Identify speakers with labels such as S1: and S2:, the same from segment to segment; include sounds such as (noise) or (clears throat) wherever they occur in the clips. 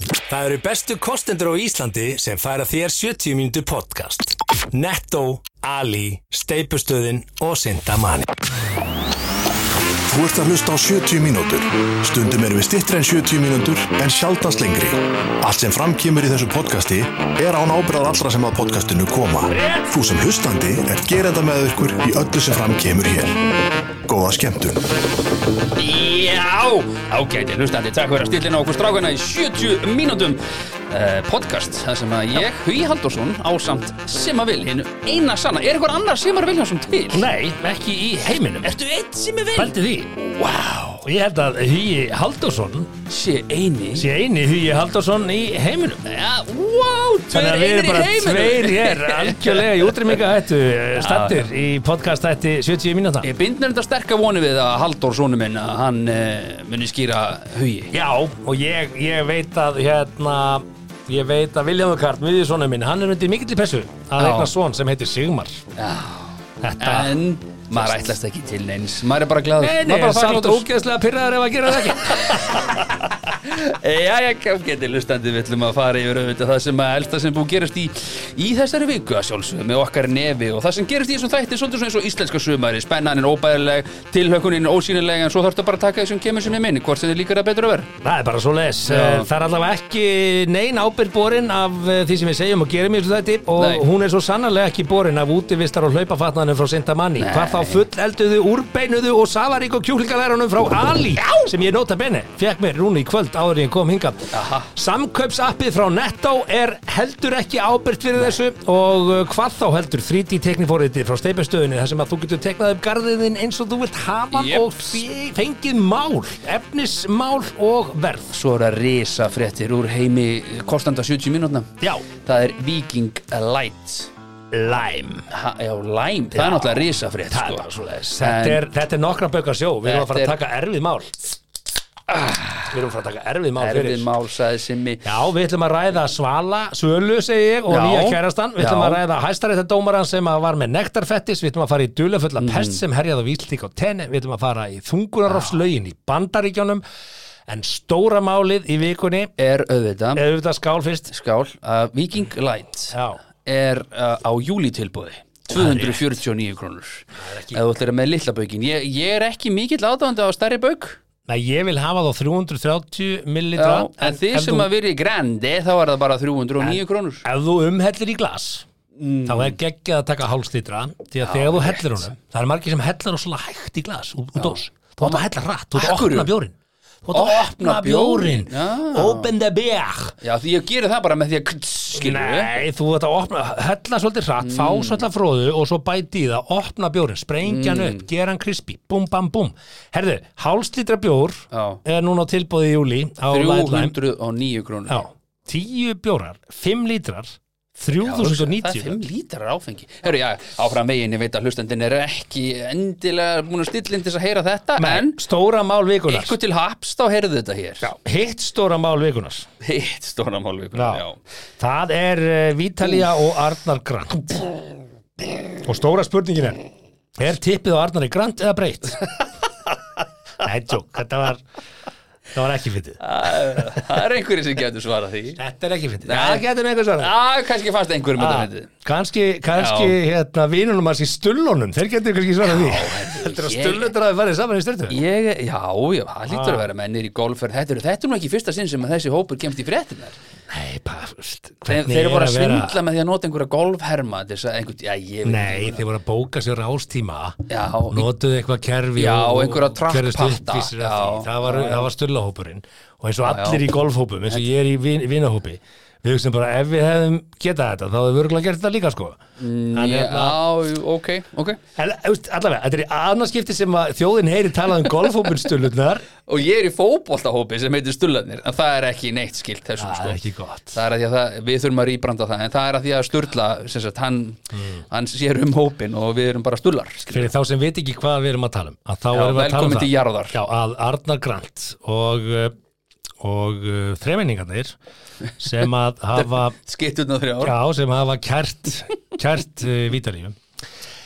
S1: Það eru bestu kostendur á Íslandi sem færa þér 70 mínútu podcast. Netto, Ali, Steipustöðin og Sindamanni.
S2: Þú ert að hlusta á 70 mínútur. Stundum erum við stittri en 70 mínútur en sjaldast lengri. Allt sem framkýmur í þessu podcasti er án ábyrðað allra sem að podcastinu koma. Þú sem hlustandi er gerenda með ykkur í öllu sem framkýmur hér. Góða skemmtun.
S3: Já, ágæti, hlustandi, takk fyrir að stillina okkur strákana í 70 mínútum uh, podcast, það sem að ég, Hugi Halldórsson, ásamt Simma Vil, hinn eina sanna, er einhver annar Simmar Viljánsson til?
S4: Nei, ekki í heiminum
S3: Ertu einn Simmi Vil?
S4: Pældi því
S3: Vá,
S4: Ég held að Hugi Halldórsson
S3: sé eini
S4: sé eini Hugi Halldórsson í heiminum
S3: Já, vá,
S4: Þannig
S3: tveir
S4: að við
S3: einir
S4: erum
S3: í
S4: bara
S3: heiminum
S4: tveir hér algjörlega í útrýminga hættu stattir í podcast hætti 70 mínúta
S3: Ég bind nefnda sterka voni við að Halldórssonu minn að hann uh, muni skýra Hugi
S4: Já, og ég, ég veit að hérna Ég veit að Viljáður Karl, miðjusónu minn, hann er undir mikill í pressu að
S3: Já.
S4: eigna svon sem heitir Sigmar.
S3: Já,
S4: Þetta
S3: en maður ætlast ekki til neins, maður er bara glaður
S4: Nei, nei,
S3: maður er bara
S4: samt
S3: þakklátur.
S4: ógeðslega pyrraður ef að gera það
S3: (laughs)
S4: ekki.
S3: Já, já, geti lustandi, við ætlum að fara yfir auðvitað það sem að elsta sem búið gerast í, í þessari viku að sjálfsögum með okkar nefi og það sem gerast í þessum þætti er svolítið svona eins og íslenska sumari, spennanin óbæðileg, tilhökunin ósýnileg en svo þarftu bara að taka þessum kemur sem er minni, hvort sem þið líkar að betra verð.
S4: Það er bara svo les
S3: Já.
S4: Það er allavega ekki nein ábyrg borin af eh, því sem við segjum og gerum í þessu þætti og
S3: Nei.
S4: hún er svo sannarlega ekki borin af útivistar og hlaupafatnanum frá Sintamanni hvað þá fullelduðu, úrbeinuðu og safarík og kjúklingalærunum frá Ali sem ég nota benni, fekk mér rúnu í kvöld áður en ég kom hingað
S3: Aha.
S4: Samkaupsappið frá Netto er heldur ekki ábyrgt fyrir þessu og uh, hvað þá heldur 3D teknifóriðið frá steipastöðinu þar sem að þú getur teknað upp garðiðin eins og þú vilt hafa
S3: Jeps.
S4: og fe- fengið mál, efnismál og verð
S3: Svo er að risa fréttir úr heimi kostanda 70 mínútna.
S4: Já,
S3: Það er Viking Light.
S4: Lime
S3: Ha, já, Lime, það
S4: Já.
S3: er náttúrulega risa frétt,
S4: Það er
S3: sko.
S4: bara svoleiðis. Þetta er, þetta er nokkra bökar sjó Við erum að fara að
S3: Þetta er-
S4: taka erfið mál Við erum að fara að taka erfið mál fyrir
S3: Erfið mál, sagði Simmi.
S4: Já, við ætlum að ræða Svala, Sölu segi ég og
S3: Já.
S4: nýja kærastan, við ætlum
S3: Já.
S4: að ræða hæstaréttadómaran sem að var með nektarfettis, við ætlum að fara í dulefulla
S3: Mhm.
S4: pest sem herjaði á víslík á tenni, við ætlum að fara í þungurarofslögin í bandaríkjónum en stóra málið í vikunni
S3: Er auðvitað.
S4: eða við þetta skál fyrst
S3: skál að Viking Light
S4: Já.
S3: er uh, á júlitilbúði 249 krónur
S4: ekki-
S3: eða þú ætlir að með litla baukin ég, ég er ekki mikill aðdáðandi á stærri bauk
S4: Nei, ég vil hafa þá 330 millilitra
S3: Já, en þið
S4: ef
S3: sem
S4: þú-
S3: að verið í grandi þá er það bara 309 krónur
S4: ef þú umhellir í glas
S3: Mm.
S4: þá er geggjað að taka hálslítra því að þegar þú hellir honum það er margir sem hellir og svona hægt í glas út, út dós, þú átt að hella rætt, þú átt að
S3: Akkurru?
S4: opna bjórin þú átt að opna
S3: Opna bjórinn,
S4: bjórin
S3: já.
S4: open the beer
S3: Já, því ég gerir það bara með því að kts, skilur við
S4: Nei, þú ert að opna, hella svolítið hratt, fá
S3: Mm.
S4: svolítið af fróðu og svo bæti í það, opna bjórin, sprengja
S3: Mm.
S4: hann upp, gera hann krispi, búm, bam, búm. Herðu, hálslítra bjór
S3: Já.
S4: er núna á tilbúði í júli á Lightline.
S3: 309 krónur
S4: Já, tíu bjórar, fimm lítrar,
S3: Það er
S4: 3090.
S3: 5 lítrar áfengi Herru, já, áfram veginn, ég veit að hlustandinn er ekki endilega búin að stilla inn til þess að heyra þetta
S4: En
S3: En
S4: stóra mál vikunar
S3: ykkur til haps þá heyrðu þetta hér
S4: Já, Hitt stóra mál vikunar
S3: Hitt stóra málvíkur
S4: Já.
S3: já.
S4: Það er uh, Vítalía og Arnar Grant Og stóra spurningin er Er tippið á Arnari Grant eða
S3: (laughs)
S4: breytt? Nei, tjók, þetta var Þetta var ekki fyndið
S3: Það er einhverjir sem getur svarað því
S4: Þetta er ekki fyndið
S3: Nei.
S4: Það getur með eitthvað svarað
S3: Já, kannski fannst einhverjum þetta
S4: Ah,
S3: myndið
S4: Kannski, kannski hérna, vinunum hans í stullunum Þeir getur kannski svarað því Heldur að
S3: ég-
S4: stullundur hafi farið saman í styrtu
S3: Ég, já, já, það lítur að
S4: Ah.
S3: vera mennir í golfferð Þetta eru, þetta er nú ekki fyrsta sinn sem að þessi hópur kemst í fréttinar
S4: Nei, pafust
S3: Þeir, þeir eru bara að svindla með því að nota einhverja golfherma til þess að einhver, já, ég veit
S4: Nei,
S3: ekki
S4: þeir voru að bóka sér rástíma
S3: Já,
S4: notuðu eitthvað kerfi
S3: Já,
S4: og- og
S3: einhverja trackparta.
S4: gerðust uppvísir að
S3: Já,
S4: því. það var,
S3: já, já.
S4: það var stullahópurinn og eins og
S3: Já, já.
S4: allir í golfhópum eins og ég er í vin, vinahópi við hugsaum bara ef við hefðum getað þetta þá hefðum við örgulega gert þetta líka sko mm,
S3: hvað- Já, jú, ok, ok
S4: En, þú veist, allavega, þetta er í annarskipti sem að þjóðin heyri talað um
S3: (laughs)
S4: golfhópinstullunar
S3: Og ég er í fótboltahópi sem heitir Stullarnir En það er ekki neitt skilt þessum
S4: það er
S3: sko
S4: ekki gott
S3: Það er að því að það, við þurfum að rýbranda það En það er að því að Sturla, sem sagt, hann,
S4: Mm.
S3: hann sér um hópin Og við erum bara Stullar skilur.
S4: fyrir þá sem veit ekki hvað við erum að tala um að þá
S3: Já,
S4: erum við að tala um
S3: velkomin
S4: það
S3: til jarðar.
S4: Já, að Arnar Grant og, uh, og uh, þremenningarnir
S3: (laughs)
S4: sem að hafa
S3: Skitturna þrjár
S4: já, sem hafa kært kært uh, vítalífum eh,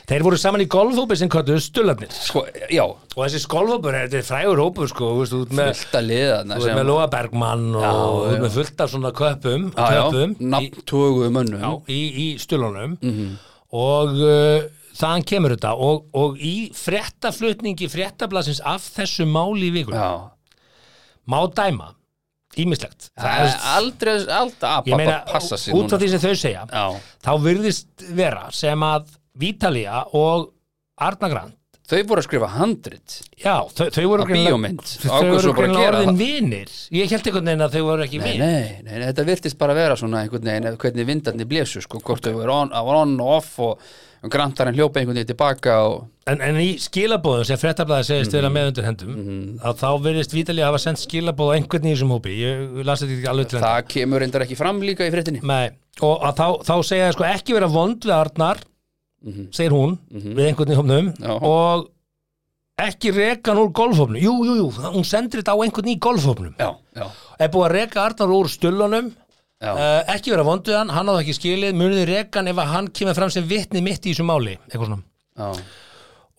S4: Þeir voru saman í golfhópi sem kalluðu stullarnir
S3: Sko, já,
S4: Og þessi golfhópur er þetta er frægur hópur sko, þú veist, út með,
S3: fullt að liða þarna
S4: þú veist,
S3: sem-
S4: með Lóa Bergmann og
S3: Já,
S4: já,
S3: já.
S4: með fullt af svona köpum,
S3: Já, já,
S4: köpum í,
S3: nafntögu mönnum
S4: já, í, í stullanum
S3: Mhm.
S4: og uh, þaðan kemur þetta og, og í fréttaflutningi fréttablasins af þessu máli í vikunni
S3: Já.
S4: má dæma, ímislegt
S3: Það er aldrei, aldrei að
S4: ég meina,
S3: bara passa sig sko.
S4: út af því sem þau segja
S3: Já,
S4: þá virðist vera sem að Vítalía og Arna Grand
S3: þau voru að skrifa handrit
S4: já, þau, þau voru
S3: Að
S4: greinilega-
S3: bíómynd.
S4: þau
S3: Ákvað
S4: voru
S3: svo bara að
S4: greinilega
S3: gera
S4: orðin vinir ég held einhvern veginn að þau voru ekki
S3: Nei,
S4: vinir
S3: nei, nei, þetta virtist bara vera svona einhvern veginn, ef- hvernig vindarnir blésu sko, hvort þau voru on, var on og off og grantarinn hljópa einhvern veginn tilbaka og
S4: en, en í skilabóðum sem fréttablaði segist
S3: Mhm.
S4: vera með undir hendum að þá virðist Vítalía hafa sendt skilabóð á einhvern í þessum hópi ég las þetta ekki alveg til enda
S3: það kemur reyndar ekki fram líka í fréttinni
S4: Nei, og að þá, þá segja það sko ekki vera vond við Arnar segir hún við einhvern í hópnum
S3: Mhm. Já.
S4: og ekki reka hann úr golfhópnum jú, jú, jú, hún sendir þetta á einhvern í golfhópnum
S3: Já, já,
S4: er búið að reka Arnar úr stullunum
S3: já,
S4: uh, ekki vera vond við hann, hann á það ekki skilið munið þið reka hann ef að hann kemur fram sem vitni mitt í þessu máli, eitthvað svona
S3: já.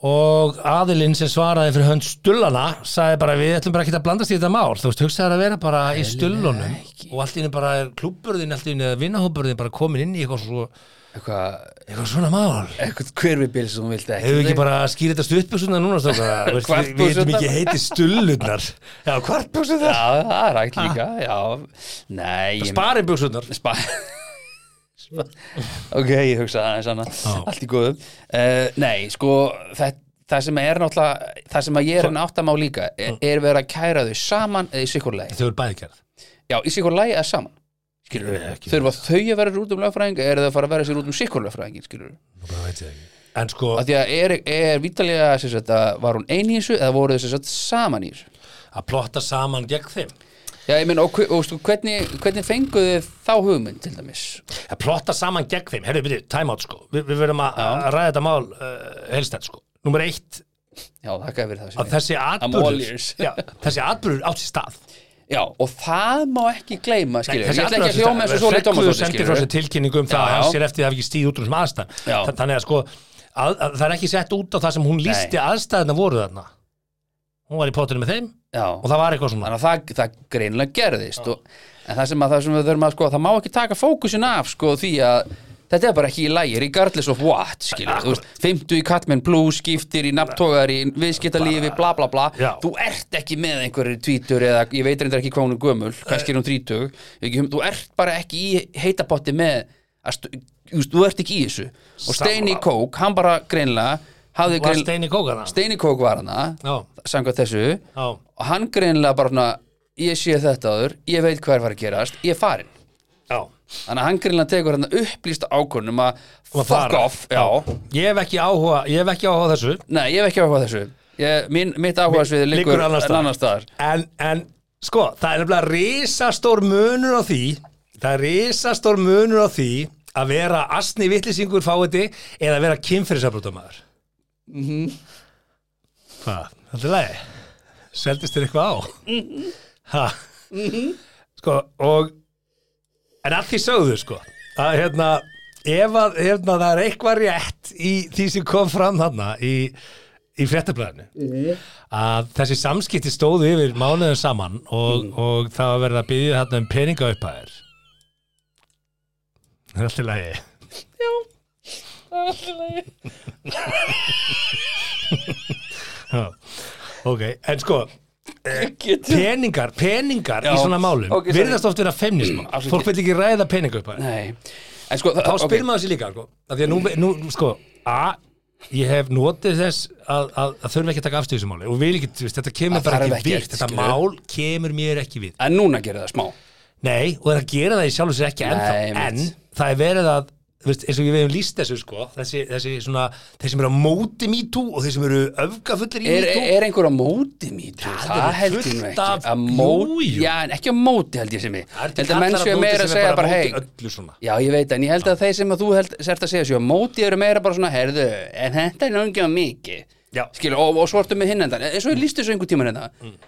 S4: og aðilinn sem svaraði fyrir hönd stullana sagði bara við ætlum bara ekki að blandast í þetta mál þú veist, hugsaði að vera bara í stullunum og allt í henni bara er klúbburðin allt í henni eða vinnahópurðin bara komin inn í eitthvað, svo,
S3: Eitthvað,
S4: eitthvað svona mál
S3: eitthvað hverfibil sem þú vildi
S4: hefur við ekki
S3: Nei.
S4: bara skýrið þetta stuttbúsunar núna strákar? Þú veist, við við veitum
S3: Kvartbuxurnar.
S4: ekki heiti stullunar já, kvartbúsunar
S3: Já, það er hægt líka, já Nei, ég
S4: sparibúsunar
S3: Spa Ok, ég hugsa það aðeins annað Allt í góðum uh, Nei, sko, það, það sem er náttúrulega Það sem að ég er en áttam á líka Er, er verið að kæra þau saman eða í sikurlegi
S4: þau eru bæði gerð
S3: Já, í sikurlegi eða saman Skilur
S4: ekki.
S3: Þurfa þau að vera sér út um lögfræðing Eða eru þau að fara að vera sér út um sikurlegfræðingin, skilur
S4: Nú bara veit ég ekki. en sko,
S3: Af því að er, er vítalega sem sagt, að Var hún ein í þessu eða voru þau sem sagt, saman í þessu
S4: að plotta saman gegn þeim
S3: Já, ég meina, og, hve- og, og hvernig, hvernig fenguðu þið þá hugmynd til dæmis
S4: að plotta saman gegn þeim, herru, byrju, time out sko Vi, við verðum að, að ræða þetta mál uh, helstætt sko, nummer eitt
S3: Já, það gæði verið það sem
S4: að þessi
S3: all
S4: atbyrður
S3: ears.
S4: (laughs) já, þessi atbyrður átt sér stað
S3: Já, og það má ekki gleyma,
S4: Nei,
S3: skilur Ég
S4: þessi
S3: ætla
S4: atburður
S3: ekki að hljóma eins og svo
S4: átti stað.
S3: leitt
S4: Hreggviður
S3: Tómasdóttir,
S4: sendi frá
S3: skilur
S4: sér tilkynningu um það
S3: Já,
S4: að hann
S3: já.
S4: sér eftir að hafa ekki stíð út úr þessum aðstæð
S3: Já.
S4: þannig að sko að, að, það er ekki sett út á það sem hún lísti aðstæðina voru þarna hún var í potinu með þeim
S3: Já,
S4: og það var eitthvað svona
S3: þannig að það, það greinlega gerðist og, En það sem, að, það sem við þurfum að sko, það má ekki taka fókusin af sko, því að þetta er bara ekki í lægir, regardless of what skilur, þú veist, 50 í Catman Blues skiptir í nafntogar, í viðskiptalífi bla bla bla,
S4: Já.
S3: þú ert ekki með einhverju tvítur eða ég veit reyndar ekki hvað hún er gömul kannski er hún þrítug, ekki, þú ert bara ekki í heitapotti með að, stu- þú veist, þú ert ekki í þessu og Steini Kók, hann bara greinlega hafði
S4: var
S3: greinlega
S4: Steini Kókana
S3: Steini Kók var hana
S4: Já.
S3: samkvæmt þessu
S4: Já.
S3: og hann greinlega bara svona ég sé þetta áður, ég veit hvað er var að gerast ég er farin,
S4: já.
S3: þannig að hann greinlega tekur hann upplýsta ákvörnum að
S4: Um að
S3: fuck
S4: fara.
S3: off, já,
S4: ég hef ekki áhuga ég hef ekki áhuga á þessu
S3: nei, ég hef ekki áhuga á þessu ég, mín, mitt áhuga svið liggur,
S4: liggur annars staðar.
S3: annars staðar
S4: en, en sko, það er nefnilega risastór munur á því það er risastór munur á því að vera asni vittlisingur fáiði eða að vera kynfyrirsabrótamæður mm -hmm. hvað, þetta er lagi seldist þér eitthvað á ha sko, og en allt því sögðu sko að hérna ef að hérna, það er eitthvað rétt í því sem kom fram þarna í, í fréttablaðinu að þessi samskipti stóðu yfir mánuðum saman og, og það var verið að byggja þarna um peninga upphæðir Það er allt í lagi Já, það er allt í lagi Ok, en sko
S3: Getur-
S4: peningar, peningar
S3: Já,
S4: í svona málum
S3: ok, sorry.
S4: virðast oft vera femnism
S3: Afsakið.
S4: fólk vil ekki ræða peninga upphæðir
S3: nei, en sko
S4: þá spyr
S3: ok.
S4: maður sér líka sko. að því að nú, nú sko, a ég hef notið þess að, að, að þurfa ekki að taka afstöðu í þessu máli og vil ekki, þú veist, þetta kemur
S3: Það
S4: bara
S3: þarf
S4: ekki
S3: ekkert,
S4: við þetta
S3: skilurðu.
S4: mál kemur mér ekki við
S3: en núna gerir það smá
S4: nei, og það gera það í sjálfu sér ekki
S3: Nei,
S4: ennþá, en
S3: einmitt.
S4: það er verið að þú veist, eins og við hefum líst þessu sko þessi, þessi svona, þeir sem eru á móti mítú og þeir sem eru öfgafullir í
S3: er,
S4: mítú
S3: er einhver á móti mítú? það
S4: eru
S3: held ég
S4: fullt
S3: nú
S4: af-
S3: ekki Að móti,
S4: Jú, jú.
S3: já, en ekki á móti held ég sem ég held að menn séu meira að
S4: sem
S3: segja
S4: er bara
S3: bara
S4: á
S3: hei,
S4: móti öllu svona
S3: Já, ég veit, en ég held að þeir sem að þú held, sért að segja sér á móti eru meira bara svona, herðu, en þetta er náttúrulega mikið.
S4: Já. Mm.
S3: Skilur, og, og svo ertu með hinn endan eins og ég líst þessu einhver tíma hérna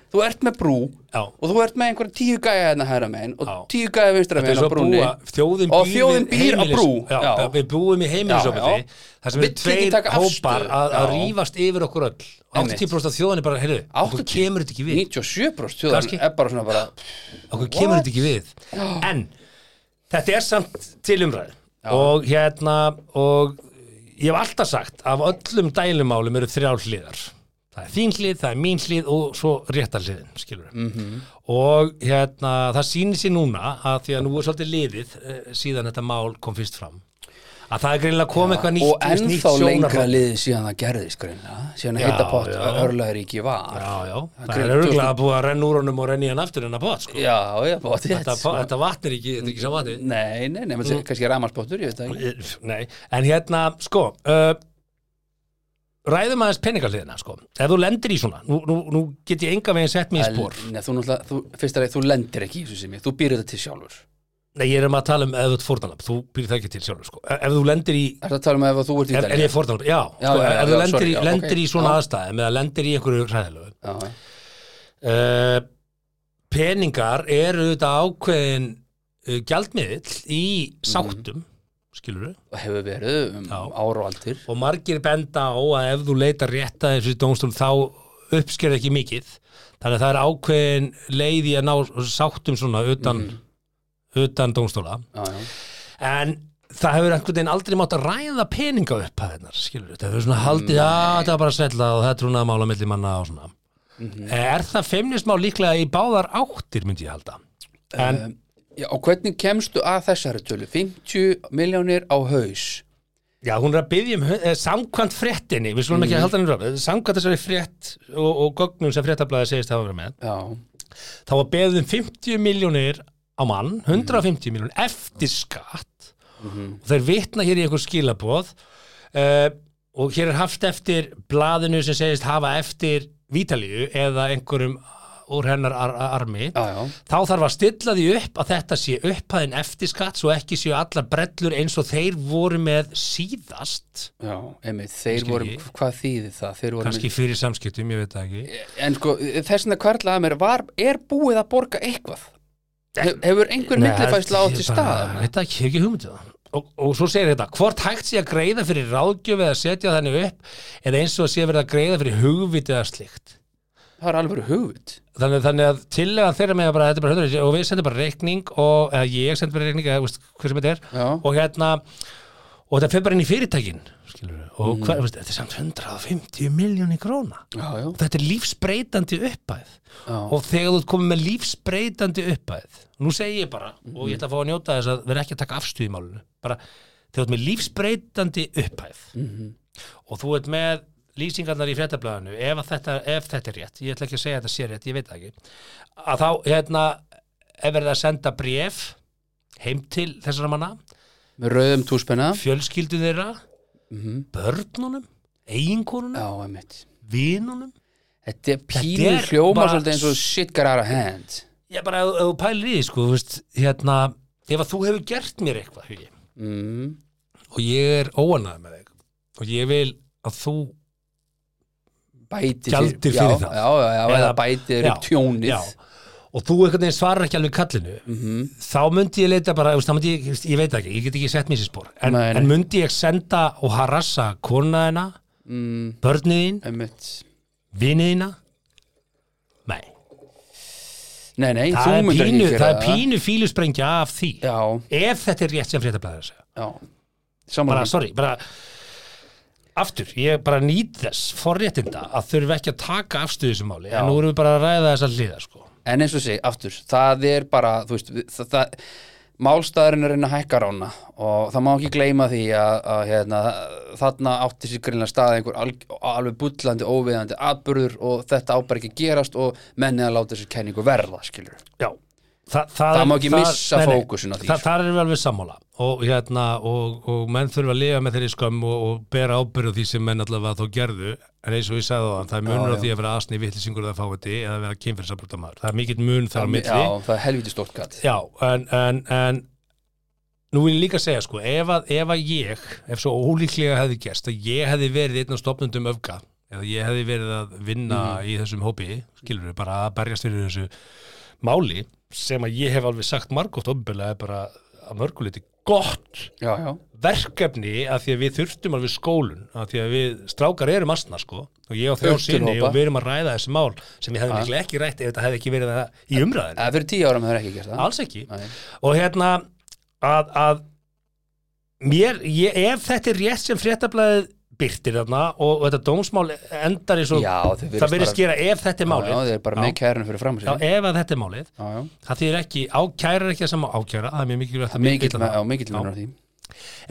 S3: þú ert með brú
S4: Já.
S3: og þú ert með einhverja tíu gæja hérna hæra megin og
S4: Já.
S3: tíu gæja vinstra
S4: Þetta er
S3: megin
S4: svo
S3: á
S4: að
S3: brúni
S4: búa- þjóðin
S3: og
S4: býr
S3: þjóðin
S4: við
S3: býr á
S4: heimilis-
S3: brú
S4: já, við búum í
S3: Já, já.
S4: heimilisofbeldi þar sem
S3: Vill
S4: við
S3: ekki
S4: tveir
S3: taka
S4: hópar
S3: afstöðu.
S4: að, að
S3: Já.
S4: rífast yfir okkur öll
S3: Einmitt.
S4: 80% af þjóðan er bara, heyrðu, okkur
S3: 80.
S4: kemur þetta ekki við
S3: 97%
S4: Kannski.
S3: þjóðan er bara svona bara
S4: okkur kemur þetta ekki við en þetta er samt til umræð og hérna og ég hef alltaf sagt af öllum dælumálum eru þrjá hliðar það er þín hlið, það er mín hlið og svo réttar hliðin, skilur
S3: Mhm.
S4: -hmm. og hérna það sýnir sér núna að því að nú er svolítið liðið eh, síðan þetta mál kom fyrst fram að það er greinilega komið eitthvað nýtt
S3: og
S4: nýtt
S3: ennþá lengra
S4: sjónarhorn.
S3: liðið síðan það gerðist greinlega síðan
S4: Já,
S3: heita pott
S4: já.
S3: örlaðuríki var
S4: já, já, það
S3: grein-
S4: er örgulega að búið að renna úr honum og renna í hann aftur en að bótt sko.
S3: já, já, pott
S4: þetta, þetta vatn er ekki, þetta er ekki sá vatnið
S3: nei, nei, nei, mm. kannski ramaspottur, ég veit það ekki
S4: Nei, en hérna, sko uh, Ræðum aðeins peningahliðina, sko Ef þú lendir í svona, nú, nú, nú get ég enga veginn sett mig í spór
S3: Nei, þú náttúrulega, þú, fyrst að þú lendir ekki í þessu sem ég, þú býr þetta til sjálfur
S4: Nei, ég er um að tala um ef þú ert fórnalab Þú býr það ekki til sjálfur, sko Ef ef þú lendir í,
S3: Er það að tala um ef að þú ert í
S4: er, er
S3: Ítalíu?
S4: ég fórnalab Já, sko,
S3: Já, já, já,
S4: ef þú
S3: já,
S4: lendir,
S3: sorry,
S4: í,
S3: já,
S4: lendir
S3: ok,
S4: í svona
S3: já.
S4: aðstæðum eða lendir í einhverju hræðilegu
S3: Já, já.
S4: uh, Peningar eru þetta ákveðin uh, gjaldmiðill í
S3: Mhm.
S4: sáttum, skilur við
S3: og hefur verið um
S4: Já.
S3: ára og aldur
S4: og margir benda á að ef þú leitar rétt að þessu dómstól þá uppskerði ekki mikið þannig að það er ákveðin leið í að ná sáttum svona utan, utan dómstóla
S3: já, já.
S4: en það hefur einhvern veginn aldrei mátt að ræða peninga upp að hennar skilur þetta, það hefur svona haldið að þetta var bara sætla og það er trúnað mála milli manna og svona er það feimnismá líklega í báðar áttir myndi ég halda en
S3: já, og hvernig kemstu að þessari tölu? 50 miljónir á haus
S4: Já, hún er að byggja um eh, samkvæmt fréttinni, við skulum ekki að halda henni röfn, samkvæmt þessari frétt og, og gögnum sem fréttablaði segist hafa verið með,
S3: Já,
S4: þá var beðið um 50 miljónir á mann, 150 miljónir eftir skatt og þeir vitna hér í einhver skilaboð uh, og hér er haft eftir blaðinu sem segist hafa eftir Vítalíu eða einhverjum úr hennar ar armi
S3: já, já
S4: þá þarf að stilla því upp að þetta sé upphæðin eftir skatt svo ekki séu allar brellur eins og þeir voru með síðast
S3: Já, einmitt, þeir
S4: Skil
S3: voru,
S4: ég.
S3: hvað þýðir það? Þeir voru
S4: kannski fyrir samskiptum, ég veit það ekki
S3: með, en sko, þess að kvarla að mér var, er búið að borga eitthvað? Hef- Hefur einhver millifæsla átt í stað?
S4: Þetta ekki, ég hef ekki hugmyndið það og, og svo segir þetta, hvort hægt sé að greiða fyrir ráðgjöf eða setja þannig upp eða eins og sé verið að greiða fyrir hugvit eða slíkt
S3: Það er alveg hugvit
S4: þannig, þannig að tillagan þeirra með bara, þetta er bara 100 og við sendum bara reikning og, eða ég sendum bara reikning eða veist, hver sem þetta er
S3: Já.
S4: og hérna og þetta fer bara inn í fyrirtækin skilur við, og mm. hvað, veist, þetta er samt 150 miljóni króna
S3: Já, já,
S4: og þetta er lífsbreytandi uppæð
S3: Já.
S4: og þegar þú ert komið með lífsbreytandi uppæð nú segi ég bara og ég ætla að fá að njóta þess að vera ekki að taka afstöð í málinu bara þegar þú ert með lífsbreytandi uppæð
S3: Mhm.
S4: og þú ert með lýsingarnar í fréttablaðinu ef, að þetta, ef þetta er rétt, ég ætla ekki að segja að þetta sé rétt ég veit það ekki að þá hérna ef verið að senda bréf heim til þessara manna
S3: með rauðum túspenna
S4: fjölskyldu þeirra börnunum, eiginkonunum
S3: Já, einmitt
S4: vinunum
S3: Þetta er
S4: Þetta
S3: pínu
S4: er
S3: hljóma
S4: bara-
S3: svolítið eins og shit got out of hand
S4: Ég bara, ef ef þú pælir í því, sko, þú veist, hérna, ef að þú hefur gert mér eitthvað, hugi,
S3: mm.
S4: og ég er óanæð með þig, og ég vil að þú,
S3: Bæti
S4: Gjaldir fyrir
S3: já,
S4: það.
S3: Já, já, já, eða bæti fyrir upp tjónið Mhm.
S4: já, og þú einhvern veginn svarar ekki alveg kallinu, -hmm. þá myndi ég leita bara, þú veist, þá myndi ég, þú veist, ég veit ekki, ég get ekki sett mér sér spór, en,
S3: Nei, nei.
S4: en myndi ég senda og harassa konaðina,
S3: mm,
S4: börniðin,
S3: einmitt.
S4: viniðina, nei,
S3: Nei, nei,
S4: það
S3: þú
S4: er
S3: myndir
S4: pínu,
S3: ekki gera
S4: það er pínu fílusprengja af því,
S3: Já,
S4: ef þetta er rétt sem fréttablaðir að segja.
S3: já
S4: bara,
S3: Samanlega
S4: sorry, bara aftur, ég bara nýt þess forréttinda að þurfi ekki að taka afstöðu þessu máli,
S3: Já.
S4: en nú erum við bara að ræða þessa hliðar, sko.
S3: En eins og segi, aftur, það er bara þú veist, það, það, málstæðurinn er að reyna að hækka rána og það má ekki gleyma því að, að hérna, þarna átti sér greinlega stað einhver alg, alveg bullandi, óviðandi atburður og þetta ábar ekki að gerast og menni að láta sér kenningu verða, skilur
S4: Já. Þa, það,
S3: Það má ekki missa fókusinn á því,
S4: Þa,
S3: sko.
S4: Það er við alveg sammála og, hérna, og, og menn þurfa að lifa með þeirri skömm og, og bera ábyrðu því sem menn allavega þó gerðu en eins og ég sagði á það, það er munur
S3: Já,
S4: á því að vera asni vitlisingur eða fáiði eða vera kynfyrinsabrutamæður það er mikill mun þar á milli
S3: Já, það er helviti stórt gatt
S4: Já, en, en, en nú vil ég líka segja sko, ef að, ef að ég, ef svo ólíklega hefði gerst, að ég hefði verið einn af stopnundum öfga eða ég hefði verið að vinna í þessum hópi, skilur við, bara að berjast fyrir þessu máli sem að ég hef alveg sagt margótt ofnbjörlega er bara að mörguleiti gott
S3: já, já,
S4: verkefni að því að við þurftum alveg skólun að því að við strákar erum astna sko og ég á þrjá
S3: Östurhópa.
S4: sinni og við erum að ræða þessi mál sem ég hefði mikla ekki rætt ef þetta hefði ekki verið það í umræðinu
S3: það fyrir tíu ára með það ekki gert það
S4: alls ekki
S3: Ah. Nei.
S4: og hérna að, að mér, ég, ef þetta er rétt sem fréttablaðið byrtir þarna og, og þetta dómsmál endar í svo
S3: Já, þau virðist
S4: það verið
S3: bara-
S4: skera ef þetta er
S3: já,
S4: málið
S3: þeir eru bara
S4: Já.
S3: með kærinu fyrir fram
S4: Já,
S3: sig
S4: ef að þetta er málið,
S3: já, já,
S4: það þýðir ekki ákæra er ekki að sama ákæra, það er mjög mikilvægt að
S3: mikill
S4: vita
S3: með- já, mikill munur á því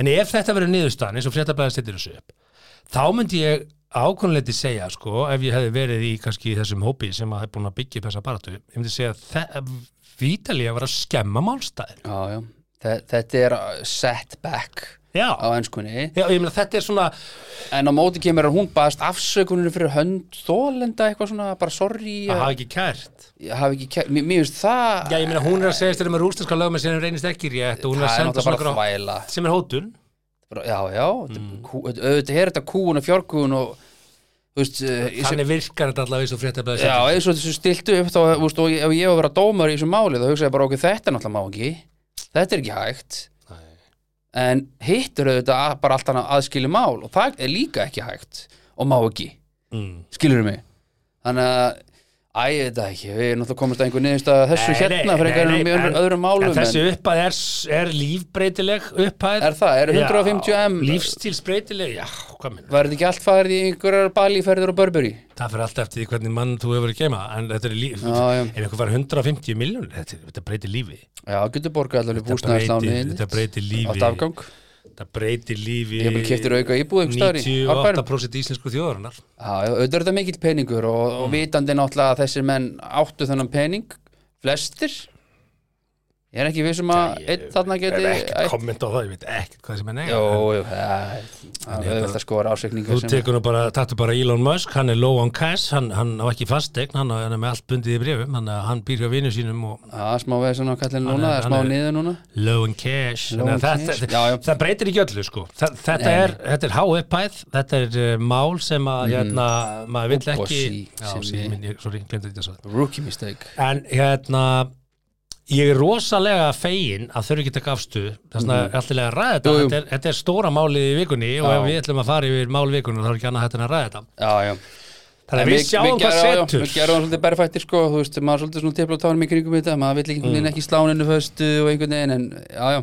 S4: En ef þetta verður niðurstaðan eins og fréttablaðið settir þessu upp þá myndi ég ákvæmleiti segja sko, ef ég hefði verið í kannski í þessum hópi sem að hef búin að byggja upp þessa baratu ég myndi segja að Vítalía var að skemma málstæðin
S3: já, já, Þe- þetta er uh, setback
S4: Já,
S3: á ennskunni
S4: Já ég meina þetta er svona
S3: En á móti kemur að hún baðast afsökuninu fyrir hönd þólenda eitthvað svona, bara sorry
S4: að
S3: að
S4: hafa ekki kært
S3: ég hafi ekki, kæ- mér mér finnst það
S4: Já, ég meina hún er að segja þeirra með rústinska lögum sem reynist ekki rétt og hún er
S3: það
S4: að
S3: er
S4: senda
S3: náttúrulega
S4: svona
S3: bara
S4: grá
S3: þvæla
S4: sem er hótun
S3: Bara, Já, já, mm. kú, auðvitað er þetta kúun og fjárkúun og, þú veist, eh, í sem-
S4: Þannig virkar þetta allavega eins og fréttablaðið
S3: já,
S4: settir
S3: eins og þessu stiltu upp þá, þú veist, og ég- ef ég var að vera dómar í þessu máli þá hugsa ég bara okkur, þetta náttúrulega má ekki þetta er ekki hægt en hittur auðvitað að- bara allt annað aðskilja mál og það er líka ekki hægt og má ekki
S4: mm.
S3: skilur mig þannig að Æ, ég veit það ekki, við erum náttúrulega komast að einhver niðurstaða þessu
S4: Nei,
S3: hérna
S4: nei,
S3: frekar
S4: nei,
S3: en
S4: nei,
S3: mjög
S4: en-
S3: öðrum málum
S4: En
S3: en
S4: þessi upphæð er, er lífbreytileg upphæð
S3: er það, eru 150
S4: Já,
S3: m
S4: Lífstílsbreytileg, já, hvað minn
S3: verður ekki allt farið í einhverjar balíferðir og Burberry
S4: Það fyrir alltaf eftir því hvernig mann þú hefur að geima En þetta er líf
S3: Já, já.
S4: Ef einhver fær 150 miljónir, þetta, þetta breytir lífi
S3: já, getur borgað allaveg
S4: Þetta breytir,
S3: búsnaðarslánið
S4: þetta breytir
S3: átt
S4: lífi
S3: afgang,
S4: Þetta breytir lífi
S3: ég hef bara keftir auka íbúð einhver staðar í Árbænum
S4: 98% íslensku þjóðarinnar
S3: Já, já, auðvitað er þetta mikill peningur og,
S4: Mm.
S3: og vitandi náttúrulega að þessir menn áttu þennan pening, flestir ég er ekki vissum að einn þarna geti
S4: Ég hef ekki
S3: ætt-
S4: komment á það, ég veit ekkert hvað sem er
S3: Jó,
S4: nega
S3: jú, það er auðvitað að skora ásveikninga
S4: Þú tekur nú bara, taktu bara Elon Musk, hann er low on cash, hann, hann á ekki fastegn, hann, á- hann er með allt bundið í brefum, hann, hann býr hjá vinnu sínum og
S3: Já, smá veðsinn á kallin
S4: Hann er-
S3: núna, eða smá
S4: hann er-
S3: niður núna
S4: low in cash,
S3: Low
S4: Þannig
S3: in
S4: að þetta,
S3: cash. Já, já.
S4: það breytir ekki öllu sko Þa, þetta,
S3: Nei. Mm.
S4: er, þetta er há upphæð þetta er uh, mál sem að hérna, maður vill
S3: Og
S4: ekki
S3: sí,
S4: já,
S3: sem
S4: sí,
S3: ég-
S4: minn, ég, sorry, glemdi þetta svo
S3: Rookie mistake
S4: en hérna ég er rosalega fegin að þau ekki taka afstu þess að mm. allirlega að ræða þetta
S3: Jú, jú.
S4: Þetta, er, þetta er stóra málið í vikunni og
S3: Já.
S4: ef við ætlum að fara yfir mál vikunni þá er ekki annað hægt en að ræða þetta
S3: Já, já
S4: þannig að við sjáum hvað
S3: gerum- já, já,
S4: setur
S3: Við gerum það svolítið berfættir sko, þú veist, maður er svolítið svona tepla á tánum í kringum þetta maður vill ekki, mm. ekki sláninu föstu og einhvern veginn en já, já,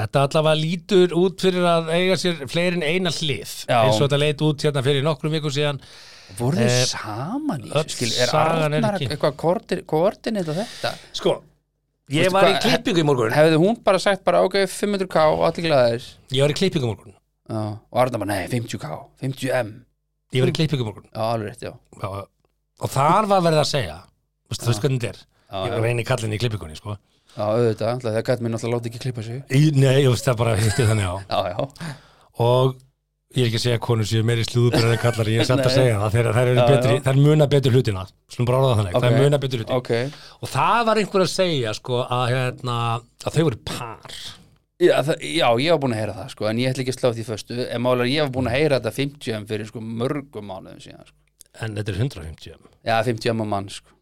S4: Þetta allavega lítur út fyrir að eiga sér fleirin eina hlið
S3: Já.
S4: eins og þetta leit út hérna fyrir nokkrum vikum síðan
S3: voru þið
S4: Eh,
S3: saman í
S4: öll
S3: þessu, skil, er
S4: sagan er
S3: Arnar
S4: ekki-
S3: eitthvað koordir- koordinita þetta?
S4: Sko, ég
S3: Veistu
S4: var
S3: hvað,
S4: í klippingu í morgun
S3: Hefði hún bara sagt bara, ok, 500k og allir glæðir
S4: Ég var í klippingu í morgun
S3: já, og Arnar bara, nei, 50k, 50m
S4: Ég var í klippingu í morgun
S3: Já, alveg rétt, já
S4: Já, Og þar var verið að segja Þú veist- þú veist hvernig þetta er
S3: Já,
S4: Ég
S3: já.
S4: var reyni kallinn í klippingunni sko.
S3: Já, auðvitað, alltaf, það gæti mér náttúrulega láti ekki klippa sig
S4: Í- Nei, ég veist það bara hitti þannig á
S3: Já, já,
S4: Og ég er ekki að segja að konur séu meiri slúðubröðar en kallar Ég er samt að
S3: Nei.
S4: segja það þegar þær eru
S3: Já,
S4: betri
S3: já.
S4: Þær muna betur hlutina Slum bara orða það þannig,
S3: Ok.
S4: þær muna betur hlutina
S3: ok
S4: Og það var einhver að segja sko, að, hérna, að þau voru par
S3: Já, það, já, ég var búin að heyra það sko, en ég ætla ekki að slá því föstu en málega ég var búin að heyra þetta 50 m fyrir sko, mörgum mánuðum síðan sko.
S4: En þetta er 150 m
S3: Já, 50 m á mann sko.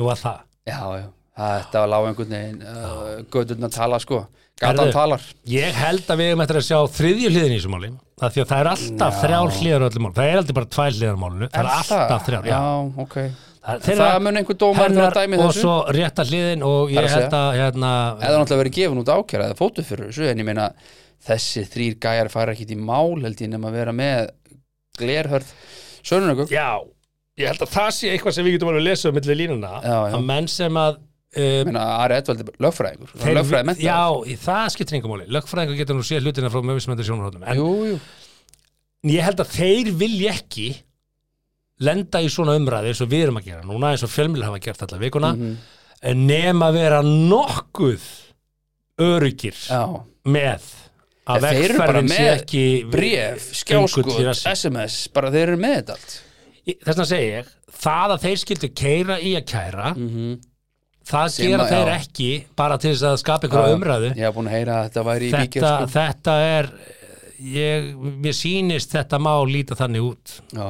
S4: Nú að það,
S3: Já, já, það, þetta var lág einhvern veginn uh, gödurna tala sko Gatan
S4: Herðu.
S3: talar
S4: ég held að við erum eftir að sjá þriðju hliðin í þessu máli af því að það er alltaf þrjár hliðar á öllu mál það er aldrei bara tvær hliðar á málinu, það er
S3: Er
S4: alltaf þrjár
S3: Já,
S4: já.
S3: ok
S4: það, er
S3: Það mun einhver dómar fyrir að
S4: hennar
S3: dæmi
S4: og
S3: þessu
S4: svo rétta hliðin og
S3: Það er
S4: ég
S3: að
S4: held að hérna,
S3: Eða náttúrulega verið gefin út ákjara eða fótu fyrir þessu en ég meina þessi þrýr gæjar fara ekki í mál held ég nema að vera með glerhörð Sönunöku
S4: já, ég held að það sé eitthvað sem við getum alveg að lesa um milli línuna
S3: Já, já.
S4: að menn sem að
S3: Ég
S4: um,
S3: meina Ari Edvaldi lögfræðingur Þeir, lögfræði menntaður.
S4: já, í- það skiptir engum máli lögfræðingur getur nú séð hlutina frá möfismöndir sjónarhóttum en
S3: Jú, jú
S4: ég held að þeir vilja ekki lenda í svona umræði eins og við erum að gera núna eins og fjölmjöl hafa gert alla vikuna
S3: Mhm.
S4: nema vera nokkuð örugir
S3: Já
S4: með að
S3: En þeir eru bara
S4: vegferðin sé
S3: með
S4: ekki
S3: bréf,
S4: Gengur til
S3: skjáskot,
S4: rassi.
S3: sms bara þeir eru með þetta allt
S4: þess að segja ég, það að þeir skildu keira í að kæra það
S3: Mhm. Sem
S4: gera
S3: að-
S4: þeir
S3: já.
S4: ekki bara til þess að skapa einhverja umræðu
S3: ég hef búin að heyra að þetta væri í
S4: þetta,
S3: bíkja sko.
S4: þetta er ég, mér sýnist þetta má líta þannig út
S3: Já.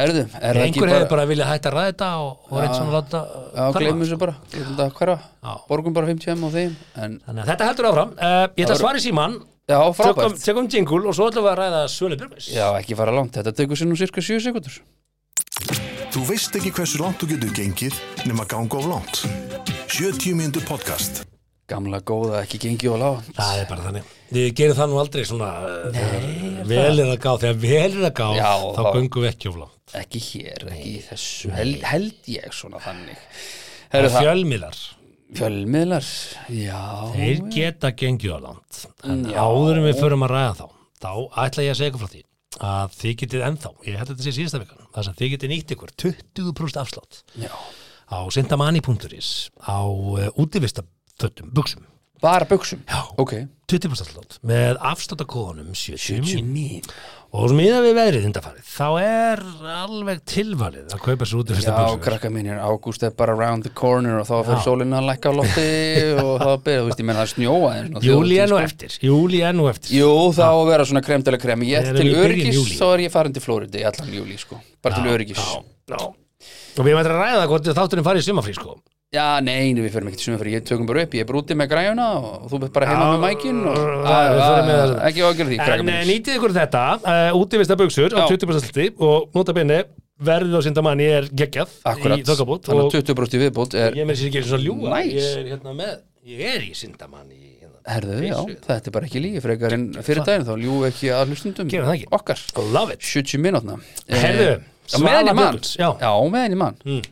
S3: Herðu, er það ekki
S4: Hmm. einhver
S3: bara
S4: hefur bara viljað hætta að ræða þetta og, og reynt svona að láta uh,
S3: Já,
S4: hverfa.
S3: gleymum þessu bara, gleymum þetta að hverfa Borgum bara 50 og þeim En,
S4: Þannig að þetta heldur áfram uh, Ég ætla að svara í síman
S3: já,
S4: Tökum,
S3: frábært
S4: tökum jingle og svo ætlum við að ræða Svölu Björgvís
S3: Já, ekki fara langt, þetta tekur sér nú cirka 7 sekundur
S2: Þú veist ekki hversu langt þú getur gengið nema ganga of langt. 70 mínútur podcast.
S3: Gamla góða, ekki gengið og lágt
S4: Það er bara þannig Við gerum það nú aldrei svona uh, þegar vel er að gá Þegar vel er að gá
S3: Já,
S4: þá
S3: þá-
S4: göngum við ekki of langt
S3: Ekki hér, ekki í þessu held, held ég svona þannig Herðu það,
S4: Fjölmiðlar,
S3: fjölmiðlar Já,
S4: þeir geta gengið of langt En
S3: eh. Já.
S4: áður en við förum að ræða þá Þá ætla ég að segja ykkur frá því að þið getið ennþá, ég held að þetta sé síðasta vikan þess að þið getið nýtt ykkur 20% afslátt
S3: já
S4: á sintamani.is á uh, útivistafötum, buksum
S3: Bara buksum
S4: Já.
S3: Ok
S4: 20% afslátt með afsláttakóðanum 70
S3: Jimmy
S4: og miða við veðrið undarfarið þá er alveg tilvalið að kaupa sér út í fyrsta
S3: Já,
S4: buksum
S3: krakka mínir, ágúst er bara around the corner og þá fyrir sólinna að lækka á lofti
S4: (laughs)
S3: og þá byrja, þú veist, ég menn það snjóa
S4: júli er nú eftir júli er nú eftir
S3: Jú, þá á að vera svona kremdala krem
S4: Við
S3: Ég
S4: erum
S3: til
S4: í byrjun
S3: öryggis,
S4: júlí.
S3: þá er ég farin til Flóriði í allan júli, sko Bara til öryggis Já,
S4: Já. og við erum eftir að ræða hvort þátturinn farið í sumafrí sko
S3: nei, nei, við förum ekki til sumar fyrir Ég tökum bara upp, ég er bara úti með græjuna og þú bett bara heima með mækin og
S4: Já, við förum með
S3: Á,
S4: það.
S3: á, Ekki ágjörð því, krakka
S4: en eh,
S3: mínir
S4: nýtið ykkur þetta uh, út í fyrsta buksur á
S3: Já.
S4: 20% afslátti og nota benni verðið á sindamanni er geggjað í
S3: Akkurat,
S4: þokkabót og
S3: þannig að 20% viðbót er
S4: ég með sér ekki eins og ljúa
S3: Nice.
S4: ég er hérna með, ég er í sindamanni hérna.
S3: Herðu, já, þetta er bara ekki lígi frekar en fyrir daginn, þá ljúum við ekki að hlustundum
S4: Gerum það ekki.
S3: Okkar,
S4: love it
S3: 70 minútna
S4: Herðu,
S3: Já, meðan
S4: Svala
S3: ég mann
S4: Björns,
S3: Já,
S4: já. Mm.
S3: meðan ég mann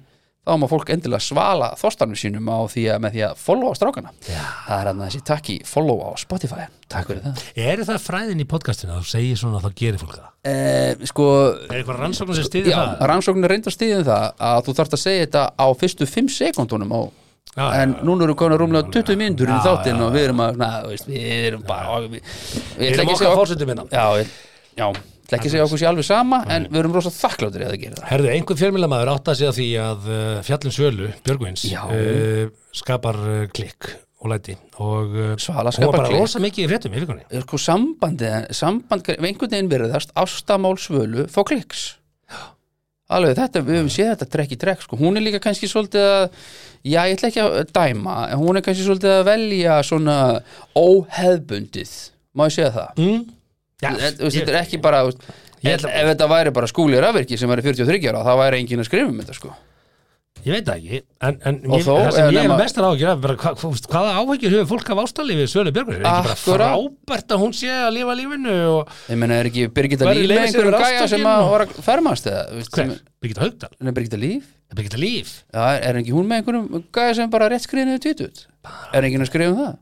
S3: Þá má fólk endilega svala þorstanum sínum á því að með því að followa strákana já. Það er hann þessi takk í follow á Spotify Takk fyrir það
S4: er það fræðin í podcastinu að þú segir svona þá gerir fólk það
S3: eh, Sko,
S4: er eitthvað rannsóknar sem stýðir
S3: já,
S4: það
S3: rannsóknir reyndar stíðin það að þú þarft að segja þetta á fyrstu 5 sekundunum á
S4: Já, já,
S3: en núna eru konar rúmlega 20 myndur í
S4: Já,
S3: þáttinn
S4: já,
S3: og við erum að, na, þú veist, við erum bara við, við, við
S4: Við erum okkar fórsetum minna
S3: Já, ég, já, ég ætla ekki að segja okkur sér alveg sama en við erum rosa þakkláttir að það gera það
S4: Herðu, einhver fjölmjölamæður átt að segja því að uh, fjallum sölu, Björgvins
S3: Já.
S4: uh, skapar uh, klikk og læti og uh,
S3: Svala
S4: hún var
S3: skapar
S4: bara
S3: klikk.
S4: rosa mikið í fréttum í vikunni
S3: sko sambandi samband, ef einhvern veginn verðast ástamál svölu fá kliks alveg þetta, við höfum séð þetta trekk í trekk sko. hún er líka kannski svolítið að já, ég ætla ekki að dæma en hún er kannski svolítið að velja svona óheðbundið má ég segja það
S4: mm? Já,
S3: Þetta þú veist, þetta er ekki bara þú veist,
S4: Ég
S3: ef,
S4: ætla-
S3: ef þetta væri bara skúli rafvirki sem væri 43 ára það væri enginn að skrifa um þetta sko
S4: ég veit það ekki en, en
S3: Og
S4: ég,
S3: þó
S4: það sem
S3: er
S4: ég
S3: nema-
S4: er mestar áhyggjur af bara, hva, hva, veist, hvaða áhyggjur hefur fólk af ástallífi sölu Björgvins, er ekki bara
S3: Akkurat.
S4: frábært að hún sé að lifa lífinu og
S3: ég meina er ekki Birgitta
S4: Væri
S3: Líf með
S4: leið sem
S3: einhverjum
S4: er
S3: gæja sem
S4: ástfangin
S3: að
S4: og-
S3: var að fermast eða þú veist, sem,
S4: hver, Birgitta Haugdal,
S3: Nei, Birgitta Líf
S4: Birgitta Líf
S3: Já, er, er ekki hún með einhverjum gæði sem bara rétt skriðinu tvítut? Er enginn að skrifa um það?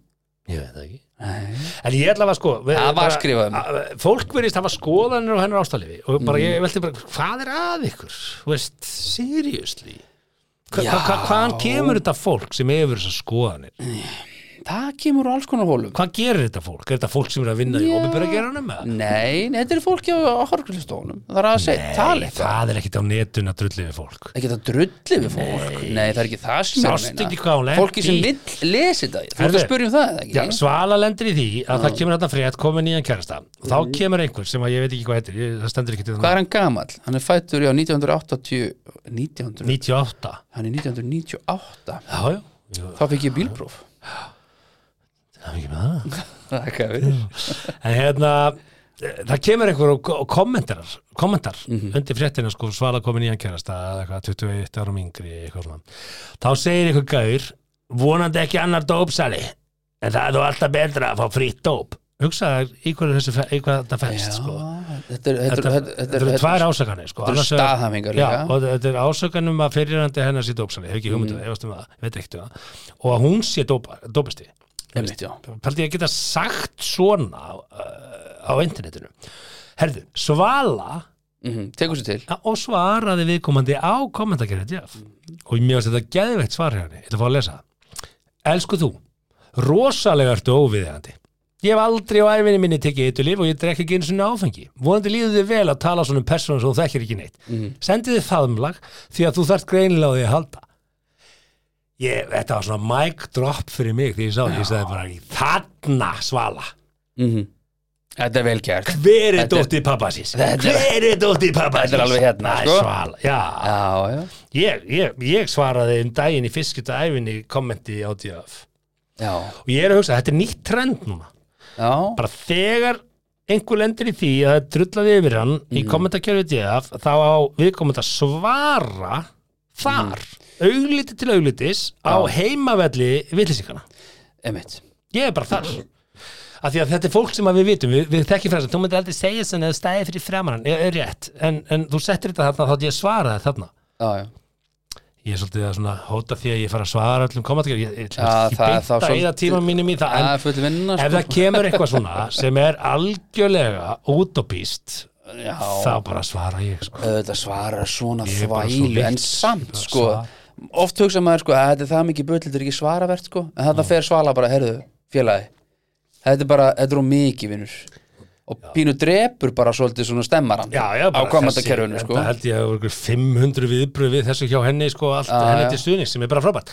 S4: ég veit það ekki En ég ætla að sko við-
S3: Það var
S4: bara-
S3: skrifað um.
S4: að- Fólk verðist hafa skoðanir á hennar ástalifi og bara ég velti bara, hvað er að ykkur? Þú veist, seriously hva,
S3: Já.
S4: hva, hva, Hvaðan kemur þetta fólk sem hefur þessar skoðanir?
S3: Það kemur úr alls konar hólum.
S4: Hvað gerir þetta fólk? Er þetta fólk sem er að vinna í
S3: Já.
S4: ofinbæra geranum? eða?
S3: Nei, nei, þetta er fólki á, á horglistónum. Það er að segja, tala eitthvað.
S4: Það er ekkit á netun að drulli við fólk
S3: Það geta drullið við fólk. Nei. það er ekki það sem ég er að
S4: Sástu
S3: meina.
S4: ekki hvað hún lenti
S3: Fólki sem
S4: í?
S3: vill lesi þetta. Þú ert
S4: Herðu.
S3: að spyrja um það, eða
S4: Já,
S3: ekki?
S4: Svala lendir í því að það kemur þetta frétt komin nýjan kærasta og þá kemur einhver sem að ég veit ekki hvað heitir ég, það stendur ekki til
S3: Hvað
S4: það
S3: er hann gamall? Hann er fættur, já, 1980... 1900?
S4: 98
S3: Hann er
S4: Já,
S3: 1998.
S4: já, já,
S3: Þá fikk ég bílpróf.
S4: það er ekki með það
S3: Það er hvað við.
S4: En hérna, eh, það kemur einhver og og kommentar, kommentar
S3: Mhm.
S4: undir fréttina sko, Svala komin í hann kærasta eða eitthvað, 21 árum yngri eitthvað svona. Þá segir einhver gaur vonandi ekki annar dópsali en það er þú alltaf betra að fá frýtt dóp Hugsaðar í hverju þessu fe- í hvað þetta fæst sko.
S3: Þetta er-
S4: Þetta
S3: þetta er-
S4: þetta eru tvær ásakanir sko.
S3: þetta eru
S4: Annars vegar-
S3: staðhæfingar
S4: Já,
S3: líka.
S4: og þetta er ásakanum að fyrirrandi hennar sé dópsali, hef ekki
S3: Mhm.
S4: hugmyndu, mm. ég, um það, ég veit ekkert um það og að hún sé dópa, dópisti
S3: Einmitt, já.
S4: Paldi ég að geta sagt svona uh, á internetinu Herðu, Svala
S3: Mhm, Tekur sér til.
S4: ja, og svaraði viðkomandi á kommentakerfið Jeff og mér varst þetta geðveitt svar hérna ég ætla að fá að lesa það Elsku þú, rosalega ertu óviðegandi Ég hef aldrei á æfinni minni tekið eitur líf og ég drekki ekki einu sinni áfengi. Vonandi líður þið vel að tala svona um persónum sem þú þekkir ekki neitt.
S3: Mhm.
S4: Mm. Sendið þið faðumlag því að þú þarft greinilega á því að halda. Ég, þetta var svona mic drop fyrir mig því ég sá, því ég sagði bara, þarna svala.
S3: Mhm. Þetta er vel gert
S4: Hver er
S3: Þetta er-
S4: dóttið pappasins?
S3: Þetta er-
S4: Hver er dóttið pappasins?
S3: Þetta er alveg hérna,
S4: Það er
S3: sko.
S4: svala, já.
S3: Já, já,
S4: Ég, ég, ég svaraði um daginn í fiskita æfinni kommenti á DF.
S3: já,
S4: Og ég er að hugsa, þetta er nýtt trend núna.
S3: já.
S4: Bara þegar einhver lendir í því að það drullaði yfir hann
S3: Mm.
S4: í kommentakjörfi DF, þá á viðkomandi að svara þar, augliti til auglitis, á
S3: Mm. Já.
S4: heimavelli vitlisíkana.
S3: Einmitt.
S4: Ég er bara þar Af því að þetta er fólk sem að við vitum Við, við þekkjum fyrir þess að þú myndir aldrei segja sem eða stæði fyrir framann Ég er rétt en, en þú settir þetta þarna þá ætti ég að svara þetta þarna
S3: Já, já.
S4: Ég er svolítið að svona hóta því að ég fara að svara öllum komatakar Ég, ég, ég, ég
S3: Já, það er
S4: beint að eða
S3: þá svolítið-
S4: tíma mínum í það
S3: Það
S4: En
S3: er fulli vinna
S4: ef
S3: sko.
S4: það kemur eitthvað svona sem er algjörlega útopíst
S3: Já,
S4: þá bara svara ég sko.
S3: auðvitað svara svona
S4: Ég er bara svo
S3: þvælu En
S4: vitlaus,
S3: samt,
S4: bara
S3: sko
S4: svara.
S3: Oft hugsa maður, sko, að þetta er það mikið bull Þetta er ekki svaravert, sko En þetta fer svala bara, heyrðu, félagi Þetta er bara, þetta er um mikið, vinnur Og pínu drepur bara svolítið svona stemmaran
S4: Já, já,
S3: Á
S4: bara
S3: komandakerfinu,
S4: þessi-
S3: sko
S4: Þetta held ég að það voru ykkur 500 viðbröð við þessu hjá henni, sko, allt
S3: Já,
S4: henni
S3: já.
S4: til stuðning sem er bara frábært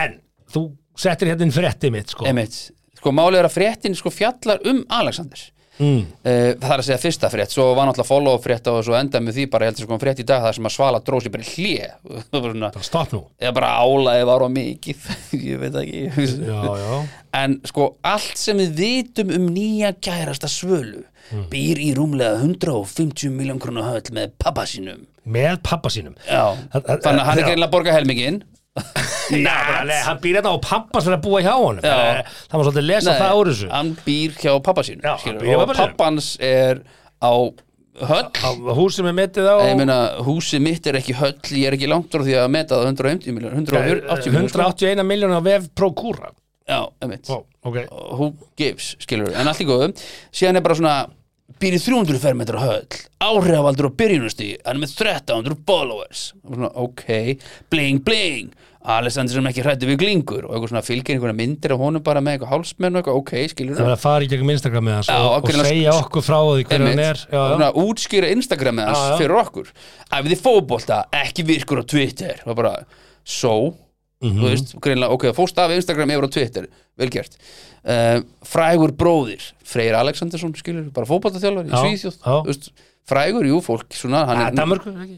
S4: En þú settir hérna inn fréttið mitt, sko
S3: Einmitt, sko, málið er að fréttin, sko, fjallar um Alexander
S4: mm.
S3: uh, það er að segja fyrsta frétt svo var náttúrulega follow frétt og svo enda með því bara ég held að sko frétt í dag það sem að svala drósi bara í hlé (laughs) Það var svona,
S4: Bara stopp nú
S3: eða bara álaði var á mikið (laughs) ég veit það ekki
S4: Já, já,
S3: en sko allt sem við vitum um nýja kærasta svölu
S4: Mm.
S3: býr í rúmlega 150 miljón krónu höll með pappa sínum
S4: með pappa sínum
S3: já,
S4: Hann- hann-
S3: þannig að hann
S4: já.
S3: er greinlega að borga helmingin
S4: Já, bara, nei, hann býr þetta á pappa sem er að búa hjá honum
S3: Já.
S4: Þannig að Það var svolítið að lesa það úr þessu
S3: hann býr hjá pappa sínum
S4: Já, hann
S3: skilurðu,
S4: býr hjá
S3: og
S4: pabba sínum.
S3: pappans er á höll
S4: á Hús sem er metið á
S3: Ég meina, húsið mitt er ekki höll, ég er ekki langt frá því að meta það á 150 miljón, 180 miljón, sko.
S4: 181 miljón á vef Procura
S3: Já, emitt.
S4: Ó, ok
S3: Who gives, skilur, en allt í góðum. Síðan er bara svona, býr í 300 fermetra höll, áhrifaldur og byrjunustí, hann er með 1300 followers. Og svona, ok, bling, bling, Alessandri sem ekki hrættu við glingur og eitthvað svona fylgir einhverja myndir af honum bara með eitthvað hálsmenn og eitthvað, ok, skilur.
S4: Það var að fara í gegnum Instagram með hans
S3: Já,
S4: og, og
S3: ákveðna-
S4: segja okkur frá því hvernig hann er
S3: Einmitt.
S4: já,
S3: og
S4: já.
S3: svona útskýra Instagramið hans
S4: Já, já.
S3: fyrir okkur æfið þið fótbolta, ekki virkur á Twitter og bara, so
S4: Mhm.
S3: þú veist, greinlega, ok, fórst af Instagram yfir á Twitter, vel gert uh, frægur bróðir, Freyr Alexandersson skilur, bara fótboltaþjálfari í
S4: Já,
S3: Svíþjóð
S4: já.
S3: þú veist, frægur, jú, fólk svona, hann
S4: Ah,
S3: er,
S4: Danmörku, ekki?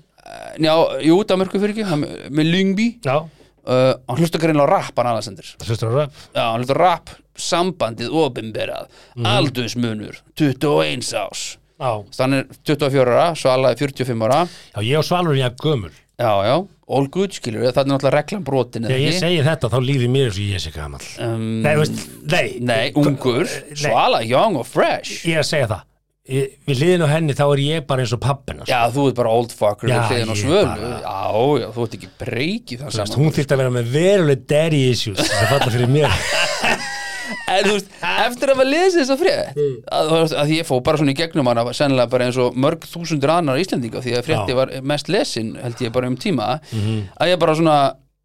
S3: já, jú, Danmörku fyrir ekki hann, með Lyngby,
S4: Já,
S3: uh, hann hlusta greinlega á rap, hann Alexander
S4: það hlustur á rap
S3: Já, hann hlutur rap, sambandið opinberað,
S4: Mhm.
S3: aldursmunur 21 ás
S4: Já,
S3: þannig er 24 ára, Svala er 45 ára
S4: já ég og Svalur er ég gömul
S3: já, já, all good skilur það er náttúrulega reglan brotin eða
S4: Þegar ég
S3: ekki?
S4: segi þetta þá líði mér eins og ég sé gamall
S3: um,
S4: Nei, þú veist, nei,
S3: nei, ungur Svala, young og fresh
S4: Ég er að segja það ég, Við hliðin á henni þá er ég bara eins og pappina
S3: já, þú ert bara old fucker
S4: Já,
S3: við hliðin á
S4: ég
S3: svölu
S4: bara-
S3: já, já, þú ert ekki breykið þann
S4: Sest,
S3: saman
S4: hún þýtti að vera með veruleg daddy issues það falla fyrir mér
S3: (laughs) en þú veist, eftir að maður lesi þess að frétt
S4: Mm.
S3: að, að, að ég fó bara svona í gegnum hana sennilega bara eins og mörg þúsundur annar íslendinga því að frétti
S4: Já. Mhm.
S3: var mest lesin held ég bara um tíma að ég bara svona,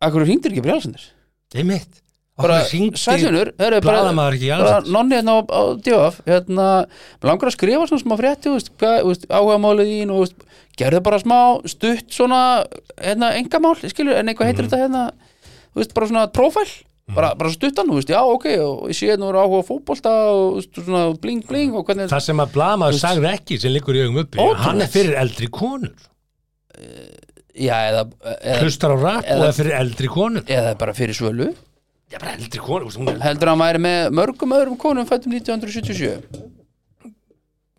S3: akkur hringdir ekki brjálsendur
S4: Það er mitt
S3: bara
S4: Sælunur
S3: sælunur bara,
S4: blaðamaður ekki í
S3: bara
S4: Alexander?
S3: nonni hérna á, á divaf hérna, mig langar að skrifa svona smá frétti þú veist, hvað, þú veist, áhuga málið þín og, þú veist, gerðu bara smá stutt svona hérna, engamál, skilur, en eitthvað
S4: Mhm.
S3: heitir þetta hérna, þú veist, bara svona prófæl bara, bara stuttan, þú veist, já, ok og ég sé hérna voru áhuga á fótbolta og þú veist, svona bling, bling og hvernig
S4: Það sem að blamaður sagði ekki sem liggur í augum uppi
S3: Ótrúlegt.
S4: Hann er fyrir eldri konur
S3: já, eða, eða,
S4: Hlustar á rap og
S3: eða-
S4: er fyrir eldri konur
S3: eða bara fyrir svölu
S4: Ég er bara eldri konur þú veist, hún er-
S3: heldur hann væri með mörgum öðrum konum fættum 1977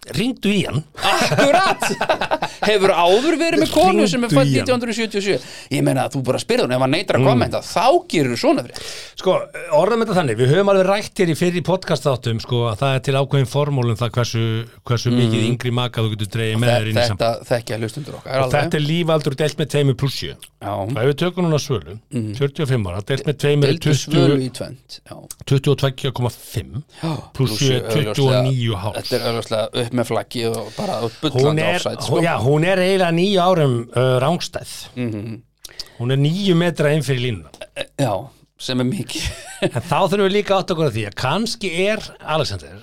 S4: Ringdu í hann
S3: Akkurat Hefur áður verið með konu sem er
S4: Hringdu
S3: fætt
S4: í hann.
S3: 1977 Ég meina að þú bara spyrði hún ef hann neytar að
S4: Mm.
S3: kommenta þá gerur þú svona frétt
S4: Sko, orðum þetta þannig, við höfum alveg rætt hér í fyrir podcastáttum, sko, að það er til ákveðin formúlum það hversu, hversu mikið yngri maka þú getur dreigið með þér inn í samt.
S3: Mm. Þetta þekkja hlustundur okkar
S4: Og þetta er lífaldur delt með tveimur pluss sjö.
S3: Já,
S4: Það hefur tökum núna svölu, 45 ára, delt með tveimur er
S3: vildu
S4: 20
S3: Mm. svölu í tvend Já.
S4: 22,5 pluss sjö er 29,5.
S3: Þetta er auðvitað upp með flaggi og bara
S4: Hún
S3: bullandi
S4: er,
S3: áfsæt
S4: hún,
S3: sko.
S4: já, hún er eiginlega nýju árum uh, rángstæð.
S3: Mhm.
S4: Hún er nýju metra inn fyrir línuna.
S3: já, sem er mikið (laughs)
S4: En þá þurfum við líka átt okkur að því að kannski er Alexander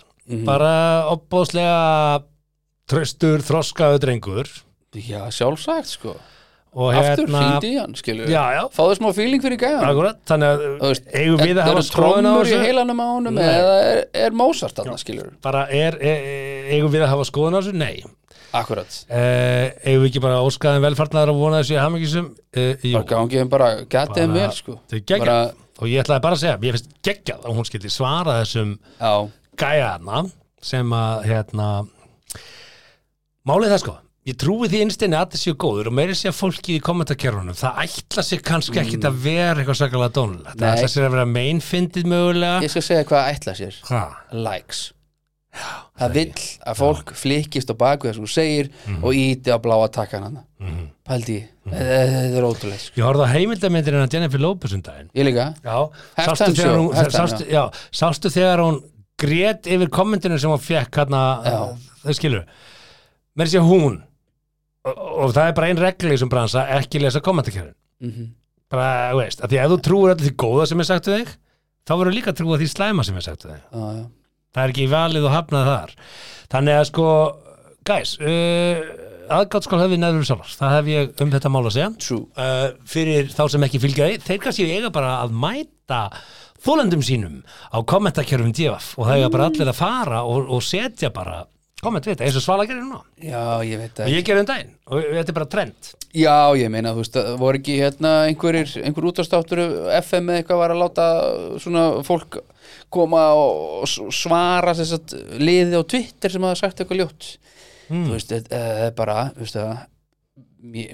S4: bara opbóðslega tröstur, þroskaðu drengur
S3: Já, sjálfsagt sko
S4: og
S3: Aftur
S4: hérna
S3: hringdi í hann, skilju
S4: Já, já.
S3: Fáðu smá feeling fyrir gæðan
S4: akkurat, þannig að
S3: Þú veist,
S4: eigum við að
S3: eru
S4: hafa skoðun á
S3: trommur í
S4: þessu
S3: heilanum á honum eða er, er Mozart þarna, skilur
S4: bara er, e, e- eigum við að hafa skoðun á þessu? Nei
S3: Akkurat
S4: e, eigum við ekki bara að óska þeim velfarnar og vona þessu hamingisum e, jú,
S3: Bara gangið þeim bara, gætið þeim vel, sko
S4: þau geggjað
S3: Bara,
S4: og ég ætlaði bara að segja, ég finnst geggjað að hún skildi svara þessum
S3: já,
S4: gæjarna sem að hérna málið er það sko ég trúi því innstinni að þetta séu góður og meiri sé að fólki í kommentarkerfunum það ætla sér kannski ekkit að vera eitthvað sakalega dónulegt það
S3: Mm. Nei.
S4: ætla sér að vera meinfindið mögulega
S3: ég skal segja hvað ætla sér
S4: ha,
S3: Likes Það vill að fólk flikkist á baku þess að hún segir og íti á bláa takkan hann Pældi, mm. þetta er ótrúlega sko.
S4: ég horfði á heimildamindirinn að Jennifer Lopez um daginn
S3: Ég líka,
S4: já,
S3: Halftime
S4: sástu
S3: show,
S4: þegar, hún,
S3: halftime,
S4: sástu, já, sástu þegar hún grét yfir kommentinu sem hún fekk hérna,
S3: Já.
S4: það skilur meiri sé hún og, og það er bara ein regli sem bransa ekki lesa kommentarkerfin
S3: mm
S4: bara, þú veist, að því ef þú trúir öllu því góða sem er sagt við þig, þá verður líka að trúa því slæma sem er sagt við þig.
S3: já, já.
S4: Það er ekki valið og hafnað þar. Þannig að sko, guys, uh, aðgáttskál hefði neður sálar. Það hef ég um þetta mál að segja.
S3: True
S4: Uh, fyrir þá sem ekki fylgja því, þeir kannski eiga bara að mæta þólendum sínum á kommentarkerfum divaf og það eiga bara allir að fara og, og setja bara komment við þetta, eins og Svala gerir núna.
S3: Já, ég veit
S4: Og
S3: það
S4: ég gerir um daginn og þetta er bara trend.
S3: Já, ég meina, þú veist, það voru ekki hérna einhverjir, einhver útastáttur FM eða eitthvað var að láta svona fólk koma og s- svara sem sagt liði á Twitter sem hafa sagt eitthvað ljótt þú veist, þetta- eh, það er bara þú veist, það mér,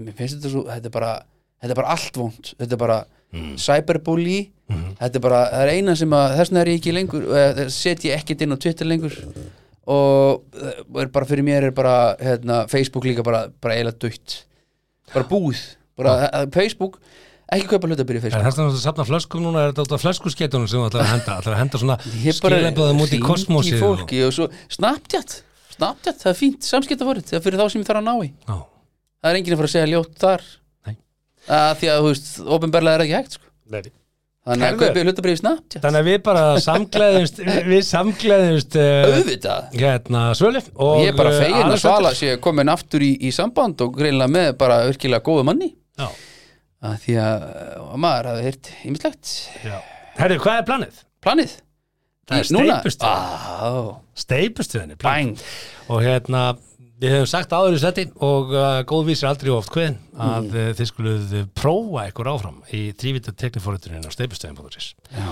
S3: mér finnst þetta svo, þetta er bara þetta er bara allt vond, þetta er bara cyberbully, þetta er bara það er eina sem að, þessna er ég ekki lengur eh, set ég ekkit inn á Twitter lengur og eh, er bara fyrir mér er bara, hérna, Facebook líka bara, bara eiginlega dött bara búið, bara eh, Facebook ekki kaupa hlutabyrði
S4: Það
S3: Facebook
S4: er þess að safna flöskum núna, er þetta alltaf flöskuskeitunum sem þú ætlar að henda, ætlar að henda svona
S3: Ég bara
S4: skilaböðum út í
S3: hringi
S4: kosmosið. og-
S3: fólki og svo, Snapchat, Snapchat, það er fínt samskiptaforrið, það er fyrir þá sem ég þarf að ná í
S4: Já,
S3: það er enginn að fara að segja ljótt þar
S4: Nei.
S3: að því að, þú veist, ofinberlega er það ekki hægt sko.
S4: Nei.
S3: þannig að
S4: Herðu.
S3: kaupið hlutabrið snabbt
S4: Þannig að við bara samgleðumst,
S3: (laughs)
S4: við samgleðumst uh,
S3: auðvitað,
S4: hérna svölu og
S3: og ég er bara
S4: uh,
S3: fegin að
S4: Alexander-
S3: Svala sé komin aftur í, í samband og greinlega með bara virkilega góðu manni
S4: Já,
S3: að því að uh, maður hafi heyrt ymmislegt
S4: já. Herru, hvað er planið?
S3: planið
S4: Það er
S3: Í- núna-
S4: steypustuð.
S3: Á,
S4: Steipustuðinni, planið.
S3: bang,
S4: Og hérna, við hefum sagt áður í setti og uh, góðvísir aldrei of oft hven að mm. þið skuluð prófa ykkur áfram í þrývita tekniforriturinn á steipustuðin.is.
S3: já,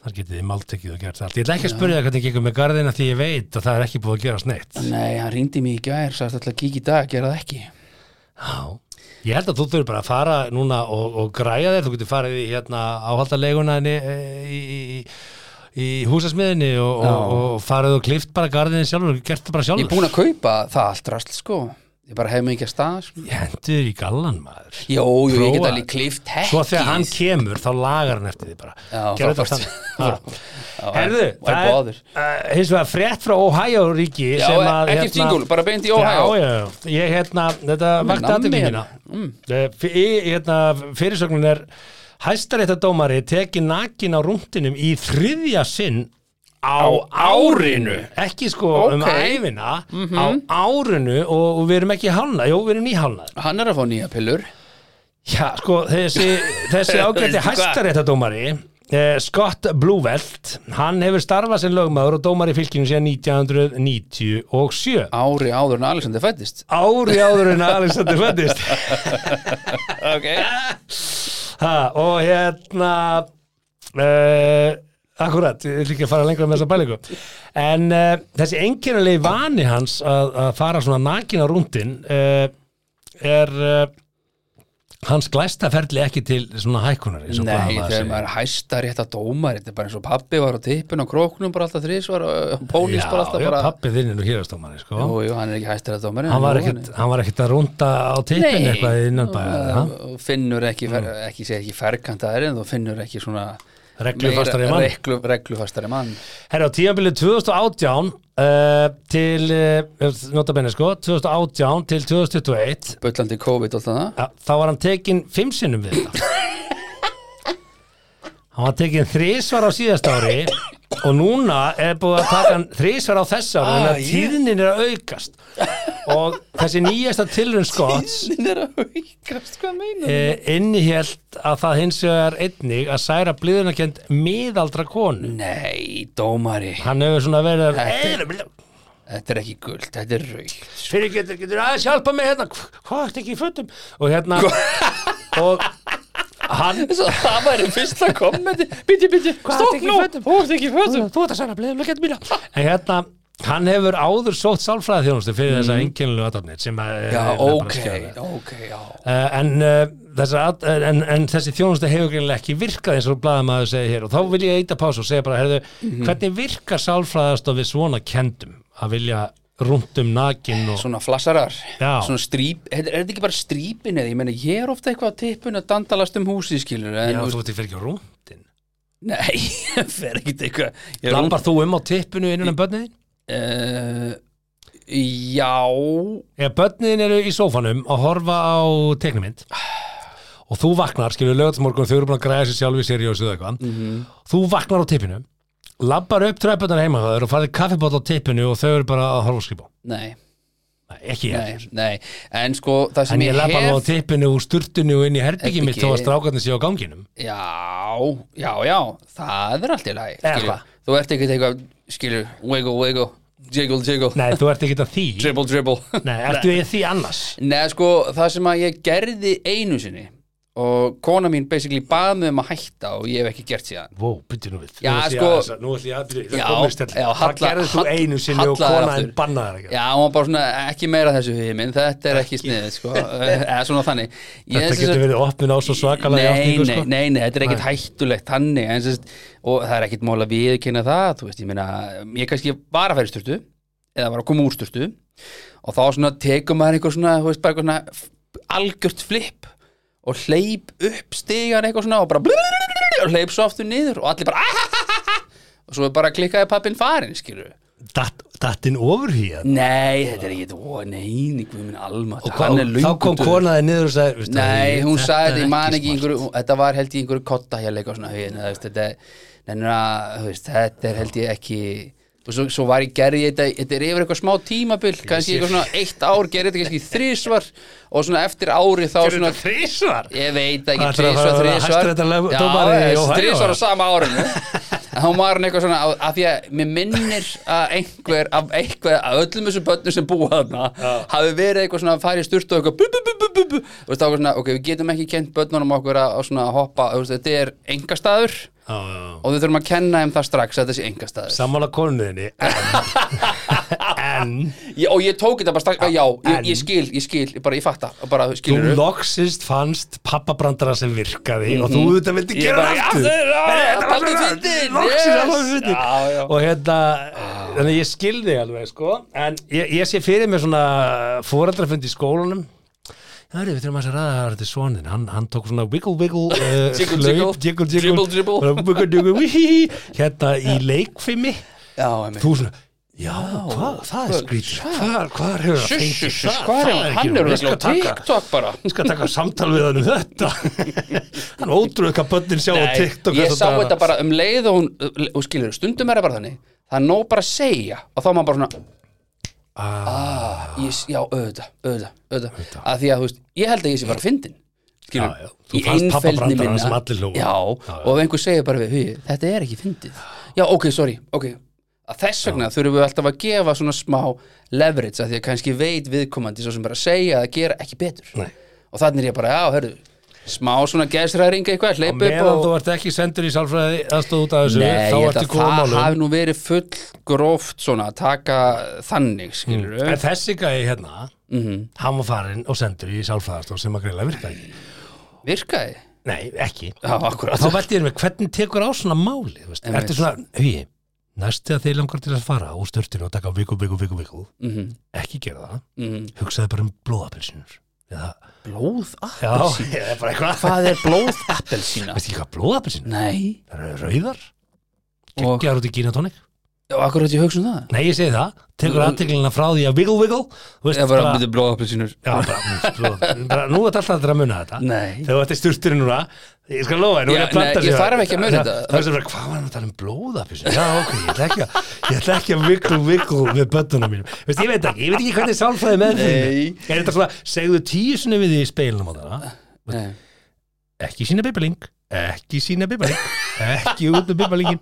S4: Þar getið þið máltekið og gert allt. Ég ætla ekki að spyrja það hvernig gengur með garðina því ég veit að það er ekki búið að gerast neitt.
S3: nei, hann rýndi mig í gær sagði alltaf að kíkja í dag, gera það ekki
S4: Já. Ég held að þú þurfir bara að fara núna og, og græja þér. Þú getur farið í hérna áhaldarleguna í, í, í, í húsasmiðinni og,
S3: Já.
S4: og, og farið og klift bara garðinu sjálfur og gert það bara
S3: ég
S4: sjálfur.
S3: er búin að kaupa það allt rast sko ég bara hef mig ekki að stað sko.
S4: Ég hendi þér í gallan maður.
S3: jó, jó, ég get
S4: Prófa.
S3: alveg klift
S4: Svo þegar hann
S3: hekkið.
S4: kemur þá lagar hann eftir því bara.
S3: Já,
S4: Gerðu þetta
S3: frábært.
S4: þannig. Já.
S3: (laughs) Já,
S4: Herðu,
S3: why
S4: það er
S3: bother?
S4: uh, hins vegar frétt frá Ohio ríki
S3: Já, e-
S4: sem að hérna-
S3: ekkert jingle, bara beint í Ohio.
S4: Já, já, já, ég hérna, þetta vakti
S3: nammi
S4: aðtökum mína
S3: hérna.
S4: Eh, f- í- hérna, fyrirsögnin er hæstaréttadómari teki nakin á rúntinum í þriðja sinn á, árinu ekki sko um
S3: Ok. Mhm.
S4: æfina á árinu og, og við erum ekki hálnað, jú, við erum nýhálnað
S3: hann er að fá nýja pillur
S4: Já, sko, þessi, þessi ágæti
S3: Veistu (laughs) hvað?
S4: hæstaréttadómari eh, Scott Blúvelt hann hefur starfað sem lögmaður og dómari í fylkinu síðan 1997
S3: ári áður en Alexander fættist
S4: ári áður en Alexander
S3: (laughs)
S4: fættist
S3: ok
S4: ha, og hérna eh, akkurat, ég vil ekki að fara lengra með þessa bælingu en eh, þessi einkennilegi vani hans að, að fara svona nakin á rúndin eh, er eh, hans glæsta ferli ekki til svona hækunar eins og
S3: Nei,
S4: blaðamaður
S3: þegar
S4: segir.
S3: maður hæstar rétt að dóma þetta er bara eins og pabbi var á tippin og króknum bara alltaf þrís var og pólís bara alltaf
S4: já,
S3: bara
S4: pappi þinn er nú hérastómari sko.
S3: Jú, jú, hann er ekki hæstar rétt að dóma
S4: hann, var ekkit, hann var ekkit að rúnda á tippin
S3: Nei.
S4: eitthvað innan bæða
S3: finnur ekki, fer, ekki segja ekki ferkantaðir en þú finnur ekki svona
S4: reglufastari mann
S3: reglu, reglufastari mann
S4: Herra, á tímabilið 2018 uh, til, uh, notabenni sko, 2018 til 2021,
S3: bullandi COVID og alltaf það
S4: ja, eh, þá var hann tekinn fimm sinnum við þetta. hann var tekinn þrísvar á síðasta ári og núna er búið að taka hann þrísvar á þess ári, þannig
S3: Ah,
S4: að
S3: ég-
S4: tíðnin er að aukast. og þessi nýjasta tilrun Scotts
S3: Tíðnin er að haukast, hvað meina
S4: e, innihjælt að það hins vegar einnig að særa blíðunarkend miðaldra konu
S3: Eh, Nei, dómari
S4: hann hefur svona verið að
S3: Þetta er ekki guld, þetta er raukt
S4: fyrir getur, getur aðeins hjálpa mig hérna Hva- hvað ert ekki í fötum og hérna og hann
S3: Það væri fyrsta kommenti Bíti, bíti, stopp
S4: ekki í
S3: nú
S4: fötum?
S3: Þú ert ekki í fötum
S4: þú ert að særa blíðunarkend mína en hérna hann hefur áður sótt sálfræði þjónustu fyrir mm. þessa einkennilegu aðdóknir sem að eh,
S3: Já,
S4: er bara
S3: ok,
S4: skjálfilegt.
S3: ok, já
S4: Uh, en, uh, þessar, at- en, en þessi þjónustu hefur greinilega ekki virkað eins og blaðamaður segir hér og þá vil ég eita pása og segja bara herðu,
S3: Mhm.
S4: hvernig virkar sálfræðast við svona kendum að vilja rúmt um nakin og
S3: Svona flassarar,
S4: Já.
S3: svona stríp Er er þetta ekki bara strípin eða, ég meina ég er ofta eitthvað á tippun að dandalast um húsi skilur en,
S4: Já, þú
S3: þú veist-
S4: ert í fyrir ekki rúmtin
S3: Nei, (laughs) ég fer ekkert eitthvað Ég er
S4: Lambar þú um á tippinu innan um börniðin?
S3: uh, Já
S4: Ef börniðin eru í sófanum að horfa á teknumind og þú vaknar, skilur lögatsmorgun þau eru búin að græða sér sjálf í seriósu eða eitthvað
S3: Mhm.
S4: þú vaknar á tippinu labbar upp træpöndar heima hjá þér og farið kaffibóll á tippinu og þau eru bara að horfa á skrifa
S3: Nei,
S4: Nei, ekki ég
S3: nei, nei En sko, það
S4: En
S3: sem
S4: ég
S3: ég
S4: lappa nú á
S3: hef
S4: tippinu úr sturtinu og inn í herbyggi mitt
S3: Herbyggi.
S4: þó að strákarnir séu á ganginum.
S3: Já, já, já Það er allt í lagi
S4: Eða
S3: skilur.
S4: hvað?
S3: Þú ert ekkert eitthvað, skilur Wiggle, wiggle, jiggle, jiggle
S4: Nei, þú ert ekki að því.
S3: Dribble, dribble (laughs)
S4: Nei, ertu ég því annars?
S3: Nei, sko, það sem að ég gerði einu sinni og kona mín basically bað mig um að hætta og ég hef ekki gert síðan
S4: Vó, byrju nú við.
S3: Já,
S4: Nú ætla ég
S3: sko-
S4: að- þessa- Nú ætlum ég að byrja,
S3: Já,
S4: það komur stjálf.
S3: já,
S4: Það
S3: halla-
S4: gerðist þú
S3: hall-
S4: einu sinni og
S3: hallaðir
S4: konaðin
S3: aftur.
S4: bannaðar ekki.
S3: Já, hún var bara svona ekki meira af þessu fyrir minn þetta er ekki sniðið, sko (laughs) eða svona þannig Ég
S4: Þetta
S3: sem sagt-
S4: getur verið opnun á svo svakalega
S3: nei,
S4: játningu,
S3: nei,
S4: sko.
S3: nei, nei, þetta er ekkit hættulegt þannig en, sest, og það er ekkit mál að viðkynna það þú veist, ég meina, ég kannski var að færi styrtu eða var að koma úr styrtu og þá svona tekur maður einhver svona, þú veist, bara eitthvað svona f- algjört flip og hleyp upp stigan eitthvað svona og bara blulululululu og hleyp svo aftur niður og allir bara ahahaha, og svo bara klikkaði pappin farin, skilur
S4: Datt- Dattinn ofurhýja.
S3: Nei, þetta er ekki, ó, nei, guð minn alma
S4: Og hvað- og þá kom konaðin niður og sagði, veistu,
S3: Nei,
S4: þetta
S3: hún sagði,
S4: er
S3: ég man ekki
S4: smart.
S3: einhverju, hún- þetta var held ég einhverju kotta hér leika og svona, hugin, það, þetta, nennir að, þú veist, þetta er held ég ekki og svo, svo var ég gerði ég þetta, þetta er yfir eitthvað smá tímabil, kannski eitthvað svona eitt ár gerði þetta kannski þrísvar og svona eftir ári þá svona
S4: Þrisvar?
S3: ég veit ekki,
S4: Hvað ætlarðu að
S3: þrísvar,
S4: fara að vera
S3: þrísvar
S4: hæstaréttarlög-
S3: Já,
S4: dómari í
S3: þessi
S4: Ohio,
S3: þrísvar á
S4: eða?
S3: sama árinu En hún var hann eitthvað svona að, að því að mér minnir að einhver af einhver, að öllum þessum börnum sem búa þarna hafi verið eitthvað svona að fara í sturt og eitthvað bu, bu, bu, bu, bu, bu. og það var svona, ok, við getum ekki kent börnunum okkur að, að svona hoppa, þú veist, þetta er engastaður
S4: Já, já, já.
S3: og við þurfum að kenna þeim það strax að þetta sé engastaður
S4: Sammála konuðinni.
S3: (laughs)
S4: En...
S3: ég, og ég tók þetta bara strax, já,
S4: En-
S3: ég, ég skil, ég skil ég bara, ég fatta, bara
S4: Þú
S3: skilur
S4: loksist fannst pappabrandara sem virkaði og þú auðvitað vildi
S3: Mhm. Ég
S4: gera
S3: bara,
S4: það aftur.
S3: aftur, já,
S4: Nei, þetta var
S3: pabbi
S4: bara-
S3: fyndinn,
S4: Loksins
S3: yes.
S4: að það fyndin.
S3: Já, já.
S4: Og hérna, þannig að ég skildi alveg, sko. En ég, ég sé fyrir mér svona foreldrafund í skólanum. Það eru, við þurfum aðeins að ræða það þetta er svonin. Hann, hann tók svona wiggle
S3: (laughs)
S4: wiggle, uh,
S3: Jiggle,
S4: hlaup,
S3: jiggle,
S4: jiggle jiggle,
S3: dribble, dribble.
S4: bara wiggle jiggle, wíhí, hérna í leikfimi.
S3: já, emi
S4: Þú svona, já, hvað, það er skrítið. Hvað, hvað hefur það
S3: Shush,
S4: fengið
S3: shush,
S4: það?
S3: shush, hvað er
S4: Það
S3: hann?
S4: ekki
S3: Hann
S4: nú,
S3: er
S4: ég
S3: örugglega
S4: skal
S3: á
S4: taka-
S3: TikTok bara
S4: Ég skal taka samtal við hann um
S3: (laughs)
S4: þetta Hann ótrúið hvað börnin sjá á
S3: Nei,
S4: TikTok
S3: ég
S4: þessa
S3: sá
S4: dagana.
S3: þetta bara um leið og hún og skilur, stundum er það bara þannig það er nóg bara að segja og þá er maður bara svona ah, ég, já, auðvitað, auðvitað, auðvitað að því að þú veist, ég held að ég sé bara fyndin skilur,
S4: Já, já, þú fannst pabba brandarann sem allir hlógu.
S3: já, og ef einhver segir bara við "Hugi, þetta er ekki fyndið, já, ok, sorry ok, að þess vegna þurfum við alltaf að gefa svona smá leverage að því að kannski veit viðkomandi svo sem bara segja að gera ekki betur
S4: Nei.
S3: og þannig er ég bara, já, hörðu smá svona gæðsræðringa eitthvað,
S4: Og
S3: hleyp upp
S4: Meðan þú ert ekki sendur í sálfræði aðstóð út af þessu
S3: Nei,
S4: þá
S3: ég held
S4: ertu
S3: að
S4: í góðum
S3: það
S4: málum
S3: hafi nú verið full gróft svona að taka þannig, Mhm. skilur við
S4: Mm. En þessi gæði hérna hann var farinn og sendur í sálfræðastóð sem að greiðlega virka ekki
S3: Virkaði?
S4: Nei, ekki
S3: Já,
S4: Þá
S3: akkurat
S4: veldi ég með hvernig tekur á svona máli þú veist?
S3: Einmitt.
S4: Ertu svona, hugi Næstu að þeir langar til að fara úr störtinu og taka viku, viku, viku, viku
S3: mm -hmm.
S4: Ekki gera það,
S3: mm -hmm.
S4: hugsaði bara um blóðapilsinur Eða,
S3: Blóð
S4: já, (laughs)
S3: appelsín
S4: eða bara eitthvað
S3: Hvað er blóð appelsína?
S4: Veistu ekki hvað blóðapilsinur?
S3: Nei
S4: Það eru rauðar
S3: og,
S4: Gjáður út í gínatónik
S3: og akkur hætti ég hugsa um það
S4: Nei, ég segi það, tekur aðteklina frá því að wiggle wiggle Þú veist,
S3: ég Mm. var að byrja blóða appelsínur
S4: Já, bara, mm, blóð. bara, nú er alltaf að muna þetta
S3: Nei.
S4: Þegar þú ert í sturturinn núna Ég skal lofa, þér, nú er
S3: Já,
S4: ég að planta
S3: nei, ég þarf ekki að muna þetta.
S4: Það er sem bara, hvað var hann að tala um blóðapissu? Já, ok, ég ætla ekki að Ég ætla ekki að viklu viklu með böttunum mínum Veist, ég veit ekki, ég veit ekki hvernig sálfræði með þeim
S3: Nei.
S4: Er þetta svona, segðu tíu sinni við því í speilnum á það
S3: Nei.
S4: Ekki sína bibaling Ekki sína bibaling Ekki út með bibalingin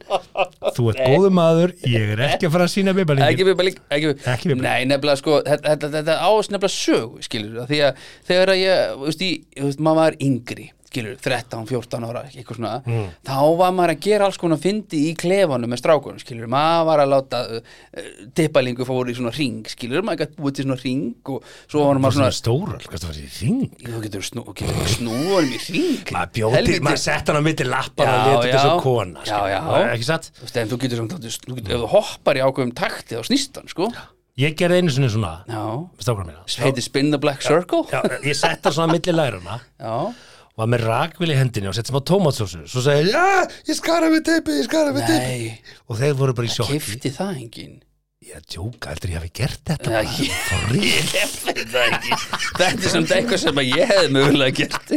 S4: Þú ert góðu maður, ég er ekki að fara að sína bibalingin
S3: ekki bibalik ekki,
S4: Ekki bibaling.
S3: nei nefnilega sko þetta, þetta, þetta ás nefnilega sög skilur því að þegar að ég þú veist, í- þú veist, maður var yngri skilur 13, 14 ára eitthvað svona
S4: Mm.
S3: þá var maður að gera alls konar fyndi í klefanum með strákunum skilur maður var að láta uh, tippalingu fóru í svona ring skilur maður gætt búið til svona ring og svo var maður
S4: Svona
S3: svona
S4: stóra, hvað það sko, var í þing
S3: þú getur snú, getur snúanum í ring
S4: maður bjóti,
S3: Helvíti.
S4: maður sett hann á mitti lappar
S3: Já,
S4: og leta þetta
S3: já.
S4: svo kona
S3: Já,
S4: skilur.
S3: já.
S4: Það er ekki satt
S3: Þú veist, en þú getur samt látið- þú getur- ef þú hoppar í ákveðum takti þá snýst hann sko
S4: ég gerði einu sinni svona
S3: já
S4: stákar mína
S3: heitir Spin the Black Circle
S4: já, ég sett hann svona á milli læruna
S3: Já.
S4: var með rakvil í hendinni og sett smá tómatsósu svo sagði ég, já, ég skara með teipi ég skara með teipi
S3: Nei,
S4: og þeir voru bara í sjokki
S3: kefti það engin
S4: ég að djóka, heldur ég hafi gert þetta
S3: Já,
S4: bara?
S3: ég-
S4: For real?
S3: Þetta er samt eitthvað sem að ég hefði mögulega gert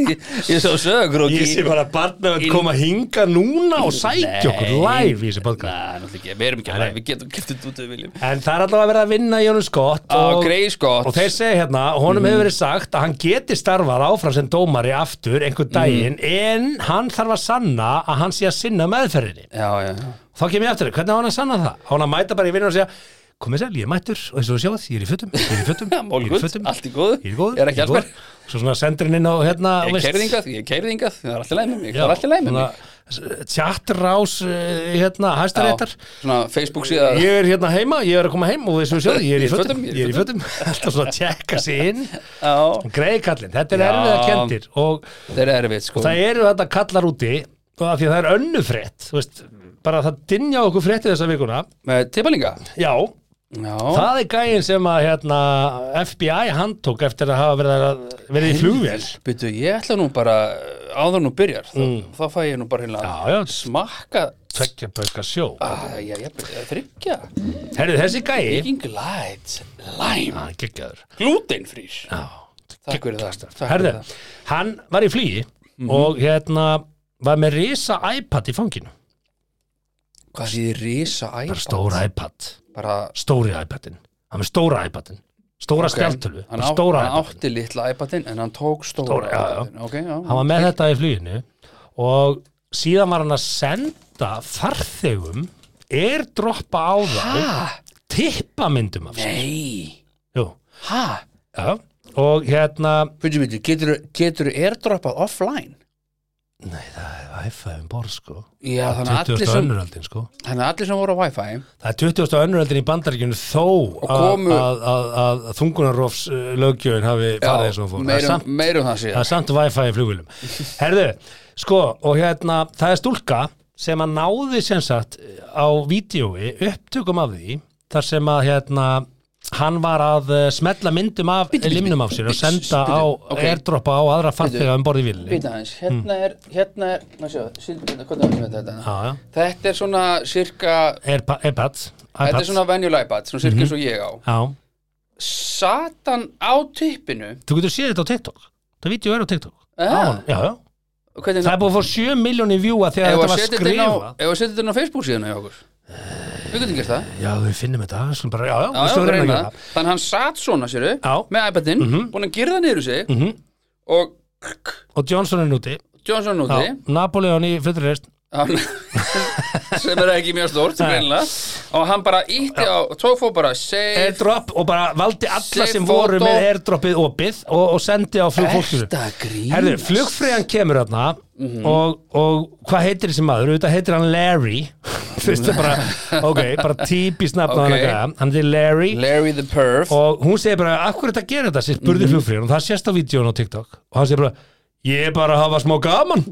S3: Ég sá sögur og
S4: ég sé bara að barna að koma hinga núna og sækja okkur live í þessi podcast
S3: Nei, náttúrulega ekki, við erum ekki að ræða, við getum kiftið út við viljum
S4: en það er allavega verið að vinna Jónu Skott
S3: Á
S4: og
S3: Grey Scott
S4: Og þeir segja hérna, honum
S3: Mhm.
S4: hefur verið sagt að hann geti starfað áfram sem dómari aftur
S3: Mhm.
S4: einhvern daginn, en hann þarf að sanna að hann sé að sinna meðferðinni.
S3: Já, já, já
S4: Þá kem ég aftur, hvernig á hann að sanna það? Á hann að mæta bara í vinnu og segja, komið sæl, ég er mættur, og eins og þú sjáð, ég er í fötum, ég er í
S3: (laughs)
S4: fötum,
S3: Já,
S4: ég er í
S3: málgöld,
S4: fötum,
S3: allt í góðu
S4: ég er góður,
S3: Ég er ekki
S4: ég
S3: alls mér
S4: góður. Svo svona sendur hann inn á hérna,
S3: Ég er
S4: veist,
S3: keirðingað, ég er keirðingað Það er allt í læmi mig,
S4: já,
S3: það er allt í læmi mig
S4: svona Tjattrás, eh, hérna, hæstaréttar.
S3: Já, Svona Facebook síða
S4: Ég er hérna heima, ég er að koma heim og eins og þú sjáð, ég er í fötum, ég er í fötum, (laughs)
S3: fötum.
S4: alltaf svona að tjekka sig inn.
S3: (laughs) Já,
S4: Grey kallinn, þetta er
S3: Já.
S4: erfiða kendir og
S3: þeir eru erfitt sko
S4: það eru þetta kallar úti og af því að það er önnu frétt þú veist, bara það dinja á okkur frétti þessa vikuna
S3: Með tippalinga
S4: já,
S3: Já,
S4: það er gæinn sem að hérna, FBI handtók eftir að hafa verið, að, verið í flugvél Mm.
S3: Býtu, ég ætla nú bara áður nú byrjar, þá, þá fæ ég nú bara hérna
S4: já, já,
S3: smakka
S4: tveggja bauka sjó
S3: Æja, ég er þryggja
S4: herru, þessi gæi
S3: Viking Light Lime
S4: hann geggjaður
S3: Glutenfrýr Takk fyrir það Takk fyrir
S4: herru,
S3: það.
S4: hann var í flugi og hérna var með risa iPad í fanginu
S3: Hvað sé þið risa
S4: bara
S3: iPad?
S4: stóra iPad,
S3: Bara
S4: stóri iPadin hann með stóra iPadin stóra okay.
S3: ok,
S4: spjaltölu,
S3: Hann,
S4: bara
S3: á,
S4: stóra
S3: hann
S4: iPadin
S3: átti litla iPadin en hann tók stóra,
S4: Stóra, já, já.
S3: iPadinn. Ok, já
S4: hann var með þetta í fluginu og síðan var hann að senda farþegum airdroppa á þá tippamyndum af sér
S3: Nei
S4: Jú,
S3: Hæ?
S4: já. og hérna
S3: Fyrir mér, getur, getur airdroppað offline?
S4: Wi-Fi um borð sko
S3: Já, þannig að
S4: 20.
S3: allir sem,
S4: önnuröldin sko
S3: þannig að allir sem voru á Wi-Fi
S4: það er 20. önnuröldin í bandaríkjunum þó að,
S3: komu-
S4: að, að, að þungunarofs lögjöfin hafi farið eins og hún fór Það er
S3: meirum,
S4: samt-
S3: meirum um- það
S4: það
S3: síðan
S4: er samt Wi-Fi í
S3: (laughs)
S4: flugvölum herðu, sko, og hérna það er stúlka sem að náði sem sagt á vídjói upptökum af því, þar sem að hérna hann var að eh, smetla myndum af
S3: Bíddu, bíddu,
S4: limnum af sér og
S3: bíddu,
S4: senda
S3: bíddu,
S4: á
S3: ok.
S4: airdroppa á aðra farþega um borði í vilni
S3: Býta aðeins, hérna er, hérna er, maður sjá, síldur þetta, hvernig er þetta?
S4: Já, já.
S3: Þetta er svona cirka,
S4: Airpa- iPad,
S3: þetta
S4: iPad
S3: er svona venjulega iPad, svona cirka
S4: Mhm.
S3: eins og ég á.
S4: já,
S3: Satan á tippinu,
S4: þú getur séð þetta á TikTok það vídjó er á TikTok Á
S3: Eh?
S4: honum, já, já.
S3: hvernig
S4: það er búið að fá 7 miljóni vjúa þegar
S3: Ef
S4: þetta
S3: að
S4: var
S3: setja þetta inn á,
S4: skrifað
S3: ef að setja þetta inn á Facebook síðan hjá okkur. Við getum gert það.
S4: já, við finnum þetta, við skulum bara, já, já,
S3: Já,
S4: við hérna
S3: já,
S4: skulum reyna að
S3: reyna
S4: gera
S3: það. Þannig hann satt svona, séru,
S4: Já. Mhm.
S3: með iPadinn, búin að gyrða niður úr sig og
S4: það og Johnson er núti
S3: Johnson úti,
S4: Já, Napoleon í fullri reist
S3: hann- (laughs) sem er ekki mjög stórt, greinlega, og hann bara ítti á, tók fór bara save,
S4: airdrop og bara valdi alla
S3: Save
S4: sem voru
S3: photo.
S4: með airdropið opið og, og sendi á flugfólkinu
S3: Þetta grínast
S4: Herðu, flugfræðan kemur þarna og, og hvað heitir þessi maður? Þetta heitir hann Larry (laughs) Þú veist það bara, ok, bara típist nafn
S3: Ok.
S4: okay. hann, gæja. hann heitir Larry
S3: Larry the Perf
S4: og hún segir bara, af hverju þetta gerir þetta? Sér spurði mm
S3: Mhm.
S4: flugfræðan og það sést á vídjón á TikTok og hann segir bara, ég er bara að hafa smá
S3: (laughs)
S4: gaman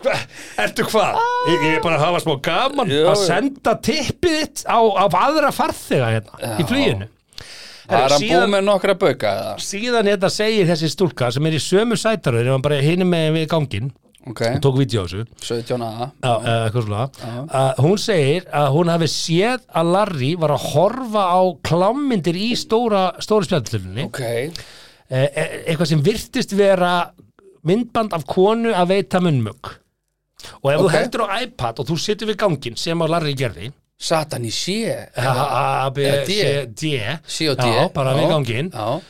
S4: Hva? Ertu hvað? Ég, ég er bara að hafa smá gaman
S3: Já,
S4: að
S3: já.
S4: senda tippið þitt á, á aðra farþega hérna í fluginu
S3: Það er hann
S4: síðan-
S3: búið með nokkra bauka eða?
S4: hérna síðan þetta segir þessi stúlka sem er í sömu sætaröður ef hann bara hinum með við gangin
S3: ok,
S4: tók vídeo á þessu
S3: 17 aða
S4: Já, eh, eitthvað svona að hún segir að hún hafi séð að Larry var að horfa á klámyndir í stóra, stóra spjaldlunni
S3: ok,
S4: e- eitthvað sem virtist vera myndband af konu að veita munnmögg og ef þú
S3: Ok.
S4: heldur á iPad og þú situr við gangin sem að Larry gerði
S3: satan í sé
S4: A, B,
S3: eða Eh, D.
S4: C, D
S3: sí og
S4: Já, bara við
S3: Já.
S4: ganginn.
S3: já,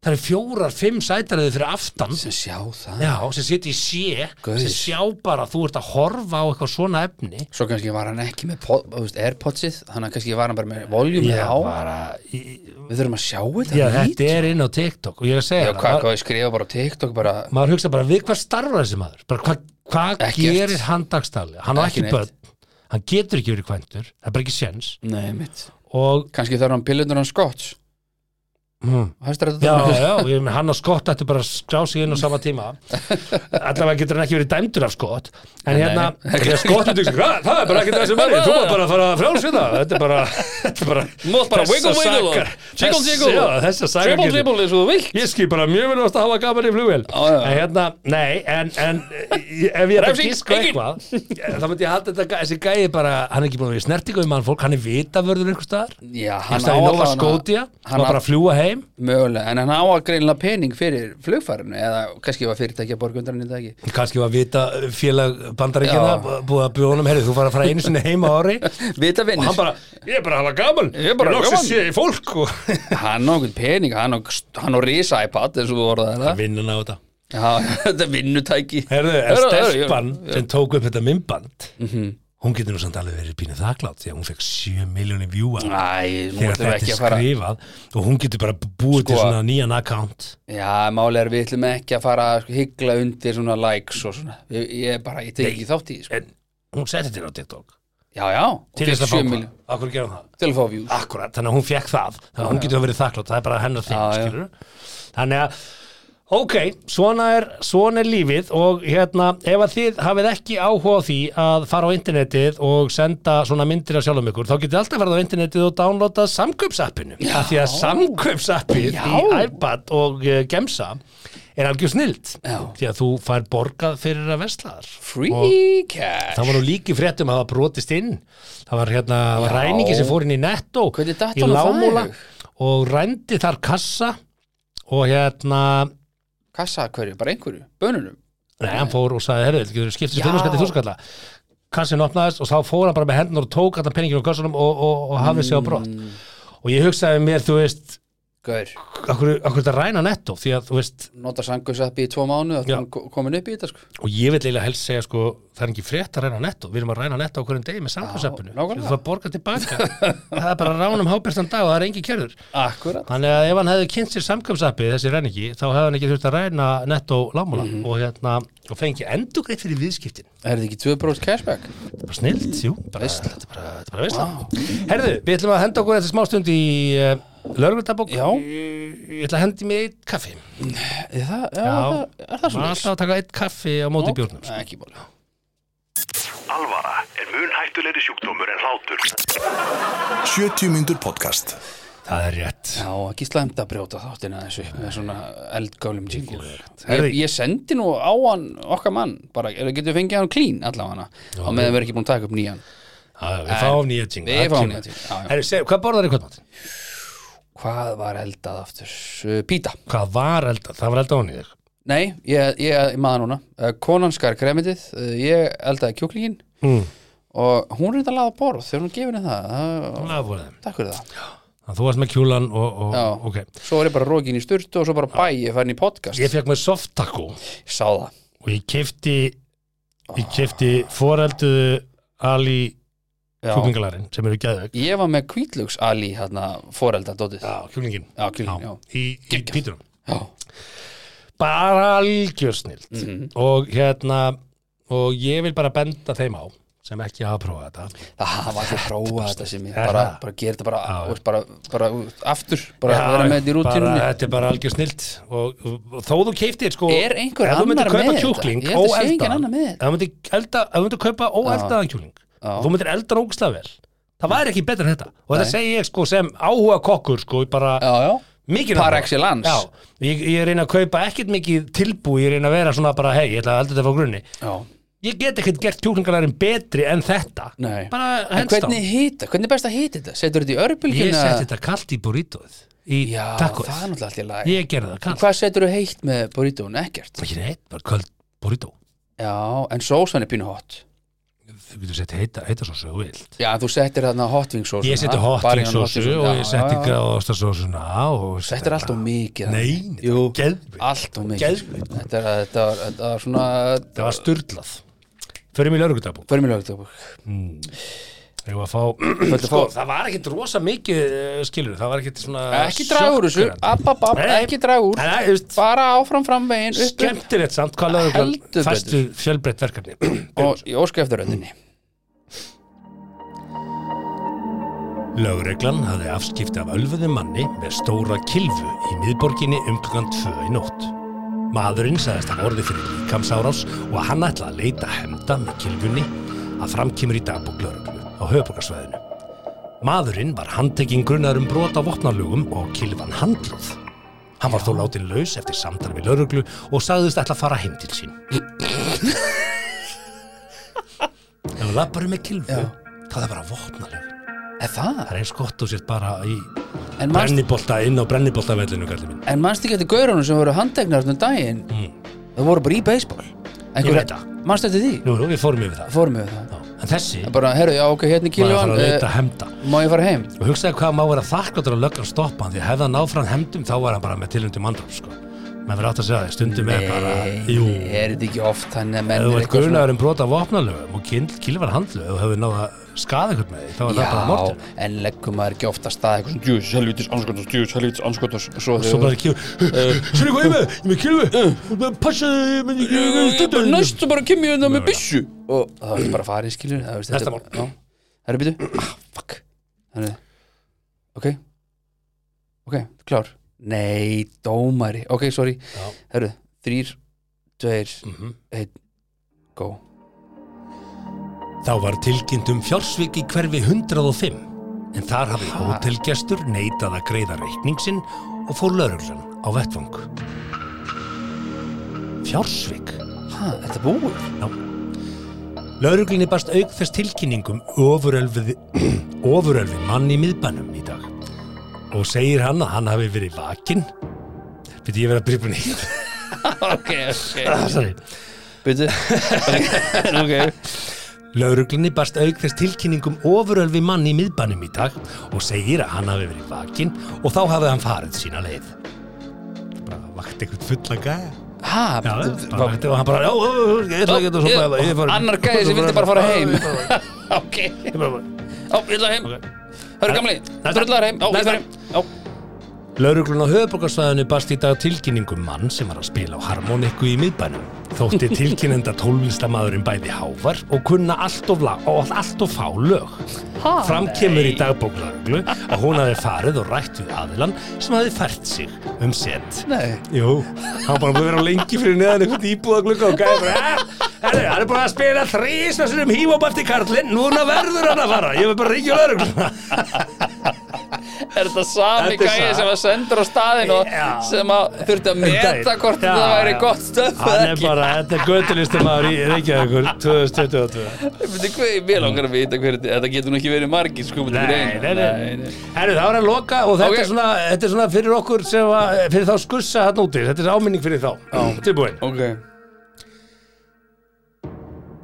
S4: það er fjórar, fimm sætariði fyrir aftan
S3: sem sjá það
S4: já, sem situr í sé
S3: Guð.
S4: sem sjá bara að þú ert að horfa á eitthvað svona efni
S3: svo kannski var hann ekki með pod, þú veist, Airpodsið þannig að kannski var hann bara með voljum
S4: Ég
S3: á
S4: bara, í-
S3: við þurfum að sjá þetta
S4: já,
S3: lít.
S4: þetta er inn á TikTok og ég er að
S3: já,
S4: segja
S3: hvað,
S4: það,
S3: hvað ég skrifa bara á TikTok bara
S4: maður hugsa bara við hvað starfar þessi maður bara hvað hva
S3: Ekkert.
S4: gerir hann dagstæðlega hann á
S3: Ekki
S4: ekki
S3: neitt.
S4: börn, hann getur ekki verið kvæntur það er bara ekki séns
S3: nei, mitt
S4: og
S3: kannski þarf hann pillunar hann skotts
S4: hmm,
S3: hæstur (laughs)
S4: já,
S3: þetta
S4: já, ég meina, hann og skott ættu bara að skrá sig inn á sama tíma allavega getur hann ekki verið dæmdur af skott en hérna, þegar skott er það er bara ekki þessi maður, þú maður bara að fara frjálsvita þetta er bara, þetta er bara
S3: mátt bara
S4: þessar
S3: wiggle, wiggle
S4: sakar-
S3: og- jiggle,
S4: þess-
S3: jiggle.
S4: já, þessar sakar
S3: triple
S4: getur-
S3: triple eins og þú vilt
S4: Ég skil bara mjög vel ást að hafa gaman í flugvél
S3: Já, já.
S4: En hérna, nei, en, en ég- ef ég ætla að
S3: Refsing,
S4: gíska
S3: engin.
S4: eitthvað eh, þá myndi ég halda þetta, gæ- þessi gæi bara hann er ekki búin að vera í snertingu við mann fólk, hann er vitavörður einhver staðar,
S3: já,
S4: hann
S3: hann á
S4: staði í Nova
S3: allavega-
S4: Scotia hann
S3: hann
S4: var bara
S3: á
S4: að fljúa heim
S3: mögulega, en hann á að greinlega pening fyrir flugfærinu eða kannski var fyrirtækja borgundarinn í dag ekki
S4: kannski var vita félag
S3: Já.
S4: bandaríkjana búið að bjóða honum, herri, þú fara að fara einu sinni heim á ári og
S3: Vita vinnir,
S4: hann bara, ég er bara að hafa gaman
S3: Ég er bara að hafa
S4: loksins
S3: gaman."
S4: sé ég fólk og (laughs)
S3: hann á einhvern pening hann á, hann á risa iPad eins og þú orðaði það
S4: vinnun á þetta
S3: Já, (laughs) þetta er vinnutæki
S4: Herðu, en
S3: Herðu, herðu,
S4: stelpan
S3: ég-
S4: sem tók upp þetta mymband
S3: Mhm.
S4: hún getur nú samt alveg verið pínu þakklátt því að hún fekk 7 miljóni vjúa
S3: Ah, Æ, nú
S4: þegar
S3: ætlum við
S4: þetta
S3: ekki
S4: er
S3: að fara
S4: skrifað og hún getur bara búið til
S3: Sko-
S4: svona nýjan account
S3: Já, máli er við ætlum ekki að fara að higgla undir svona likes og svona Ég, ég bara, ég tek ekki þátt í því sko.
S4: en hún setti þetta á TikTok
S3: Já, já, og
S4: til þess að
S3: fékk
S4: fá
S3: 7
S4: hvað,
S3: milljón
S4: akkur gera hún það
S3: til að fá views
S4: akkurat, þannig að hún fekk það þannig að hún getur verið þakklátt, það er bara hennar þing
S3: Já, já.
S4: skilurðu. þannig að ok, svona er, svona er lífið og hérna, ef að þið hafið ekki áhuga á því að fara á internetið og senda svona myndir af sjálfum ykkur þá getið þið alltaf verið á internetið og downloadað samkaupsappinu, af því að samkaupsappið í iPad og uh, Gemsa er algjör snild
S3: Já.
S4: því að þú fær borgað fyrir að vesla þar
S3: Free cash
S4: Það var nú líki fréttum að það brotist inn Það var hérna það var
S3: Já.
S4: ræningi sem fór inn í netto
S3: Hvernig datt
S4: í
S3: honum það
S4: lágmúla
S3: í hug?
S4: og rændi þar kassa og hérna
S3: Kassa hverju, bara einhverju, bönunum
S4: Nei, hann fór og sagði, herrðu, getur skiptist
S3: Já.
S4: fjóðskallið þúskalla Kassin opnaðist og þá fór hann bara með hendur og tók allan penningin á kassunum og, og, og hafði sig á brott
S3: Mm.
S4: og ég hugsaði mér, þú veist
S3: Gaur,
S4: akkur, akkur þetta ræna netto því að, þú veist,
S3: nota sanguðsappi í tvo mánu Það er komin upp í þetta sko
S4: og ég vil eiginlega helst segja sko, það er ekki frétt að ræna netto við erum að ræna netto á hverjum degi með samkvæmsappinu
S3: Já, nákvæmlega.
S4: það borga tilbaka það er bara ránum hábærstan dag og það er engi kerður
S3: Akkurat
S4: þannig að ef hann hefði kynnt sér samkvæmsappið þessi ræningi, þá hefði hann ekki þurft að ræna netto lámúla
S3: Mhm.
S4: og, hérna, og fengi endugreitt fyrir viðskiptin
S3: Er þetta ekki 2% cashback?
S4: bara snilt, jú, bara,
S3: Veisla.
S4: þetta er bara, þetta er bara veistla herðu, við ætlum að henda okkur eftir smástund í uh, lögreglutabók
S3: Já.
S4: ég ætla að hendi mig eitt kaffi
S3: Er það, já,
S4: Já.
S3: Það, er
S4: maður er
S3: það svona?
S4: alltaf að taka eitt kaffi á móti bjórnum sko.
S3: Ekki máli
S5: Alvara er mun hættulegri sjúkdómur en hlátur.
S2: 70 mínútur podcast
S4: það er rétt
S3: Já, ekki slæmt að brjóta þáttina þessu með svona eldgálum jingle ég,
S4: Herði.
S3: ég sendi nú á hann okkar mann, bara, er- getum við fengið hann clean allavega hana, á meðan við erum ekki búin að taka upp nýjan
S4: Já, já, Ah, við fáum nýja jingle
S3: Við
S4: það
S3: fáum
S4: kemur.
S3: nýja jingle, já, já.
S4: Herru, seg, hvað borðar í kvöldmátt?
S3: Hvað var eldað aftur? Uh, Píta
S4: Hvað var eldað? Það var eldað hún í þig
S3: Nei, ég, ég maður núna uh, Konan skar kremitið, uh, ég eldaði kjúklingin
S4: Mm.
S3: og hún reyndi að laða borð þegar hún gefið henni það uh,
S4: Lafbúrið
S3: Takk fyrir það
S4: Þú varst með kjúlan og, og
S3: Já.
S4: ok
S3: Svo er ég bara rókin í sturtu og svo bara bæ, ég fær í podcast
S4: Ég fekk með soft taco og
S3: Ég sá það
S4: ég kefti ég kefti forelduðu Ali
S3: Já.
S4: kjúklingalarinn sem eru geðveg
S3: Ég var með kvítlöks Ali, hérna, forelda dótið
S4: Já, kjúklingin
S3: Já, kjúklingin, já.
S4: Í, í
S3: Geggjað.
S4: pítunum
S3: Já.
S4: Bara algjörsnilt
S3: Mhm.
S4: Og hérna og ég vil bara benda þeim á sem ekki hafa prófað þetta
S3: Það hafa allir prófað þetta sem ég
S4: Er
S3: bara,
S4: það?
S3: bara gera þetta bara,
S4: Já.
S3: þú veist, bara, bara aftur, bara vera með þetta í
S4: bara,
S3: rútínunni
S4: þetta er bara algjör snilt og, og, og þó þú keiftir sko
S3: Er einhver
S4: ef þú myndir
S3: annar
S4: kaupa
S3: með
S4: kjúkling
S3: þetta? Ég held að sé
S4: óeldaðan,
S3: enginn annar með
S4: ef þú myndir, elda, ef þú myndir kaupa óeldaðan kjúkling
S3: Já.
S4: og þú myndir elda nógstlega vel það væri ekki betra en þetta og þetta segi ég sko sem áhuga kokkur sko bara
S3: Já, já,
S4: mikið
S3: Par
S4: áhuga.
S3: excellence.
S4: já, ég, ég reyna að kaupa ekkert mikið tilbú ég reyna að vera svona bara, hei, ég ætla að elda þetta frá grunni
S3: Já,
S4: ég get ekkert gert kjúklingalærin betri en þetta
S3: nei
S4: bara
S3: En
S4: hands
S3: hvernig
S4: down
S3: hýta, hvernig er best að hýta þetta? Setur þetta í örbylgjuna?
S4: ég seti þetta kallt í burrítóð í
S3: Já,
S4: takkóð,
S3: það er náttúrulega allt í lag
S4: ég gerði það kallt
S3: Hvað setur þú heitt með burrítóun? Ekkert
S4: ekki neitt, bara kallt burrító
S3: Já, en sósan er pínu hot
S4: þú getur sett heita, heita svo svo vilt
S3: Já, en þú settir þarna hot wing sósuna
S4: ég seti hot
S3: Bara í
S4: wing
S3: hana
S4: sósu
S3: sósuna,
S4: og
S3: já,
S4: ég seti
S3: já, já.
S4: gráðastasósuna og
S3: Þetta er allt of mikið
S4: Nei,
S3: þarna. Jú,
S4: þetta er geðveikt.
S3: allt of mikið
S4: Geðveikt.
S3: Þetta er- þetta var- þetta var svona
S4: það var styrlað fyrir mig lörgutabú
S3: Förum í lögutabúk
S4: Ég var að fá, sko, það var ekkert rosa mikið eh, skilur, það var ekkert svona
S3: Ekki draga úr þessu
S4: sjokkerandi.
S3: app, app, app,
S4: Nei.
S3: Ekki draga úr
S4: Nei, nei, þú veist,
S3: Bara áfram framvegin upp, upp.
S4: skemmtilegt samt hvað lögur
S3: Heldur betur.
S4: fæstu fjölbreytt verkefni
S3: Og ég óska eftir röndinni
S4: Lögreglan hafði afskipti af ölfuðum manni með stóra kilfu í miðborginni um klukkan tvö í nótt. Maðurinn sagðist að orði fyrir líkamsárás og að hann ætlaði að leita hemda með kilfunni að framkýmur í dagbúk lögreglu á höfbúkarsvæðinu. Maðurinn var handtekinn grunnar um brot á vopnalögum og kilfan handluð. Hann var þó látin laus eftir samtal við lögreglu og sagðist ætla að fara heim til sín. Ef hann lappar um með kilfu, það er bara vopnalögum.
S3: Er það?
S4: Það er eins gott og sért bara í
S3: En manst,
S4: brennibolta, inn á brenniboltavellinu, kallið minn.
S3: en manst ekki eftir gaurunum sem voru handteknar þannig daginn Það voru bara í baseball Einhver,
S4: Mm. veit það.
S3: Manst eftir því?
S4: Nú, nú, við fórum yfir það.
S3: Fórum við það
S4: Já, en þessi var
S3: Bara, herru, já, ok, hérna er
S4: að fara
S3: kílvan
S4: að leita hemda.
S3: Má ég fara heim?
S4: Og hugsaði hvað má vera þakkláttur að löggan stoppa hann, því að hefði hann náð fram hemdum, þá var hann bara með tilhundum andrum, sko. Menn verið átt að segja það, stundum er bara, jú,
S3: er þetta ekki oft þannig að
S4: ef
S3: menn
S4: þú
S3: eru
S4: ert
S3: eitthvað svona-
S4: grunaður um brota vopnalögum og kil- kilvar handlög og hefur náð að skaða einhvern með því, þá er það bara
S3: Já,
S4: mortum.
S3: en leggum maður ekki ofta stað eitthvað svona djús, helvitis, anskotans, djús, helvitis, anskotans Svo
S4: Svo bara kýr,
S3: Eh.
S4: sérðu hvað ég er með, ég er með kilvu, passaðu, ég er með- ég er með
S3: bara
S4: stundum.
S3: Næst og bara kem ég þetta með byssu Og það var bara farin, skilur það, veist,
S4: Næsta
S3: þetta- Já. Herru, býtu Ah, fuck Herru Ok Ok, klár Nei, dómari Ok, sorry
S4: Já. Mhm.
S3: Herru, þrýr, tveir, einn, go
S4: Þá var tilkynnt um fjársvik í hverfi 105 en þar hafði hótelgestur neitað að greiða reikning sinn og fór lauruglan á vettvang. Fjársvik?
S3: Ha, þetta er búið
S4: Lauruglunni barst auk þess tilkynningum (clears throat) ofurölfið, ofurölfið mann í miðbænum í dag og segir hann að hann hafi verið vakinn Fyrir ég verið að byrja búin í
S3: (laughs) Ok,
S4: (laughs)
S3: ok
S4: það. (laughs)
S3: Býtu Ok
S4: Lauruglunni barst auk þess tilkynningum ofurölfi mann í miðbænum í dag og segir að hann hafi verið vakinn og þá hafi hann farið sína leið. Bara vakti eitthvað fullan gæja.
S3: Ha,
S4: Já, bara vakti og hann bara, já, ó, ó, ég ætla ekki að svo bara, ég fara.
S3: Annar gæði sem vildi bara fara heim Ok,
S4: (laughs) Ég bara bara-
S3: já, ég ætla heim Hörru gamli,
S4: Næsta.
S3: drullar heim Já, ég
S4: Næsta.
S3: fara heim Já,
S4: Lauruglun á höfuborgarsvæðinu barst í dag tilkynningum mann sem var að spila á harmoniku í miðbænum. Þótti tilkynnenda tólvinstamæðurinn bæði hávar og kunna allt of, la, og allt of fá lög. Fram kemur í dagbók lauruglu að hún hafi farið og rætt við aðilan sem hafi fært sig um set.
S3: nei
S4: Jú, hann var bara búið að vera lengi fyrir neðan einhvern íbúða glugga og gæði bara "Ah, Herru, hann er búin að spila þrís og sinum híf og bæfti karlinn, núna verður hann að fara, ég vil bara ríkja laurugluna.
S3: Er þetta sami
S4: Þetta er
S3: gæði
S4: sa-
S3: sem var sendur á staðin og
S4: Já.
S3: sem að þurfti að meta hvort
S4: Já,
S3: það væri
S4: já.
S3: gott stöf eða
S4: Hann er
S3: ekki
S4: bara, þetta er göttulistamæður í Reykjavíkur 2022
S3: Ég veit ekki, mér langar að vita hver þetta Þetta getur nú ekki verið margir sko
S4: Nei, nei, nei Herru, það var að loka og þetta,
S3: Ok.
S4: er svona, þetta er svona fyrir okkur sem að, fyrir þá skussa hann úti Þetta er áminning fyrir þá Tilbúin
S3: Ok,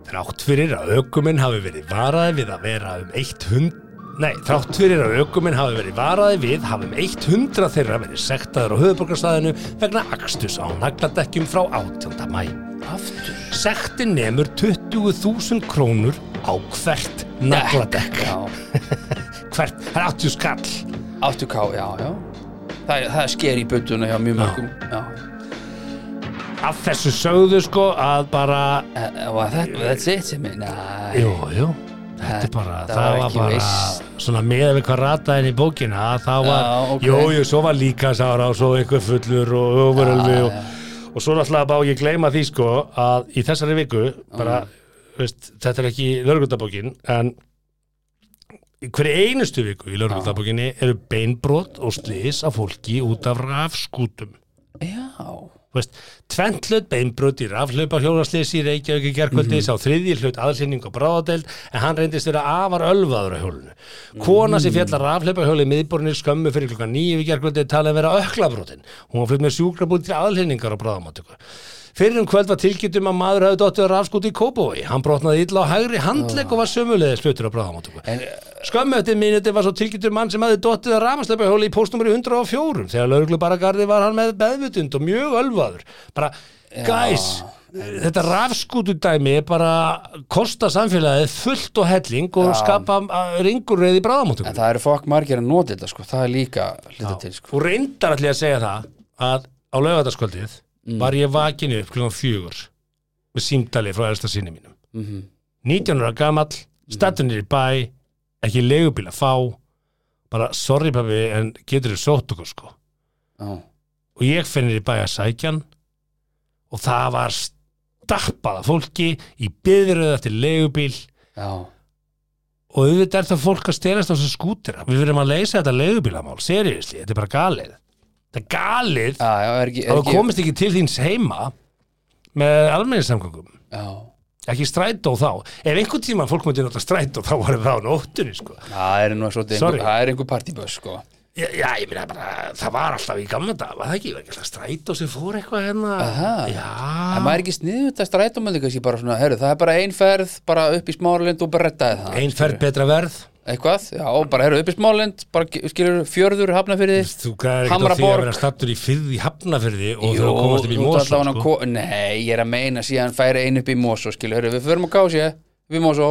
S4: Þrátt fyrir að ökuminn hafi verið varaði við að vera um 100 Nei, þrátt fyrir að ökuminn hafi verið varaði við hafi um 100 þeirra verið sektaður á höfuborgarstaðinu vegna akstus á nagladekkjum frá 18. mæ
S3: aftur
S4: Sektin nemur 20.000 krónur á hvert nagladekk
S3: Já,
S4: Hvert, það er 80 skall
S3: 8K, já, já Það, er- það er sker í butuna hjá mjög mörgum Já,
S4: Af þessu sögðu sko að bara
S3: Eh, og þetta, that's it sem ég, næ
S4: Jú, jú Þetta er bara,
S3: Þetta
S4: það
S3: var
S4: var
S3: ekki
S4: bara
S3: veist.
S4: svona með við hvað rataðin í bókina að það var,
S3: Já, ok.
S4: jú, jú, svo var líka sára og svo eitthvað fullur og öfurölvi og, og svo náttúrulega bá ég gleyma því sko að í þessari viku bara, veist, þetta er ekki lörgundabókin en í hverju einustu viku í lögreglutabokinni eru beinbrot og slis af fólki út af rafskútum
S3: Já,
S4: Þú veist, tvent hlut beinbrot í raflaupa hjólaslis í Reykjavík í gerkvöldi sá þriðji hlut aðsynning og bráðadeld en hann reyndist vera afar ölvaður á hjólinu. Kona sem fjallar raflaupa hjóli miðborunni skömmu fyrir klukkan nýju í gerkvöldi talaði vera öklabrotin. Hún var flutt með sjúkrabúð til aðlýningar á bráðamátöku. Fyrir um kvöld var tilkynnt um að maður hafði dottið á rafskúti í Kópavogi. Hann brotnaði illa á hægri handlegg og var sömulegið sluttur á bráðamáttöku. Skömmu eftir minuti var svo tilkynntur mann sem hafði dottið að ramaslepa í póstnúmeri 104 þegar lauruglu var hann með beðvutund og mjög ölvaður bara, guys, þetta rafskútudæmi bara kosta samfélagið fullt og helling og skapa ringurreið í bráðamóttum
S3: en það eru fokk margir að nota þetta sko, það er líka hluta til sko
S4: og reyndar allir að segja það að á laugataskvöldið
S3: Mm.
S4: var ég vakinu upp klukkan fjögur með símdali frá elsta sinni mínum mm
S3: Mhm.
S4: 19 ára gamall, stattunir í bæ ekki leigubíl að fá bara sorry pabbi en getur þér sótt okkur sko
S3: Já,
S4: og ég finnir í bæ að sækja hann og það var stappað af fólki í byðröð eftir leigubíl
S3: já,
S4: og auðvitað er það fólk að stelast á þessu skútera við verðum að leysa þetta leigubílamál seriðisli, þetta er bara galið þetta er galið
S3: já, já, er ekki,
S4: að þú
S3: er ekki
S4: komist ekki til þíns heima með almenningssamgangum
S3: Já,
S4: ekki strætó þá ef einhvern tíma fólk myndi nota strætó þá var það á nóttunni sko.
S3: það er nú svolítið
S4: Sorry.
S3: einhver, það er einhver partybus sko
S4: já, já, ég meina bara það var alltaf í gamla dag, var það ekki, var ekki alltaf strætó sem fór eitthvað hérna
S3: Aha. En
S4: já,
S3: maður er ekki sniðið þetta strætómöldi kannski bara svona, herru, það er bara einferð, bara upp í smáralind og bara rettaði það.
S4: ein ferð betra verð
S3: Eitthvað, já, og bara herru, upp í smáralind, bara ge- skilur fjörður, hafnafyrði,
S4: þú gæðir ekkert á því að
S3: Hamraborg.
S4: vera stattur í fyrði í hafnafyrði og þú komast upp í mósó
S3: sko.
S4: sko.
S3: ko Nei, ég er að meina síðan færi einu upp í Mosó, skilur, herru, við förum að kási upp í Mosó,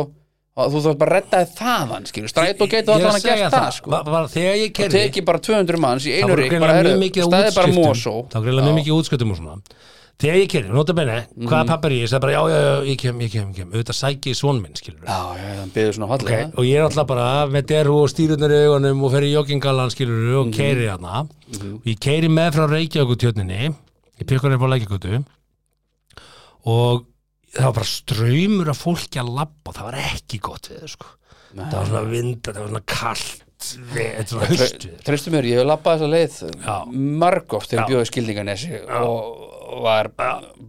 S3: og þú þarf bara að reddaði þaðan, skilur, strætó
S4: Ég- ég
S3: getur
S4: er
S3: alltaf að
S4: segja
S3: gera það, sko
S4: bara- bara þegar ég
S3: og
S4: kerði
S3: teki bara 200 manns í
S4: það
S3: einu
S4: voru
S3: rík,
S4: greinlega mjög
S3: bara herru,
S4: mikið á
S3: stæði bara Mosó
S4: útskiptum það voru greinlega mjög mikið á útskiptum og svona þegar ég kerði, nota benni,
S3: Mhm.
S4: hvaða pappar ég ég sagði bara, já, já, já, ég kem, ég kem, ég kem auðvitað sæki ég svon minn, skilur
S3: Já, já, já, hann byggði svona
S4: okay.
S3: fallega
S4: og ég er alltaf bara með derru og stýrunar í augunum og fer í joggingalan, skilur
S3: Mhm.
S4: og keiri hana og ég keiri með frá Reykjavíkutjörninni ég pikkur upp á Lækjagutu og það var bara ströymur af fólki að labba, það var ekki gott við, þau, sko það var svona vinda, það var svona kallt við, þetta var haustu
S3: Treystu mér, ég hef labbað þessa leið margóft þegar ég bjóði skildingarnesi og var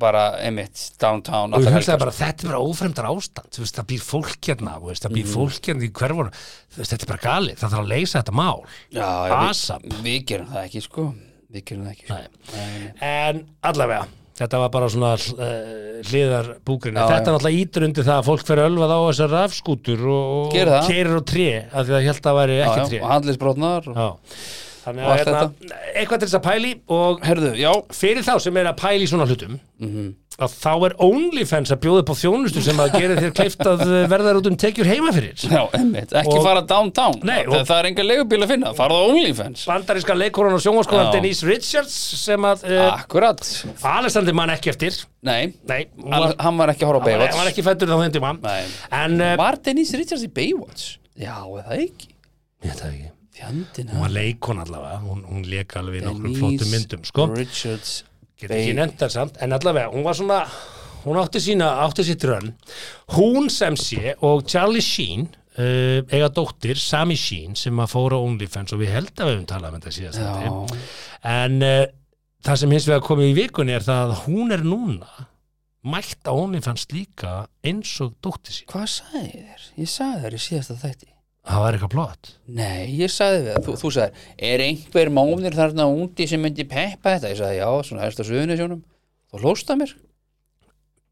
S3: bara emitt downtown
S4: og ég
S3: allar helgar, sko.
S4: hugsaði bara þetta er bara ófremdar ástand þú veist, það býr fólk hérna þú veist, það
S3: Mhm.
S4: býr fólk hérna í hverfunum þú veist, þetta er bara galið, það þarf að leysa þetta mál
S3: Já, já, við-
S4: ASAP.
S3: Við gerum það ekki, sko Við gerum það ekki, sko
S4: Ah. Nei. en allavega, þetta var bara svona uh, hliðar búkurinn
S3: Já,
S4: þetta
S3: já.
S4: er náttúrulega ítur undir það að fólk fer ölvað á þessar rafskútur og,
S3: Gerir
S4: og
S3: það.
S4: keirir á tré af því að ég held að það væri
S3: Já,
S4: ekki
S3: já,
S4: tré
S3: og handlisbrotnar og...
S4: Já. þannig
S3: Og
S4: að
S3: allt
S4: hérna, eitthvað til þess að pæli og
S3: Herðu, já,
S4: fyrir þá sem er að pæla í svona hlutum
S3: Mhm.
S4: að þá er OnlyFans að bjóða upp á þjónustu sem að gera þér kleift að eh, verða út um tekjur heima fyrir
S3: já, emitt, ekki
S4: Og-
S3: fara downtown
S4: Nei,
S3: það,
S4: og-
S3: það er enga legubíl að finna, fara það á OnlyFans
S4: bandaríska leikonan og sjónvarskonan
S3: Já.
S4: Denise Richards sem að uh,
S3: Akkurat,
S4: Alessandi mann ekki eftir
S3: nei
S4: nei, hún
S3: Al,
S4: var,
S3: Hann var ekki að horfa á
S4: hann var- hann var
S3: Baywatch
S4: ekki fættur þá þeim tíma
S3: Nei.
S4: en uh,
S3: Var Denise Richards í Baywatch? Já, eða ekki
S4: ég veit það ekki hún
S3: Fjandina
S4: var leikon allavega, hún, hún leik alveg í nokkrum
S3: Denise
S4: flótum myndum sko
S3: Richards
S4: Get ekki nefnt það samt, en allavega hún var svona, hún átti sína átti sitt rönn, hún sem sé og Charlie Sheen uh, eiga dóttir, Sami Sheen sem að fóra OnlyFans og við held að við höfum talað um þetta síðast
S3: Já.
S4: en uh, það sem hins vegar komið í vikunni er það að hún er núna mætt á OnlyFans líka eins og dóttir sín
S3: Hvað sagði ég þér? Ég sagði þér í síðasta þætti
S4: það var eitthvað blott
S3: Nei, ég sagði við það, þú, þú sagði Er einhver mónir þarna úti sem myndi peppa þetta? Ég sagði já, svona helst á suðunni sjónum Þú hlósta mér?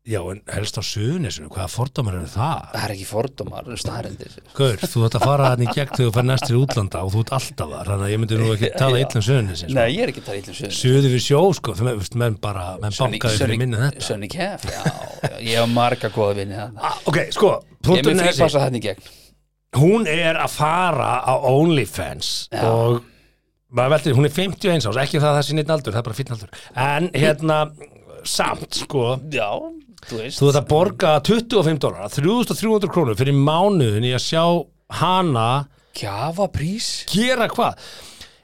S4: já en helst á suðunisinu, hvaða fordómar eru það?
S3: Það er ekki fordómar, staðarendir
S4: Gaur, þú ætti að fara þannig gegn þegar þú fær næst til útlanda og þú ert alltaf þar, þannig að ég myndi nú ekki tala illa um suðunisinu
S3: Nei, ég er ekki að tala ítlum suðunni
S4: suðu við sjó sko, þú veist, menn bara menn bankaði fyrir minni en þetta
S3: Sönni Kef, já, já, ég hef marga góða vinni hann
S4: (laughs) ah, ok, sko,
S3: Ég
S4: punkturinn
S3: mun
S4: er
S3: fyrir
S4: þessi
S3: passa þarna í gegn
S4: hún er að fara á OnlyFans og maður veldur, hún er 51 árs, ekki það að það sé neitt aldur það er bara fínn aldur, en hérna samt, sko,
S3: Já, þú veist
S4: þú ert að borga 25 dólar, 3300 krónur fyrir mánuðin í að sjá hana
S3: Gjafa prís?
S4: gera hvað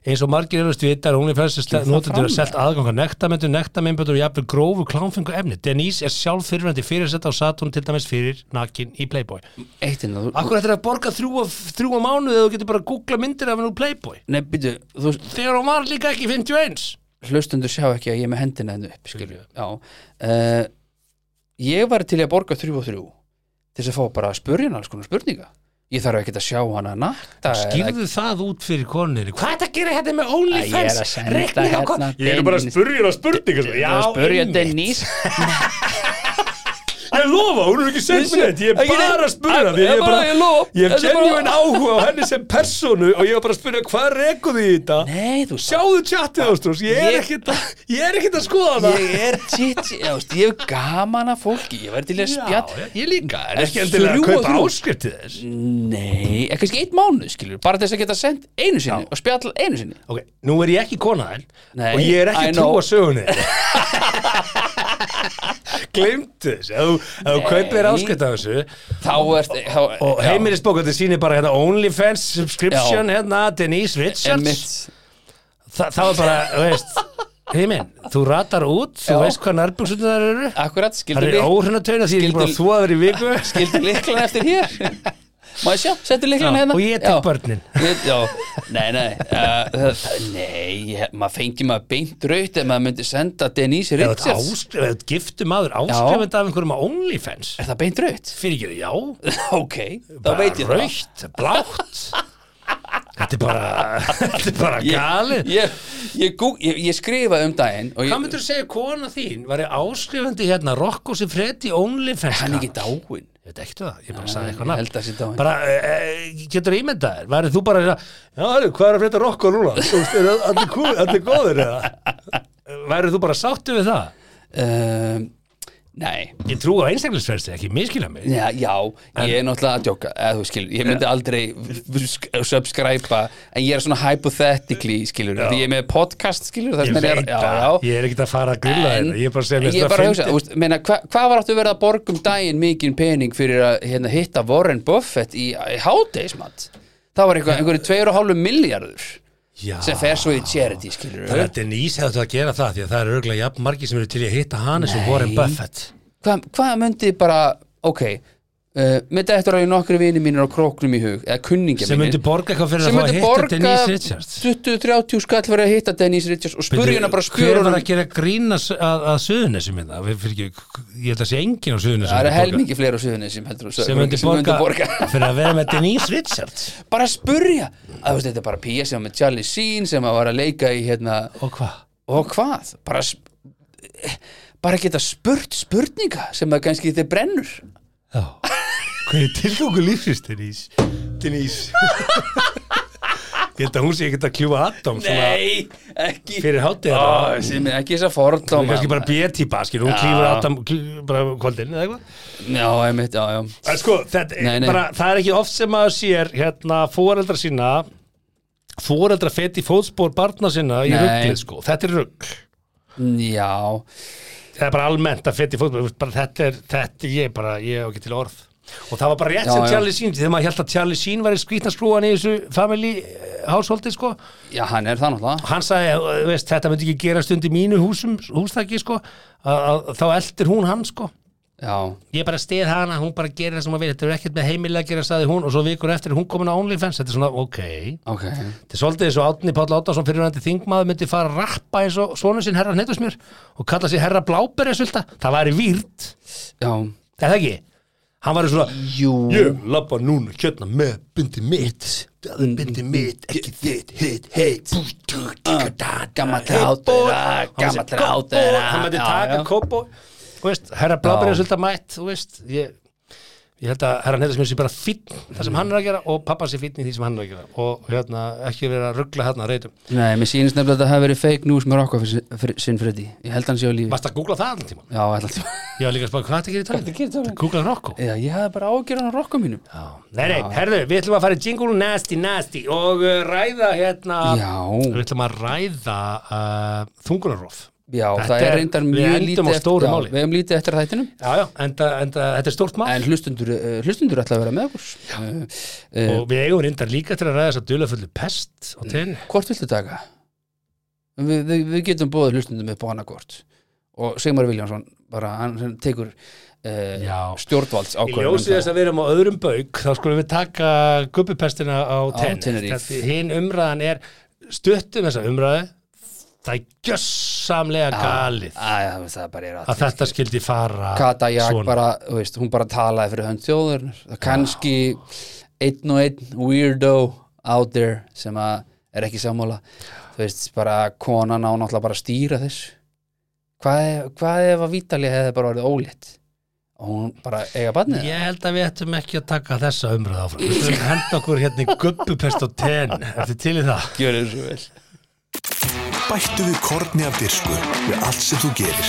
S4: eins og margir eru stvitar og OnlyFans er notendur að
S3: fram,
S4: selta aðganga nektamöndu, nektamemböndu og jafnvel grófu klámfengu efni. Denise er sjálf fyrirvændi fyrirsetta og satt hún til dæmis fyrir nakin í Playboy.
S3: Eittinn, hérna, þú...
S4: Akkur þetta er að borga þrjú á, þrjú á mánuð eða þú getur bara að googla myndir af hennu Playboy.
S3: Nei, byrju, þú
S4: Þegar hún var líka ekki 51.
S3: hlustundur sjá ekki að ég er með hendina hennu upp, skilju. Já. Uh, ég var til í að borga þrjú og þrjú til þess að fá bara að spurja hann alls konar spurninga. Ég þarf ekki að sjá hana nakta. eða-
S4: Skýrðu það út fyrir konunni. Hvað er þetta að gera hérna með OnlyFans?
S3: Ég er að senda
S4: Reikning á kon-
S3: hérna
S4: Ég er bara að
S3: Dennis.
S4: spurja hérna spurninga. sko.
S3: Ég
S4: Já,
S3: var að spurja
S4: einmitt.
S3: Dennis
S4: Ég lofa, hún er ekki sent mér neitt, ég er
S3: Ekki neitt.
S4: bara að spyrja því ég er
S3: Ég bara- ég
S4: bara,
S3: lofa.
S4: ég er
S3: Þetta er bara-
S4: genuinn áhuga á henni sem personu og ég er bara að spyrja hvað reyku því í þetta
S3: Nei, þú
S4: Sjáðu tjattið ástrós, ég er
S3: Ég-
S4: ekkit að, ég er ekkit að skoða það
S3: Ég er titt, ég, veist, ég hef gaman að fólki Ég væri til í að spjall
S4: ég líka, er ekki
S3: En
S4: endilega að
S3: þrjú og
S4: kaupa
S3: þrjú.
S4: áskrifti þess
S3: Nei, eða kannski eitt mánuð, skilur Bara til þess að geta sendt einu sinni og spjall einu sinni
S4: Ok, nú er ég ekki kona þenn
S3: Nei,
S4: og ég er ekki
S3: I
S4: trú
S3: know.
S4: að sögunni (laughs) Gleimtu þess, ef þú- ef þú kaupir
S3: Nei.
S4: áskrifti af þessu
S3: Þá ert þá,
S4: og
S3: já,
S4: heimilisbókandi sýnir bara hérna OnlyFans subscription
S3: Já.
S4: hérna Denise Richards
S3: einmitt.
S4: Þa, þá er bara, þú veist Heimin, þú ratar út, þú
S3: Já.
S4: veist hvað nærbjörnsunar það eru
S3: Akkurat,
S4: Það
S3: skildur
S4: eru óhrunatöyna því ég er ekki
S3: Skildi-
S4: bara að þúa þér í
S3: (laughs)
S4: viku
S3: Skildur líklan eftir hér Má ég sjá, settur líklan
S4: Já,
S3: hérna
S4: og ég tek
S3: Já.
S4: börnin.
S3: Ég- Já, nei, nei uh, Nei, ég- maður fengi maður beint raut ef maður myndi senda Denise
S4: Eða þú ert
S3: Richards
S4: áskrif- eða þú ert giftu maður áskrifend af einhverjum á OnlyFans
S3: Er það beint raut?
S4: Fyrir ekki, já,
S3: (laughs) ok, þá
S4: bara
S3: veit ég það
S4: raukt, blátt Þetta er bara,
S3: (laughs)
S4: þetta er bara
S3: Ég-
S4: galið
S3: ég, ég, gú- ég, ég skrifaði um daginn og ég,
S4: Hvað myndur þú segja kona þín? Var ég áskrifandi hérna Rokko sem fredi OnlyFans?
S3: hann er ekki dáin
S4: Ég veit ekkert það, ég bara sagði
S3: Nei,
S4: eitthvað
S3: ég
S4: nafn
S3: held að sé dáinn.
S4: Bara, e, e, getur ímyndað þér, værið þú bara að segja, Já, heyrðu, hvað er að frétta rokka núna? Þú veist, er allir, kú, allir góðir eða? Værið þú bara sáttu við það?
S3: um, nei,
S4: Ég trú á einstaklisferðstig, ekki miskila mig
S3: já, já ég er náttúrulega að djóka eða, þú skilur, ég myndi aldrei (laughs) sk- subscriba, en ég er svona hypothetically, skilur, því ég er með podcast
S4: Ég
S3: skilur, þess vegna er
S4: veit það, ég er ekkit að fara að grilla
S3: En
S4: þetta Ég er bara að segja mér
S3: ég er
S4: þetta
S3: bara að
S4: fyndi-
S3: hugsa, þú veist, meina, hva, hvað var áttu verið að borga um daginn mikinn pening fyrir að hérna, hitta Warren Buffett í, í hádeismat? Það var eitthvað, einhverju 2,5 miljardur
S4: Já.
S3: sem fer svo í charity, skilur
S4: Það er að Denise hefði átt að gera það Því að það er örgulega jafn margir sem eru til í að hitta hann eins og Warren Buffett
S3: hvað hva myndi bara, ok uh, myndi eftir að ég nokkri vini mínir á króknum í hug, eða kunningja
S4: Sem myndi
S3: mínir
S4: borga eitthvað fyrir að
S3: sem
S4: fá að
S3: myndi
S4: hitta
S3: borga
S4: Denise Richards
S3: 20-30 skall fyrir að hitta Denise Richards og
S4: Bíddu,
S3: spurjuna bara
S4: Hver var
S3: skjörunum
S4: að gera grín að, að, að suðunesum minna? Fyrir, ekki, ég held að sé engin á suðunesum
S3: það er helmingi fleiri á suðunni sem heldur
S4: sem myndi borga, (laughs) fyrir að vera með Denise Richards
S3: bara spurja að veist, þetta er bara píja sem var með Charlie Sheen sem að var að leika í hérna
S4: og hvað?
S3: og hvað, bara sp- bara geta spurt spurninga sem það kannski þið brennur
S4: Já. Hvað er tilgangu lífsins Denise? (laughs) Denise Ég held að hún sé ekkert að kljúfa Adam svona
S3: nei, ekki
S4: fyrir hátíðar
S3: Ó, sem er ekki þess að
S4: Hún er
S3: fordóma
S4: kannski bara B-típa, skilur, hún
S3: Já.
S4: klífur Adam klífur bara kvöldin eða eitthvað
S3: já, einmitt, já, já
S4: En sko, þetta,
S3: Nei, nei.
S4: Bara, það er ekki oft sem maður sér hérna fóreldra sína fóreldra fett í fótspór barna sína í
S3: Nei.
S4: rugglið, sko, þetta er rugg
S3: Já,
S4: það er bara almennt að fett í fótspór bara, þetta er, þetta er ég bara, ég hef ekki til orð og það var bara rétt
S3: Já,
S4: sem
S3: já.
S4: Charlie Sheen þegar maður held að Charlie Sheen var í skrýtnarskrúan í þessu family eh, householdi, sko
S3: já, hann er það náttúrulega
S4: hann sagði, eh, veist, þetta myndi ekki gera stund í mínu húsum, hústaki, sko að, að, þá eldir hún hann, sko
S3: Já,
S4: ég bara stið hana, hún bara gerir það sem hún vil þetta er ekkert með heimilega að gera, sagði hún og svo vikur eftir er hún komin á OnlyFans, þetta er svona ok þetta
S3: ok
S4: er svolítið eins og Átni Páll Átnason fyrirvændi þingmaður myndi fara að rappa eins og sonu sinn herra hnetusmjör og kalla sér herra bláberjasulta, það væri výrt
S3: Já,
S4: eða ekki, hann væri svona
S3: jú
S4: ég labba núna kjötna með bindi mitt það er bindi mitt, ekki þitt hitt, hitt, bútt
S3: Gammal rátera, gammal rátera
S4: hann myndi taka kópó Þú veist, herra Bláberið er svolítið mætt þú veist, ég, ég held að herra Neyðarsmjörn sé bara fýtt það sem hann er að gera og pappa sé fýtt í því sem hann er að gera og hérna, ekki vera að ruggla hérna að reytum
S3: Nei, mér sýnist nefnilega að þetta hafi verið fake news með okkur fyrir sinn Freddy Ég held hann sé á lífi
S4: Varst að googla það allan tíma?
S3: Já, alltaf
S4: Ég var líka að spá, hvað þetta gerir í
S3: Hvað ertu að gera í
S4: tölunum?
S3: tölvunni?
S4: Googla Rokko?
S3: Já, ég hafði bara ágjörðan á rockum mínum
S4: Já. Nei, nei, herðu, við ætlum að fara í jingle nasty nasty og uh, ræða hérna
S3: Já,
S4: Við ætlum að ræða uh, þungunarof
S3: Já,
S4: Þetta
S3: það er
S4: er-
S3: reyndar
S4: við
S3: mjög
S4: endum
S3: lítið
S4: á
S3: eftir-
S4: stóru
S3: já,
S4: máli. Ah.
S3: Við hefum lítið eftir þættinum
S4: Já, já, en, en þetta er stórt mál
S3: En hlustundur, uh, hlustundur ætla að vera með okkur uh,
S4: og við eigum reyndar líka til að ræða þess að dula fullu pest og til
S3: Hvort viltu taka? Við, við, við getum bóðið hlustundum upp á hana hvort Og Sigmar Viljánsson bara, hann hann tekur um uh,
S4: Já,
S3: stjórnvalds
S4: í
S3: ákvörðum
S4: ljósið þess að við erum á öðrum bauk þá skulum við taka guppupestina á
S3: Á Tenerife.
S4: tenn hinn umræðan er stuttum þessa umræðu það er gjössamlega galið
S3: Æ, það bara er
S4: að þetta skildi fara
S3: Kata Jakk
S4: svona.
S3: bara, þú veist, hún bara talaði fyrir hönd þjóðurnar það er kannski einn og einn weirdo out there sem að er ekki sammála þú veist, bara konan á náttúrulega bara að stýra þessu hvað, ef- hvað ef að Vítali hefði bara orðið ólétt og hún bara eiga barnið
S4: Ég held að við ættum ekki að taka þessa umræð áfram Við skulum henda okkur hérna í guppupest og tenn Eftir til í það
S3: gjör þessu vel
S2: Bættu við korni af dirsku við allt sem þú gerir.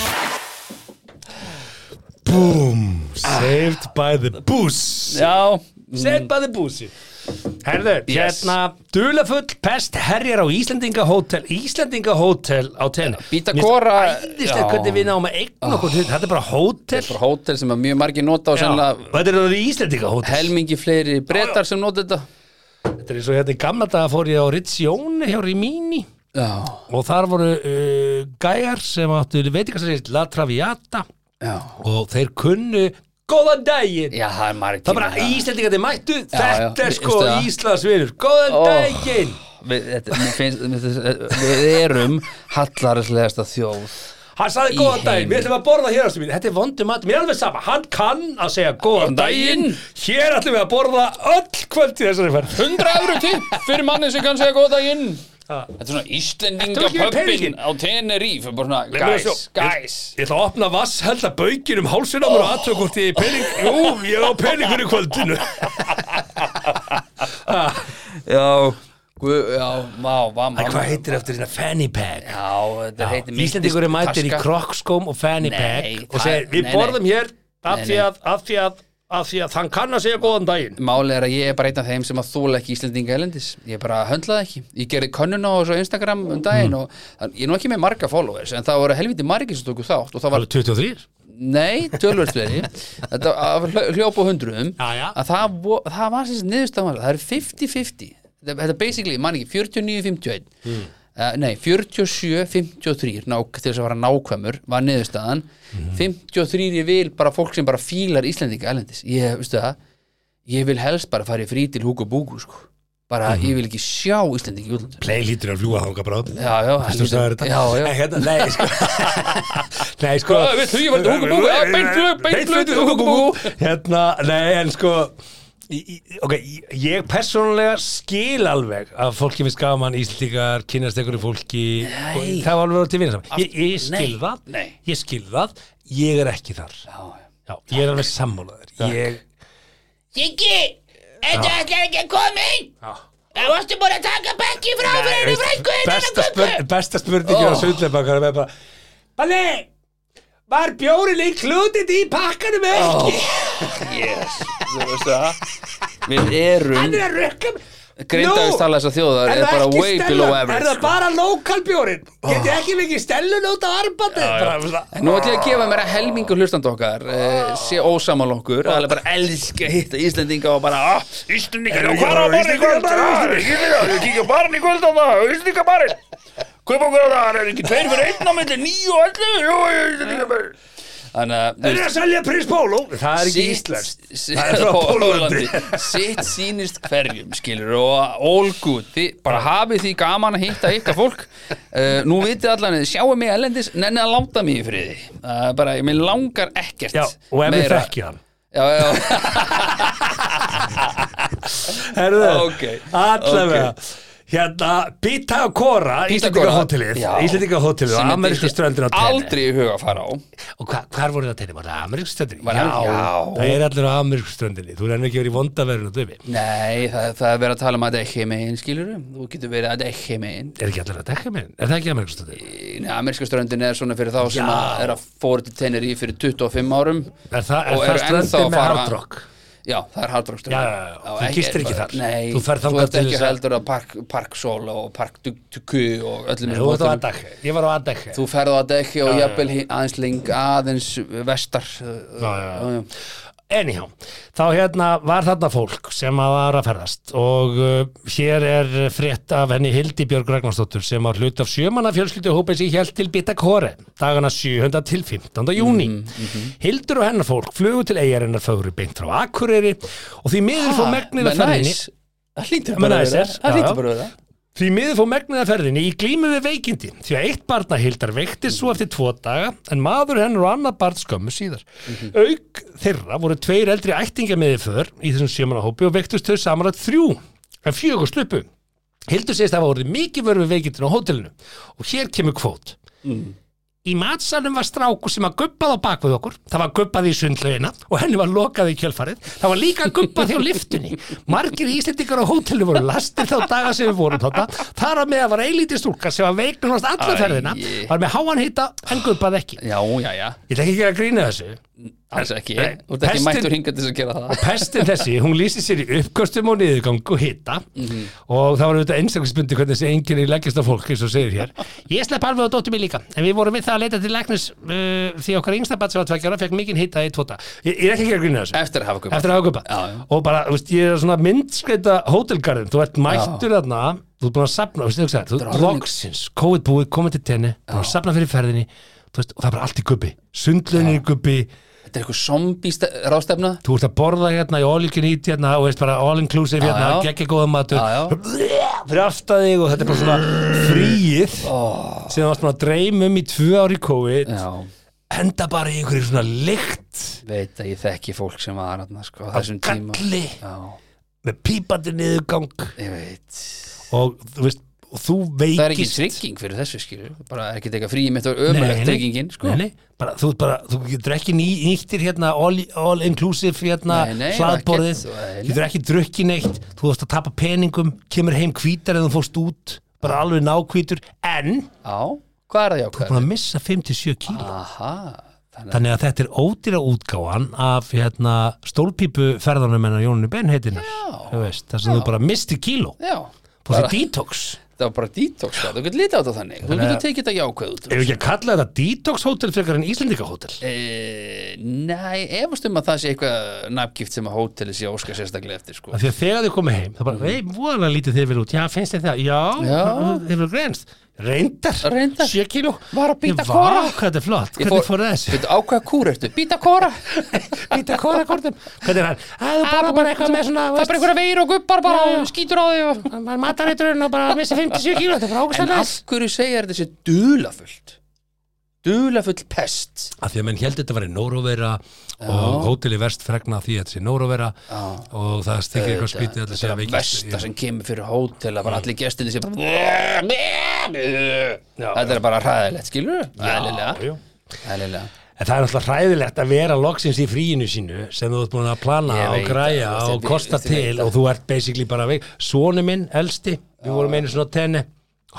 S4: Saved by the booze
S3: Já,
S4: Saved by the booze Herðu,
S3: Yes.
S4: hérna Dulafull pest herjar á Íslendinga hótel Íslendinga hótel á tenn
S3: Bíta Kora- Já. Ah.
S4: Æðislega hvernig við náum að eigna okkur til Þetta er bara hótel
S3: bara hótel sem að mjög margir nota og
S4: Já,
S3: sennilega
S4: og Þetta er orðið Íslendinga hótel
S3: helmingi fleiri brettar sem nota þetta
S4: Þetta er eins og hérna í gamla daga fór ég á Rizzjóni hjá Rimini
S3: Já,
S4: og þar voru uh, gæjar sem áttu veitingastarins La Traviata
S3: já,
S4: og þeir kunnu góðan daginn
S3: já, það er margir hérna.
S4: það er bara Íslandingandi mættu þetta
S3: já,
S4: er
S3: veistu
S4: sko
S3: það?
S4: Íslandsvinur góðan
S3: Ó.
S4: daginn
S3: Við, þetta, mér finnst, mér finnst, við erum hallarislegasta þjóð
S4: hann sagði
S3: Í
S4: góðan daginn,
S3: heimi.
S4: við ætlum að borða hér ástu mín þetta er vondu mat, mér er alveg sama hann kann að segja góðan
S3: Góðan daginn.
S4: daginn hér ætlum við að borða öll kvöld í þessari færð
S3: 100 euro tipp fyrir manni sem kann segja góða inn
S4: Ha.
S3: Þetta er svona
S4: Ertu ekki með
S3: Íslendingapöppin
S4: peninginn?
S3: á Tenerife bara svona,
S4: Leyfðu mér að
S3: guys,
S4: sjá.
S3: guys
S4: (laughs) Ég ætla að opna vass, hella baukir um hálsinn á mér og aðtöku hvort ég er pening Jú, ég á peningur í (laughs) kvöldinu
S3: Já, guð, já, má, má, má
S4: Æ, Hvað heitir eftir þetta fanny pack?
S3: Já, þetta heitir myndist
S4: Íslandingur er mættir í
S3: taska.
S4: krokkskóm og fanny
S3: Nei,
S4: pack og
S3: það-
S4: segir við
S3: nei, nei.
S4: borðum hér af
S3: Nei,
S4: því
S3: nei.
S4: að, af því að, af því að hann kann að segja góðan daginn
S3: Málið er að ég er bara einn af þeim sem að þóla ekki Íslendinga elendis Ég bara höndlaði ekki Ég gerði könnun á þessu á Instagram um daginn og þann- ég er nú ekki með marga followers en það voru helviti margir sem tóku þátt og það var,
S4: 23
S3: nei, tölvöld fleiri Þetta var hljópa hundruðum
S4: Já, já.
S3: að það, vo, það var sem niðurstafan það er 50-50 Þetta- þetta er basically, man ekki, 49-51
S4: Hmm.
S3: uh, nei, 47-53 nák, til þess að vera nákvæmur var niðurstaðan
S4: Hmm.
S3: 53 ég vil bara fólk sem bara fílar Íslendinga elendis ég, veistu það, ég vil helst bara fara í frí til Hugo Búgu sko. bara,
S4: Hmm.
S3: ég vil ekki sjá Íslendinga í útlandu
S4: Play lítur að fljúa þanga bráð
S3: já, já,
S4: Þú sagðir þetta?
S3: já, já,
S4: (laughs) Nei, hérna, nei, sko
S3: (laughs)
S4: Nei, sko
S3: Hvað, við því, ég var til Hugo Búgu, ja, beint flug, beint flug til Hugo Búgu.
S4: Hérna, nei, en sko í- í- Ok, í- ég persónulega skil alveg að fólki finnst gaman Íslendingar, kynast einhverju fólki og Það var alveg til vinna saman ég, ég skil
S3: Nei,
S4: það,
S3: nei.
S4: ég skil það Ég er ekki þar
S3: já, já.
S4: Já, ég er alveg sammálaður Ég
S6: Siggi, þetta er ekki ekki komin
S4: Já.
S6: Það varstu búin að taka bekki frá fyrir henni frængu henni
S4: besta, spurning, besta spurningin oh. á
S3: hérna, Ó.
S4: sundleifakar er bara Balli, var bjórin inkludið í pakkanum eða ekki?
S3: yes, þú veist það við erum
S4: er að rökka mig
S3: grindaðist tala þess að þjóðar er bara way below average sko.
S4: bara lokal bjórin Get ég ekki mikið stellun út á arbandi
S3: En Nú ætlum ég að gefa mér að helmingu hlustand okkar eh,
S4: Ah.
S3: sé ósamal okkur Það er bara elska að hitta Íslendinga og bara ah, Íslendingar, já, hvað er á barinn í kvöld? Ah, Íslendingar, kíkja á barinn í kvöld á það Íslendinga barinn Kaup okkur á það, það er ekki tveir fyrir einn á milli Níu og allir, jú, Íslendinga barinn Þannig að þú
S4: Það Ah. er að selja prins Pólo Það er ekki Íslands
S3: sitt- sitt-
S4: Það er frá
S3: (laughs)
S4: Póllandi.
S3: Sitt sýnist hverjum, skilur og all good, þið, bara hafið því gaman að hitta hitta fólk uh, nú vitið allan, að þið sjáu mig ellendis nenni að láta mig í friði uh, bara, ég minn langar ekkert
S4: Já, og ef við
S3: meira-
S4: þekkjum hann
S3: Já, já,
S4: (laughs) Herðu,
S3: Ok,
S4: allavega Hérna, Pita og Kora Íslandika
S3: Kora,
S4: hótelið
S3: já.
S4: Íslandika hótelið
S3: sem
S4: og
S3: myndi
S4: amerísku
S3: ég
S4: ströndin á tenni
S3: Aldrei í huga að fara á
S4: Og hva, hvar voru það tenni? Var það amerísku ströndin?
S3: Var það- já.
S4: Það er allir á amerísku ströndinni Þú er ekki verið í vondaverðinu dömi
S3: Nei, það, það er verið að tala um að þetta er ekki megin, skilur Þú getur verið að þetta er ekki megin
S4: Er ekki allir að dekka minn? Er það ekki amerísku ströndin?
S3: Nei, Ameríska ströndin er svona fyrir þá sem
S4: Já.
S3: að er að fóra til Tenerife fyrir 25 árum
S4: Er það, er það
S3: Og eru ennþá að
S4: ströndin með
S3: fara-
S4: hardrock?
S3: Já, það er hardrockstur
S4: Já, já, já, þú gistir ekki þar.
S3: Nei,
S4: Þú ferð þangað
S3: ert
S4: til
S3: ekki
S4: þess að-
S3: heldur að park, park Sol og Park Tuku og
S4: Þú
S3: öllum
S4: ert á
S3: hótelum.
S4: aðdak, ég var á aðdak
S3: Þú ferð á að dekki og jafnvel hi- aðeins ling aðeins vestar Já, já, já.
S4: Anyhow, þá hérna var þarna fólk sem að var að ferðast og uh, hér er frétt af henni Hildi Björg Ragnarsdóttur sem var hlut af sjömanna fjölskylduhópið sem hjælt til Bitakore dagana 7. til 15. júni. Hildur og hennar fólk flugu til eigarinnar fögru beint frá Akureyri og því miður fór megnið að ferðinni
S3: Ah, næs Það hlýtur
S4: Men
S3: bara að
S4: næs
S3: vera
S4: er,
S3: Það
S4: já,
S3: hlýtur
S4: já.
S3: bara að vera
S4: Því miður fór megnið að ferðinni í glímu við veikindi því að eitt barna hildar veiktist svo eftir tvo daga en maður hennar og annað barn skömmu síðar. Auk þeirra voru tveir eldri ættinga meði för í þessum sjömanahópi og veiktust þau samanlagt þrjú en fjögur sluppu. Hildur segist að hafa orðið mikið vörð við veikindin á hótelinu og hér kemur kvót. Í matsalum var strákur sem að guppað á bak við okkur, það var guppað í sundlaugina og henni var lokað í kjölfarið, það var líka guppað hjá liftunni. Margir íslendingar á hótelinu voru lastir þá daga sem við vorum þarna, þar á meða var eilítið stúlka sem var veiknunast alla
S3: Æi.
S4: ferðina, var með háan hita en guppað ekki.
S3: Já, já, já,
S4: Ég ætla ekki að gera grína þessu.
S3: alls ekki
S4: Nei,
S3: Þú ert ekki
S4: pestin-
S3: mættur hingað til þess að gera það
S4: Pestin þessi, hún lýsir sér í uppkostum og niðurgang og hita og það var auðvitað einstaklisbundi hvernig þessi enginni leggjast á fólk eins og segir hér. Ég slepp alveg á dóttum mig líka, en við vorum við það að leita til læknis uh, því okkar yngsta bat sem var tveggjára fekk mikinn hita í tóta. Ég, ég er ekki að gera grína þessu.
S3: Eftir að hafa komið
S4: Eftir að hafa guppað.
S3: Já, já.
S4: Og bara, þú veist, ég er svona myndskreita hótelgarðin, þú ert mættur þarna, þú ert búin að sapna, þú veist, þú veist, þú
S3: Þetta er
S4: veist,
S3: orðin-
S4: loksins, COVID búið, komið til tenni, búin að sapna fyrir ferðinni, þú veist, og það er bara allt í gubbi, sundlunni í gubbi,
S3: Þetta er eitthvað zombi rástefna
S4: þú ert að borða hérna í all you can eat hérna og veist bara all inclusive hérna,
S3: já.
S4: geggja góða matur
S3: Já, já.
S4: fyrir aftan þig og þetta er bara svona fríið sem það varst búin að dreyma um í tvö ári COVID
S3: Já,
S4: enda bara í einhverju svona lykt
S3: veit að ég þekki fólk sem var aðna sko, á
S4: af
S3: þessum tíma
S4: galli
S3: Já,
S4: með pípandi niðurgang
S3: ég veit
S4: og þú veist og þú veikist
S3: Það er ekki trygging fyrir þessu skilur bara er ekki teka frí mitt og ömulegt tryggingin sko.
S4: nei, nei, bara, þú, ert bara, þú getur ekki ný, nýttir hérna all, all inclusive hérna
S3: Nei, nei,
S4: hlaðborðið,
S3: ekkert, nei, nei.
S4: getur ekki drukki neitt, þú þarfst að tapa peningum kemur heim hvítar en þú fórst út bara alveg nákvítur, en
S3: Já, hvað er það jákvæður?
S4: búin að missa 5-7 kíl
S3: Aha, þannig
S4: þannig að þetta er ódýra útgáfan af hérna, stólpípu ferðanum hennar Jónu Benheitinar þar sem þú bara misti kíló
S3: að Já,
S4: fórst
S3: bara-
S4: í detox
S3: það var bara detox sko. þú getur litið á þetta þannig, þú getur tekið þetta jákvæð út
S4: ef við ekki að kalla þetta detox hótel frekar en Íslendinga hótel
S3: e, Nei, efast um að það sé eitthvað nafngift sem að hóteli sé að óska sérstaklega eftir sko.
S4: Af því að þegar þau komið heim, þá bara, ei, voðalega lítið þeir verið út, já, finnst þið það, Mhm. já,
S3: Já.
S4: þeir verið grænst, reyndar,
S3: Reyndar.
S4: sjö kíló,
S3: Var að bíta
S4: Ég,
S3: kora.
S4: vá, hvað þetta er flott, hvernig fór þessu,
S3: Veitu, á hvaða kúr ertu? Býta
S4: (laughs)
S3: kóra
S4: býta kora kortum, hvernig er hann, að þú borða bara eitthvað með svona,
S3: Það er bara einhverja veir og gubbar bara
S4: Já, já.
S3: og skýtur á því og...
S4: einhverja, matareiturinn og bara missa 57 kíló, þetta er bara
S3: En
S4: ógæslega
S3: af
S4: næst.
S3: hverju segja þetta sé dulafullt? Dulafullt pest
S4: Af því að menn held þetta var í Nórovera og hóteli verst fregna því að þetta sé Nórovera og það stekir eitthvað skrítið að þetta sé að veikast.
S3: Vesta sem kemur fyrir hótel að bara allir gestinni sé Þetta er bara hræðilegt, skilur Æðlilega
S4: jú.
S3: Æðlilega
S4: En það er alltaf hræðilegt að vera loksins í fríinu sínu sem þú ert búin að plana
S3: Ég
S4: og
S3: veit
S4: græja
S3: það, þú veist,
S4: og
S3: ég-
S4: kosta
S3: ég veit
S4: til
S3: það.
S4: og þú ert basically bara veik. Sónu minn, elsti, við vorum einu svona á tenni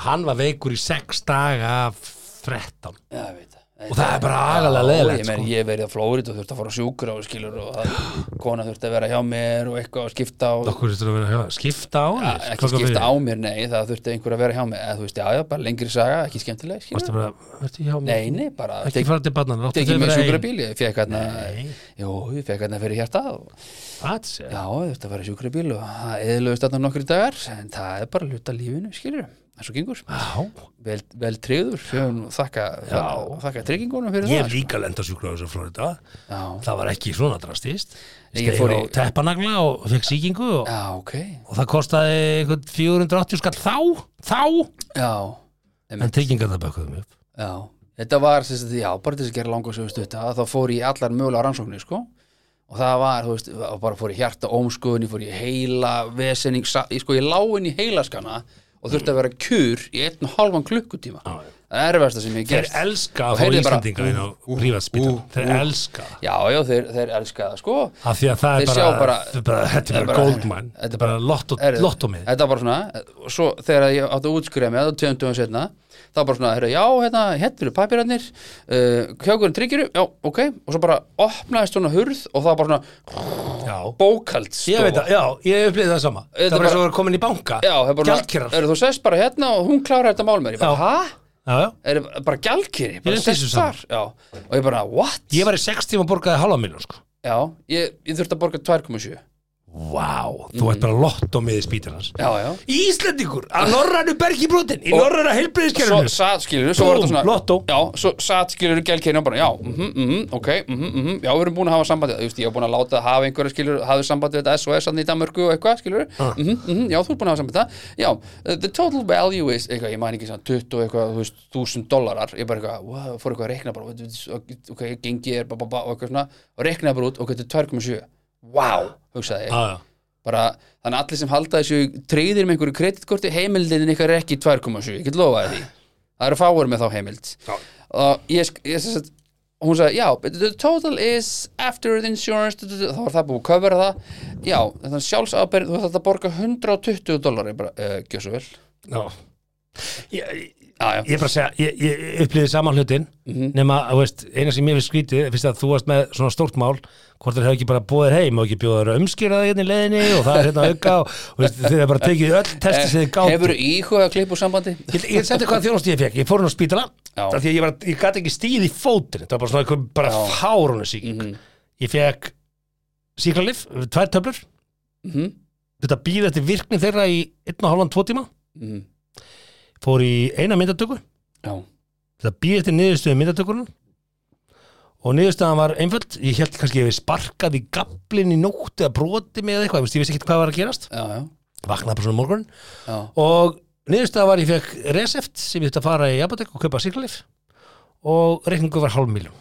S4: og hann var veikur í 6 daga af 13.
S3: Já, ég veit það.
S4: Og það er bara
S3: Já,
S4: agalega leiðilegt,
S3: Ég, meina,
S4: sko.
S3: ég hef verið á Flórit og þurft að fara á sjúkur og skilur og að kona þurft að vera hjá mér og eitthvað að skipta á
S4: Okkur þetta að vera að skipta á
S3: Ja,
S4: henni?
S3: ekki skipta á mér, nei, það þurfti einhver að vera hjá mér eða þú veist, já, já, bara lengri saga, ekki skemmtileg skilur.
S4: Varstu bara, verður hjá
S3: Nei,
S4: mér?
S3: nei, bara
S4: Ekki fara til barnan, láttu
S3: tekið
S4: þau
S3: mig
S4: vera einn.
S3: sjúkrabíl, ég fekk hérna Jú, ég fekk hérna fyrir hjarta og,
S4: Hvað sé?
S3: Já, þetta var í sjúkrabíl og það eðlöðist þarna nokkri dagar en það er bara að luta lífinu, skilur eins og gengur,
S4: Já,
S3: vel, vel tryggður og þakka, þakka tryggingunum fyrir
S4: ég hef
S3: það sko.
S4: líka lenda sjúkrafis á Florida.
S3: Já.
S4: Það var ekki svona drastist.
S3: Ég
S4: Ég
S3: fór
S4: fór í
S3: í-
S4: teppanagla og fekk sýkingu og
S3: Já, ok,
S4: og það kostaði einhvern 480 skall þá, þá
S3: Já,
S4: en tryggingar það bökkuðum upp
S3: já Þetta var, þess að, já, bara til þess að gera langa sögust þetta, þá fór ég í allar mögulega rannsóknir, sko og það var, þú veist, og bara fór ég hjarta ómskuðinni, fór ég heila vesenning, sa- ég sko, ég lá inn í heilaskana og þurfti að vera kjur í einn og halvan klukkutíma já, Það er erfasta sem ég hef
S4: Þeir
S3: gert
S4: elska
S3: Og
S4: að fá
S3: heyrðu bara-
S4: Íslandinga inn á prívatspítan Þeir elska það.
S3: Já, já, þeir, þeir elska það, sko
S4: Af því að það
S3: Þeir
S4: er
S3: sjá
S4: bara,
S3: bara-
S4: þetta er bara, þetta er bara goldmine Þetta er bara lotto-
S3: Heyrðu,
S4: lottómið
S3: Þetta var bara svona, og svo þegar ég átti að útskrifa mig, það tveim dögum setna þá bara svona, heyrðu, já, hérna, hérna eru papirarnir uh, kjókurinn tryggiru, já, ok og svo bara opnaðist svona hurð og það var bara svona sko.
S4: Já, Sko-
S3: bókald
S4: ég veit það, já, ég hef upplýðið það sama
S3: Þetta
S4: Það var
S3: bara-
S4: svo að vera komin í banka
S3: Já, það er bara,
S4: Gjaldkerar
S3: eru þú sest bara hérna og hún klárar þetta mál með, þér. ég bara, hæ?
S4: Já, já
S3: Er bara gjaldkeri, bara
S4: Ég er
S3: sest
S4: þessu
S3: þar já. og ég bara, what?
S4: Ég var í sex tíma og borgaði halva miljón sko.
S3: Já, ég, ég þurfti að borga 2,7 Já,
S4: Vá, þú ert bara lott á miði spítalans
S3: já
S4: Íslendingur, að norrænu bergi brotin Í norræna
S3: Svo
S4: heilbreyðiskerfinu
S3: satt skilur, svo var
S4: Búm,
S3: þetta svona
S4: lottó.
S3: Já, svo satt skilur gjaldkeri og bara, já, mhm, mhm, ok mhm, mhm, já, við erum búin að hafa sambandi Þú veist, ég var búin að láta að hafa einhverja skilur hafði sambandi við þetta SOS hann í Danmörku og eitthvað skilur mhm, mhm, já, þú er búin að hafa sambandi við það Já, uh, the total value is eitthvað, ég man ekki svona 20 eitthvað, þú veist, 1000 dollarar ég bara eitthvað, wow, fór eitthvað að rekna bara ok, ok, gengi er, ba, ba, ba, og eitthvað svona og reknaði bara út, ok, þetta er 2,7 Wow, hugsaði ég
S4: Já, já
S3: bara, þannig að allir sem halda þessu treyðir með einhverju kreditkorti, heimildin ykkar er ekki 2,7, ég get lofaði því það eru fáur með þá heimild og ég, sk- ég sem sagt og hún sagði, já, but the total is after the insurance, du- du- du- þá var það búið að covera það já, þannig að sjálfsábyrð þú þarf að borga 120 dollari bara, uh, gjössu vel,
S4: Já. Ég,
S3: já, Mhm. já,
S4: ég bara segja, ég, ég upplýði saman hlutin nema, þú veist, eina sem ég finnst skrítið fyrst að þú varst með svona stórt mál hvort þeir hafa ekki bara búið þér heim og ekki bjóða þér umskýraði hérna í leiðinni og það er hérna auka og þú veist, þeir hafa bara tekið öll
S3: Eh,
S4: testi sem þeir gátt
S3: hefur íhuga klipp úr sambandi
S4: Ég, ég setti hvað þjónust ég fekk, ég fór hún á spítala
S3: Já.
S4: af því að ég, var, ég gat ekki stíð í fótinn þetta var bara svona einhver bara
S3: Já.
S4: fárunu síking
S3: Mhm,
S4: ég fekk síklarlif, tvær töflur
S3: mhm,
S4: þetta býði eftir virkni þeirra í einn og hálfan tvo tíma
S3: mhm,
S4: fór í eina myndatöku
S3: já,
S4: það býði eftir niðurstöðu myndatökurinn og niðurstöðan var einföld ég held kannski að ég sparkaði í gablin í nótt eða broti með eitthvað, þú veist, ég vissi ekkert hvað var að gerast
S3: já, já,
S4: vaknaði bara svona morgun
S3: já
S4: og niðurstöðan var ég fekk reseft sem ég þetta fara í apotek og kaupa sýrkalif og reikningu var hálf miljón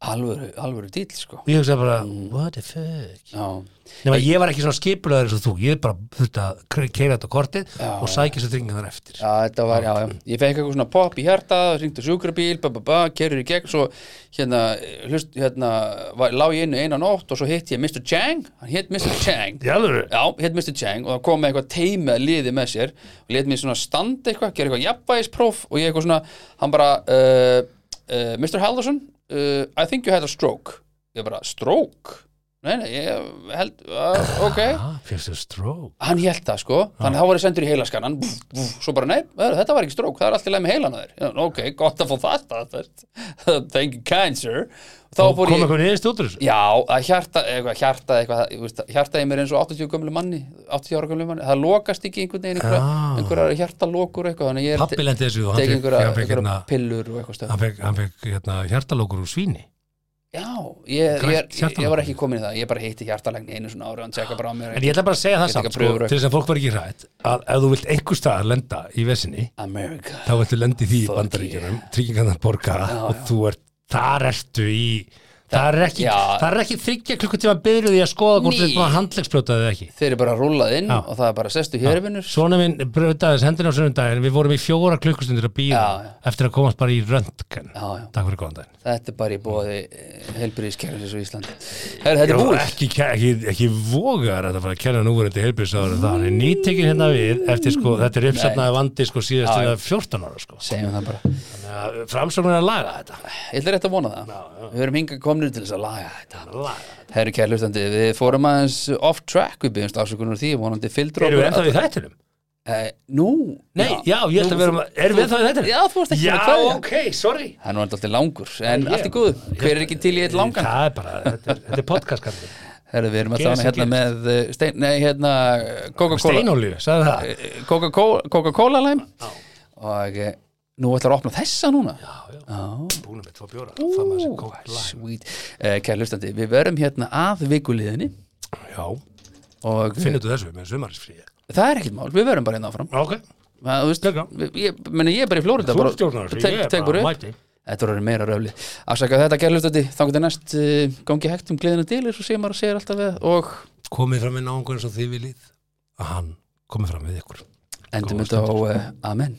S3: alvöru, alvöru dýl, sko
S4: og ég hugsaði bara, what the fuck
S3: já,
S4: nema ég var ekki svona skipulaður eins og þú ég bara þurfti að keira þetta á kortið
S3: Já.
S4: og sækja svo þringar eftir
S3: Já, þetta var, já, já, ég fekk eitthvað svona pop í hjarta, ringdi sjúkrabíl, ba, ba, ba, kerur í gegn, svo hérna, hlust, hérna, var, lá ég innu eina nótt og svo hitt ég Mr. Chang, hann hitt Mr. Chang,
S4: í alvöru
S3: já, hitt Mr. Chang og það kom með eitthvað teimi að liði með sér og let mér svona standa eitthvað, gera eitthvað jafnvægispróf og ég eitthvað svona, hann bara, uh, uh, Mr. Haldarsson, uh, I think you had a stroke, ég bara, stroke? Nei, nei, ég held, uh, ok,
S4: ah, fyrstu strók
S3: hann held það sko þannig að það voru sendur í heilaskannan búf, búf, svo bara nei, heyrðu, þetta var ekki strók, það er allt í leið með heilan á þér Já, ok, gott að fá þetta þú veist. (laughs) thank you cancer þá fór
S4: kom
S3: ég,
S4: eitthvað niðurst út úr þessu
S3: já, að hjarta eitthvað, hjarta eitthvað, það- ég veist, hjarta í mér er eins og 80 gömlu manni, 80 ára gömlu manni það lokast ekki einhvern veginn einhverja,
S4: Ah.
S3: einhverja hjartalokur eitthvað, þannig að ég er
S4: pappi lendi þessu og hann
S3: tekið
S4: fekk,
S3: einhverja,
S4: hann fekk,
S3: einhverja
S4: hérna,
S3: pillur og eitthvað stöð
S4: hann fekk, hann fekk hérna, hjartalókur úr svíni
S3: já, ég, ég,
S4: Grænt
S3: ég, ég var
S4: hjartalokur.
S3: ekki komin í það, ég bara hitti hjartalegni einu svona ári og hann tjekka bara á mér
S4: en ég ætla bara að segja það
S3: Ég
S4: samt
S3: tek að
S4: sko,
S3: pröfur-
S4: til þess að fólk var ekki hrætt að ef þú vilt einhver staðar lenda í vesinni
S3: America,
S4: þá viltu lendi því í
S3: Fuck
S4: bandaríkjunum tryggingarnar borgara
S3: Já,
S4: og þú ert þar ertu í það er ekki,
S3: Já.
S4: það er ekki þryggja klukkutíma byrjuð í að skoða hvort
S3: Ný.
S4: þú ert búin að handlegsbrjóta eða ekki
S3: þeir eru bara rúlað inn
S4: Já.
S3: og það er bara sestu hér vinnur
S4: Svona minn brjótaðis hendina á sunnudaginn við vorum í fjóra klukkustundir að býða
S3: Já, já.
S4: eftir að komast bara í röntgen
S3: Já, já.
S4: Takk fyrir góðan daginn
S3: Þetta er bara í bóði helbriðiskerfis og Íslandi. Herra, þetta er
S4: Jó, eh,
S3: búið.
S4: ekki, ekki, ekki vogar að það fara að kenna núverandi heilbjörnsáður það hann er nýtekin hérna við eftir sko, þetta er uppsatnaði vandi sko síðast
S3: Já, já.
S4: til 14 ára sko
S3: Segjum það bara.
S4: framsóknir að laga þetta
S3: Ég ætla rétt að vona það. Við höfum hingað komnir til þess að laga þetta.
S4: laga.
S3: Herru kæri hlustandi, við fórum aðeins off track, við byggjumst afsökunar því, vonandi fylgdur
S4: erum við ennþá í þættinum?
S3: Eh, Nú?
S4: Nei, já, ég held að við erum erum við ennþá í þættinum?
S3: Já, þú varst ekki
S4: Já,
S3: búin að kveðja.
S4: ok, sorry
S3: Það er nú alltaf langur, en
S4: Ég-
S3: allt í góðu. Hver er ekki til í eitt langan?
S4: það er bara, þetta er- þetta er podcastkallið
S3: Herru, við erum
S4: Gerist
S3: alltaf
S4: sem
S3: hérna með eh, stein, nei, hérna eh, Coca-Cola
S4: steinolíu, sagði það
S3: eh, Coca-Cola Coca-Cola lime og eh, nú ætlar að opna þessa núna. Já.
S4: búinu með tvo bjóra, það maður sem kók
S3: Sweet. Uh, Kæri hlustandi, við verum hérna að vikuliðinni
S4: já,
S3: og
S4: finnur þú þessu með sumarisfríi
S3: það er ekkert mál, við verum bara hérna áfram.
S4: ok,
S3: Það, þú veist,
S4: Jæja.
S3: við- ég, meni, ég er bara í Flórida.
S4: þú
S3: bara-
S4: stjórnar
S3: tek-
S4: ég er
S3: tekur
S4: bara
S3: upp.
S4: mæti
S3: Þetta voru meira röfli. Afsaka þetta, kæri hlustandi, þangur til næst uh, gangi hægt um gleðina delir og segir maður að segja alltaf við og
S4: komið fram með náungur eins og þið viljið að hann komið fram með ykkur
S3: endum
S4: Góða
S3: eh, þetta á uh, Amen.